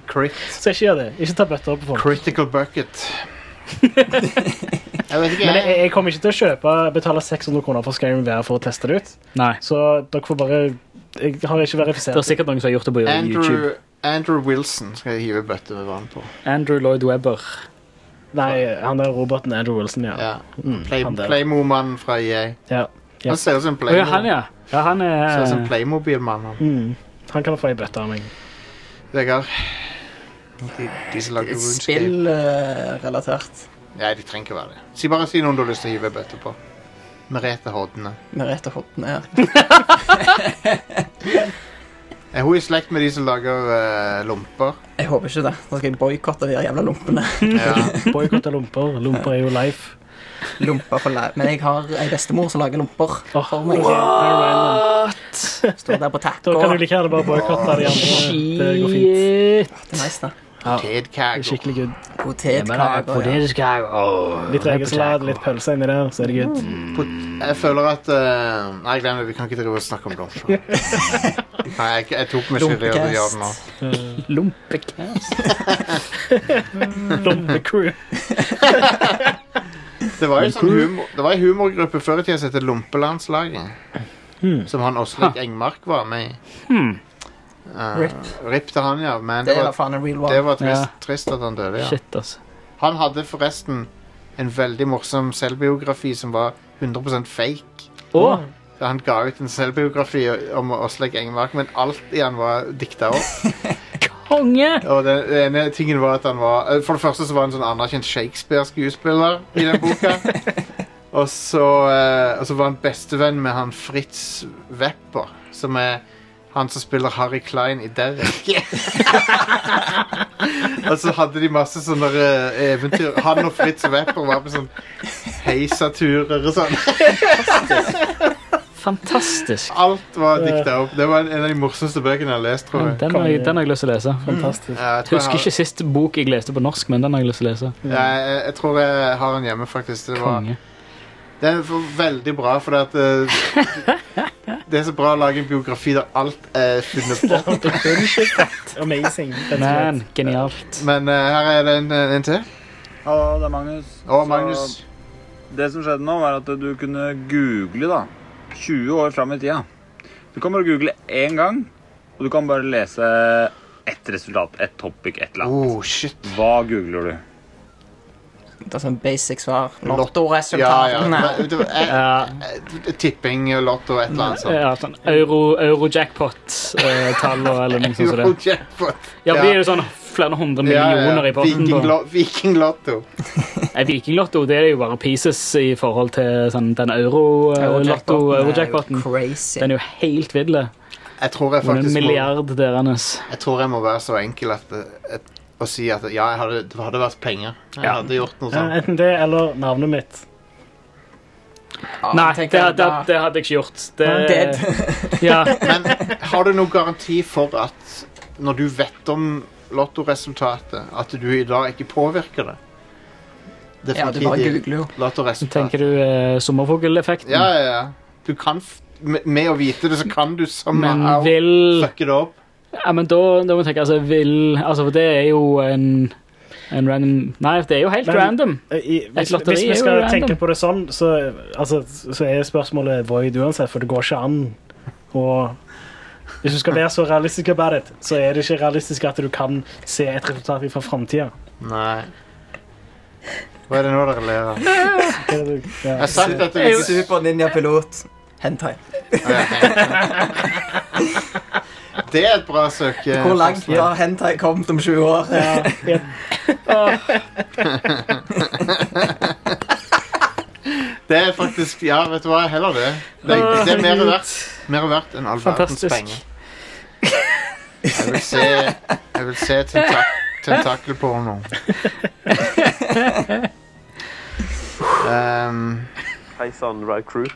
Speaker 1: Crit,
Speaker 4: Så ikke gjør det. Ikke ta bøtter på folk.
Speaker 1: critical bucket. jeg vet ikke,
Speaker 4: Men jeg,
Speaker 1: jeg.
Speaker 4: jeg kommer ikke til å kjøpe, betale 600 kroner for Skyrim VR for å teste det ut,
Speaker 2: Nei.
Speaker 4: så dere får bare Jeg har ikke
Speaker 2: Det er
Speaker 4: verifisert.
Speaker 2: sikkert noen som har gjort det på YouTube.
Speaker 1: Andrew, Andrew Wilson skal jeg hive bøtte med vann på.
Speaker 2: Andrew Lloyd Webber.
Speaker 4: Nei, han der roboten Andrew Wilson, ja.
Speaker 1: Ja. Play,
Speaker 4: han der.
Speaker 1: Playmo-mannen fra EA.
Speaker 4: ja. Ja.
Speaker 1: Han ser ut som
Speaker 2: Å ja, han,
Speaker 1: Playmo.
Speaker 2: ja. ja han
Speaker 1: Ser ut
Speaker 2: er
Speaker 1: som Playmobil-mann. han.
Speaker 4: Mm. Han kan få ei bøtte av meg.
Speaker 1: Vegard. De, de som lager RuneScape.
Speaker 3: Spillrelatert.
Speaker 1: Nei, de trenger ikke være det. Si bare si noen du har lyst til å hive bøtte på. Merete Hodne.
Speaker 3: Merete Hodne her.
Speaker 1: Er hun i slekt med de som lager eh, lomper?
Speaker 3: Jeg håper ikke det. Da skal jeg boikotte de her jævla lompene.
Speaker 1: Ja.
Speaker 4: Boikott av lomper. Lomper er jo life.
Speaker 3: Lomper for læ... Men jeg har ei bestemor som lager lomper
Speaker 4: Åh,
Speaker 3: for meg. Står der på
Speaker 4: Da
Speaker 3: taco.
Speaker 4: kan du like gjerne bare boikotte de andre. Det går fint.
Speaker 3: Det er nice, da.
Speaker 1: Potetkaker.
Speaker 4: Skikkelig good.
Speaker 3: Potetkaker,
Speaker 2: ja.
Speaker 4: Litt rekesalat, litt pølse inni der, så er det good.
Speaker 1: Mm. Jeg føler at eh, Nei, glem det. Vi kan ikke drive og snakke om lunsj. Nei, jeg, jeg tok meg selv i å gjøre det nå.
Speaker 2: Lumpekast.
Speaker 4: Lommecrew.
Speaker 1: Det var jo sånn humor, det var en humorgruppe før i tida som het Lompelandslaget. Som han Åsleik Engmark var med i.
Speaker 2: Hmm.
Speaker 1: Eh,
Speaker 3: Rip.
Speaker 1: Rip til han, ja. Men det
Speaker 3: Det var
Speaker 1: var,
Speaker 3: faen en real one.
Speaker 1: det var trist,
Speaker 2: Ja.
Speaker 1: trist at han døde, ja.
Speaker 2: Shit, altså.
Speaker 1: Han hadde forresten en veldig morsom selvbiografi som var 100 fake.
Speaker 2: Å,
Speaker 1: Så Han ga ut en selvbiografi om Åsleik Engmark, men alt i han var dikta opp.
Speaker 2: konge!
Speaker 1: Og den ene tingen var at han var eh, For det første så var han en sånn anerkjent Shakespeare-skuespiller i den boka. og, så, eh, og så var han bestevenn med han Fritz Wepper, som er han som spiller Harry Klein i Derek. og så hadde de masse sånne eh, eventyr. Han og Fritz Wepper var på sånn heisaturer og sånn.
Speaker 2: Fantastisk.
Speaker 1: Alt var dikta opp. Det var en, en av de morsomste bøkene jeg har lest, tror jeg.
Speaker 2: Den har, jeg, den har jeg lyst til å lese.
Speaker 4: Fantastisk.
Speaker 1: Ja, jeg tror
Speaker 2: Jeg
Speaker 1: jeg har-
Speaker 2: husker ikke sist bok jeg leste på norsk, men den har jeg lyst til å lese.
Speaker 1: Ja, jeg, jeg tror jeg har den hjemme, faktisk. Det var,
Speaker 2: Konge.
Speaker 1: Det er for- veldig bra, for at, eh, det er så bra å lage en biografi der alt er funnet på.
Speaker 4: Amazing. rett og slett.
Speaker 2: Man, genialt.
Speaker 1: Men eh, her er det en, eh, en til.
Speaker 10: Hallo, det er Magnus.
Speaker 1: Og Magnus.
Speaker 10: Så det som skjedde nå, var at du kunne google da, 20 år fram i tida. Du kan bare google én gang, og du kan bare lese ett resultat, ett topic, et eller annet.
Speaker 1: Oh, shit.
Speaker 10: Hva googler du?
Speaker 3: Det er sånn basic svar.
Speaker 1: Lott- Ja, ja. Men, det var- eh, eh, Tipping, lotto, et eller annet sånt.
Speaker 2: Ja, sånn euro, Eurojackpot-tall eller noe sånt. som det.
Speaker 1: Eurojackpot.
Speaker 2: Ja, blir det sånn flere hundre
Speaker 1: Ja, ja, ja.
Speaker 2: millioner i potten på
Speaker 1: Vikinglotto. Vikinglotto.
Speaker 2: Nei, Vikinglotto det er jo bare pieces i forhold til sånn, den euro-lotto-eurojackpoten.
Speaker 3: Crazy.
Speaker 2: Den er jo helt vidle.
Speaker 1: Jeg tror jeg
Speaker 2: Hun er en
Speaker 1: faktisk må,
Speaker 2: milliard deres.
Speaker 1: jeg tror jeg må være så enkel at, eh, et- å si at ja, jeg hadde, det hadde vært penger. Jeg
Speaker 2: Ja.
Speaker 1: hadde gjort noe
Speaker 4: Ja,
Speaker 1: sånt.
Speaker 4: Enten det eller navnet mitt.
Speaker 3: Ja,
Speaker 2: Nei, det,
Speaker 3: Ah, tenker
Speaker 2: det, eh,
Speaker 3: jeg
Speaker 2: det,
Speaker 3: da-
Speaker 2: hadde jeg ikke gjort.
Speaker 3: I'm
Speaker 2: Det,
Speaker 3: dead.
Speaker 2: ja,
Speaker 1: Men har du noen garanti for at når du vet om lottoresultatet, at du i dag ikke påvirker det? Det
Speaker 3: Ja, du bare
Speaker 1: fremtidige
Speaker 3: googler jo.
Speaker 1: lottoresultatet.
Speaker 2: tenker du eh, sommerfugleffekten?
Speaker 1: Ja, ja, ja. Du kan f med, med å vite det, så kan du
Speaker 2: Men
Speaker 1: somehow
Speaker 2: vil
Speaker 1: fucke det opp.
Speaker 2: Ja, men da, da må jeg tenke, altså, vil Altså, for det er jo en, en random Nei, det er jo helt
Speaker 4: Men-
Speaker 2: random.
Speaker 4: Eh, I, hvis,
Speaker 2: lotteri
Speaker 4: hvis
Speaker 2: er jo
Speaker 4: vi skal
Speaker 2: random.
Speaker 4: tenke på det sånn, så, altså, så er spørsmålet void uansett, for det går ikke an å Hvis du skal være så realistisk about it, så er det ikke realistisk at du kan se et resultat fra framtida.
Speaker 1: Nei. Hva er det nå dere ler av? Jeg har sagt at det
Speaker 3: Su- Super ninja-pilot. Hentai.
Speaker 1: Det er et bra søke.
Speaker 3: Hvor langt har hentai kommet om 20 år?
Speaker 2: Altså-
Speaker 1: Det er faktisk Ja, vet du hva? Heller det. Det er, det er mer verdt, mer verdt enn all verdens
Speaker 2: Fantastisk.
Speaker 1: penger. Jeg vil se, jeg vil se tentak tentakelporno. Um,
Speaker 11: Hei sann, Ride Crew.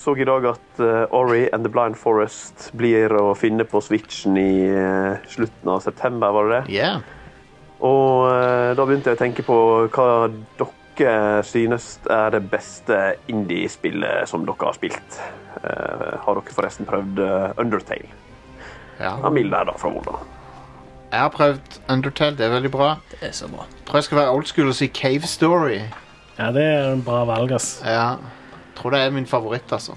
Speaker 11: Så i dag at eh, Ori and The Blind Forest blir å finne på Switchen i eh, slutten av september, var det det?
Speaker 1: yeah.
Speaker 11: Og eh, da begynte jeg å tenke på hva dere synes er det beste indie-spillet som dere har spilt. Eh, har dere forresten prøvd eh, Undertale?
Speaker 1: ja.
Speaker 11: Han vil der, da, fra Volda.
Speaker 1: Jeg har prøvd Undertale. Det er veldig bra.
Speaker 3: Det er så bra.
Speaker 1: Tror jeg skal være old school og si Cave Story.
Speaker 4: Ja, det er en bra valg, ass.
Speaker 1: Ja. Tror det er min favoritt, altså.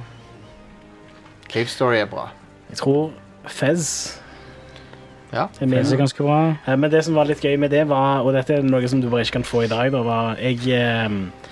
Speaker 1: Cave Story er bra.
Speaker 4: Jeg tror Fez
Speaker 1: Ja.
Speaker 4: er min.
Speaker 2: Det er ganske bra.
Speaker 4: Eh, Men det som var litt gøy med det var, og dette er noe som du bare ikke kan få i dag, da, var jeg, eh,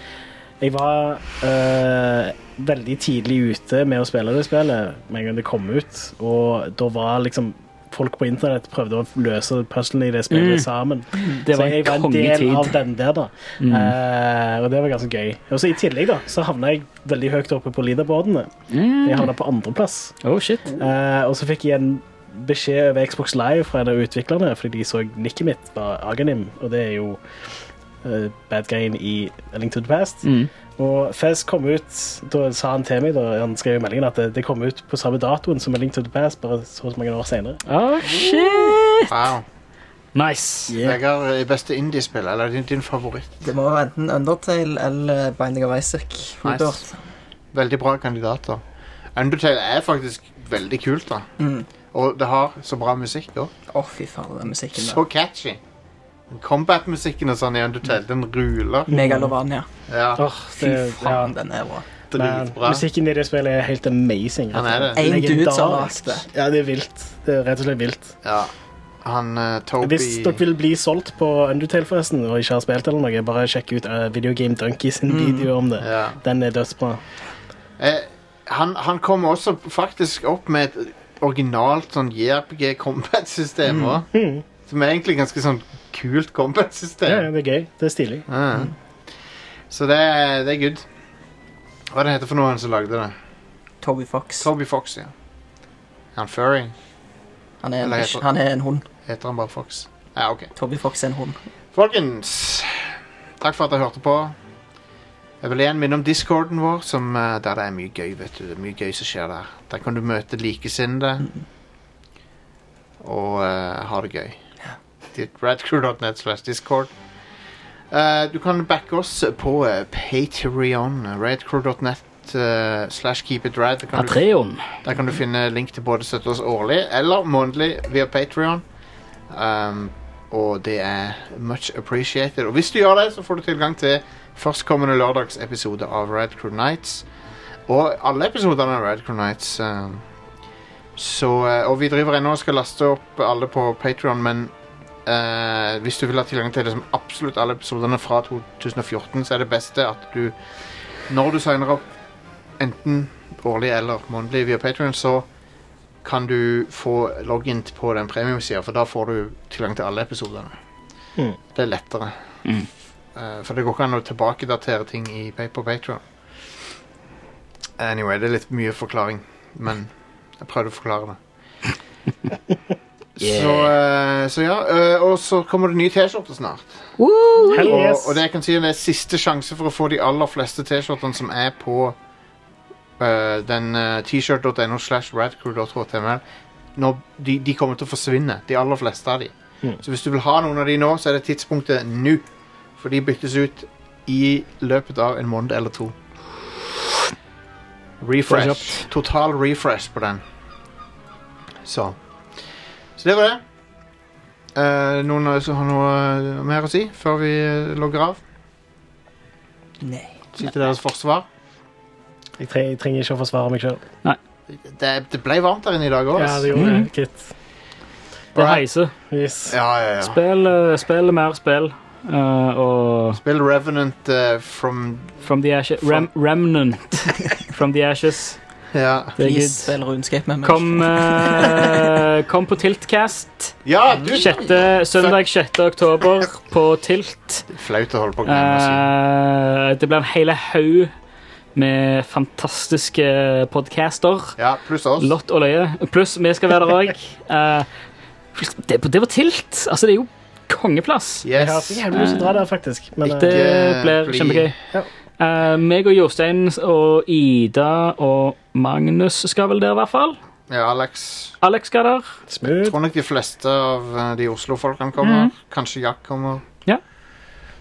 Speaker 4: jeg var eh, veldig tidlig ute med å spille det spillet med en gang det kom ut, og da var liksom folk på internett prøvde å løse puzzlene i det
Speaker 2: Mm.
Speaker 4: spillet sammen.
Speaker 2: Det var
Speaker 4: så jeg var
Speaker 2: en Mm.
Speaker 4: en del av
Speaker 2: kongetid.
Speaker 4: den der, da. Eh, og det var ganske gøy. Og så i tillegg da, så havna jeg veldig høyt oppe på leaderboardene.
Speaker 2: Mm.
Speaker 4: Jeg havna på andreplass.
Speaker 2: Oh, shit.
Speaker 4: Eh, og så fikk jeg en beskjed over Xbox Live fra en av utviklerne, fordi de så nikket mitt var Aghanim, og det er jo eh, bad guyen i A Link to the Past.
Speaker 2: Mm.
Speaker 4: Og Fez kom ut, da sa han til meg, da han skrev i meldingen, at det, det kom ut på samme datoen som A Link to the Past, bare så og så mange år senere.
Speaker 2: Oh, Ah, shit.
Speaker 1: Wow.
Speaker 2: Nice.
Speaker 1: Vegard, eh, beste indiespill, eller din, din favoritt?
Speaker 3: Det må være enten Undertale eller Binding of Isaac. Nice.
Speaker 1: Veldig bra kandidater. Undertale er faktisk veldig kult, da.
Speaker 3: Mm.
Speaker 1: Og det har så bra musikk òg.
Speaker 3: Å, fy faen, den musikken der.
Speaker 1: Så catchy. Combat-musikken og sånn i Undertale, den ruler.
Speaker 3: Megalovania.
Speaker 1: Ja.
Speaker 4: Åh,
Speaker 3: Fy
Speaker 4: det-
Speaker 3: faen, den er bra.
Speaker 4: Men
Speaker 1: Dritbra.
Speaker 4: musikken i det spillet er helt amazing.
Speaker 1: Han er det.
Speaker 3: En dude som har lagd
Speaker 4: Legendarisk.
Speaker 3: det.
Speaker 4: Ja, det er vilt. Det er rett og slett vilt.
Speaker 1: Ja. Han eh,
Speaker 4: Hvis dere
Speaker 1: Toby
Speaker 4: vil bli solgt på Undertale forresten, og ikke har spilt eller noe, bare sjekk ut eh, Video Game Donkey sin video om det.
Speaker 1: Mm. Ja.
Speaker 4: Den er dødsbra.
Speaker 1: eh, han, han kom også faktisk opp med et originalt sånn JRPG combat-system òg.
Speaker 4: Mm.
Speaker 1: Som er egentlig ganske sånn kult combat-system.
Speaker 4: Ja, ja, det er gøy. Det er stilig.
Speaker 1: Ja. Så det er, det er good. Hva er det heter for noen som lagde det?
Speaker 3: Toby Fox.
Speaker 1: Toby Fox, ja. Er Han Furry?
Speaker 3: Han er en,
Speaker 1: Eller heter-
Speaker 3: han er en hund.
Speaker 1: Heter han bare Fox? Ja, ok.
Speaker 3: Toby Fox er en hund.
Speaker 1: Folkens, takk for at dere hørte på. Jeg vil igjen minne om discorden vår, som, eh, der det er mye gøy. vet du. Det er mye gøy som skjer der. Der kan du møte likesinnede og eh, ha det gøy. Ditt Radcrew.net slash discord. Eh, du kan backe oss på uh, Patrion. Radcrew.net eh, slash keep it rad. Der kan du-
Speaker 2: Patreon.
Speaker 1: der kan du finne link til både støtte oss årlig eller månedlig via Patreon. Um, og det er much appreciated. Og hvis du gjør det, så får du tilgang til førstkommende lørdags episode av Red Crew Nights. Og alle episodene av Red Crew Nights. Um, så, eh, og vi driver ennå og skal laste opp alle på Patreon, men eh, hvis du vil ha tilgang til det som absolutt alle episodene fra 2014, så er det beste at du, når du signer opp, enten årlig eller månedlig via Patreon, så kan du få login på den premiumsida, for da får du tilgang til alle episodene.
Speaker 4: Mm.
Speaker 1: Det er lettere.
Speaker 2: Mm.
Speaker 1: Eh, for det går ikke an å tilbakedatere ting i, pa- på Patreon. Anyway, det er litt mye forklaring, men jeg prøvde å forklare det. Så, eh, så ja, eh, og så kommer det nye T-skjorter snart.
Speaker 4: Hell
Speaker 1: Og,
Speaker 4: yes.
Speaker 1: og det jeg kan si er det er siste sjanse for å få de aller fleste T-skjortene som er på eh, den eh, t-shirt.no slash radcrew.html. Nå- De, de kommer til å forsvinne, de aller fleste av de.
Speaker 4: Mm.
Speaker 1: Så hvis du vil ha noen av de nå, så er det tidspunktet nå. For de byttes ut i løpet av en måned eller to. Refresh. Total refresh på den. Så. Så det var det. Eh, noen av dere som har noe eh, mer å si før vi eh, logger av?
Speaker 3: Nei.
Speaker 1: Si til deres forsvar.
Speaker 4: Jeg, tre jeg trenger ikke å forsvare meg sjøl.
Speaker 1: Det, det ble varmt der inne i dag altså. òg.
Speaker 4: Ja, det gjorde
Speaker 1: Mm.
Speaker 4: det. Gitt.
Speaker 2: Det heiser.
Speaker 4: Yes.
Speaker 1: Ja, ja, ja.
Speaker 2: Spill, eh, spill mer spill. eh, og
Speaker 1: Spill Revenant eh, from
Speaker 2: From the Ashes Rem Remnant. From the Ashes.
Speaker 1: Ja,
Speaker 2: Det er
Speaker 3: Please
Speaker 2: good.
Speaker 3: spill runescape med meg.
Speaker 2: Kom, eh, kom på Tiltcast.
Speaker 1: ja du!
Speaker 2: Sjette, søndag 6. oktober på Tilt.
Speaker 1: Flaut å holde på å glemme. altså. å si.
Speaker 2: Eh, det blir en hele haug med fantastiske podcaster.
Speaker 1: Ja, pluss oss.
Speaker 2: Lott og løye. Pluss vi skal være der òg. det, det var tilt. Altså, det er jo kongeplass.
Speaker 4: Jeg har
Speaker 1: Yes.
Speaker 4: så jævlig lyst til å dra der, faktisk. Men
Speaker 1: Ikke-
Speaker 4: eh,
Speaker 2: Det blir
Speaker 1: bli-
Speaker 2: kjempegøy.
Speaker 4: Ja.
Speaker 2: Eh, meg og Jostein og Ida og Magnus skal vel der, i hvert fall.
Speaker 1: Ja, Alex.
Speaker 2: Alex skal der.
Speaker 1: Jeg
Speaker 4: eh, smooth.
Speaker 1: tror nok de fleste av eh, de Oslo-folkene kommer. Kanskje Jack kommer.
Speaker 2: Mhm. Ja.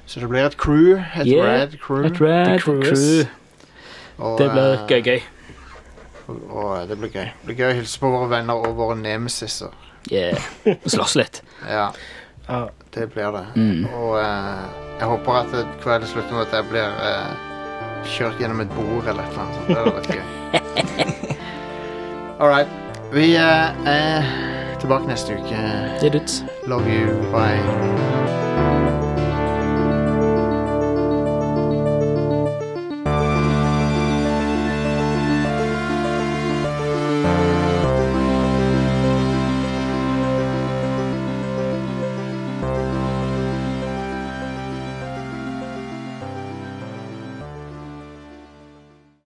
Speaker 1: Så det blir et crew. Et
Speaker 2: Yeah.
Speaker 1: red crew.
Speaker 2: Et Red
Speaker 4: The Cruise.
Speaker 2: Mm. Crew.
Speaker 1: og,
Speaker 2: Det blir
Speaker 1: eh,
Speaker 2: gøy-gøy.
Speaker 1: Og, og eh, det blir gøy. Det blir gøy å hilse på våre venner og våre nemesiser.
Speaker 2: Yeah. Slåss litt.
Speaker 1: Ja,
Speaker 4: Ja.
Speaker 1: det blir det.
Speaker 2: Mm.
Speaker 1: Og eh, jeg håper at det- kvelden slutter med at jeg blir eh, kjørt gjennom et bord eller et eller annet. sånt. Det hadde vært gøy. All right. Vi eh, er tilbake neste uke.
Speaker 2: Det er dutt.
Speaker 1: Love you. Bye.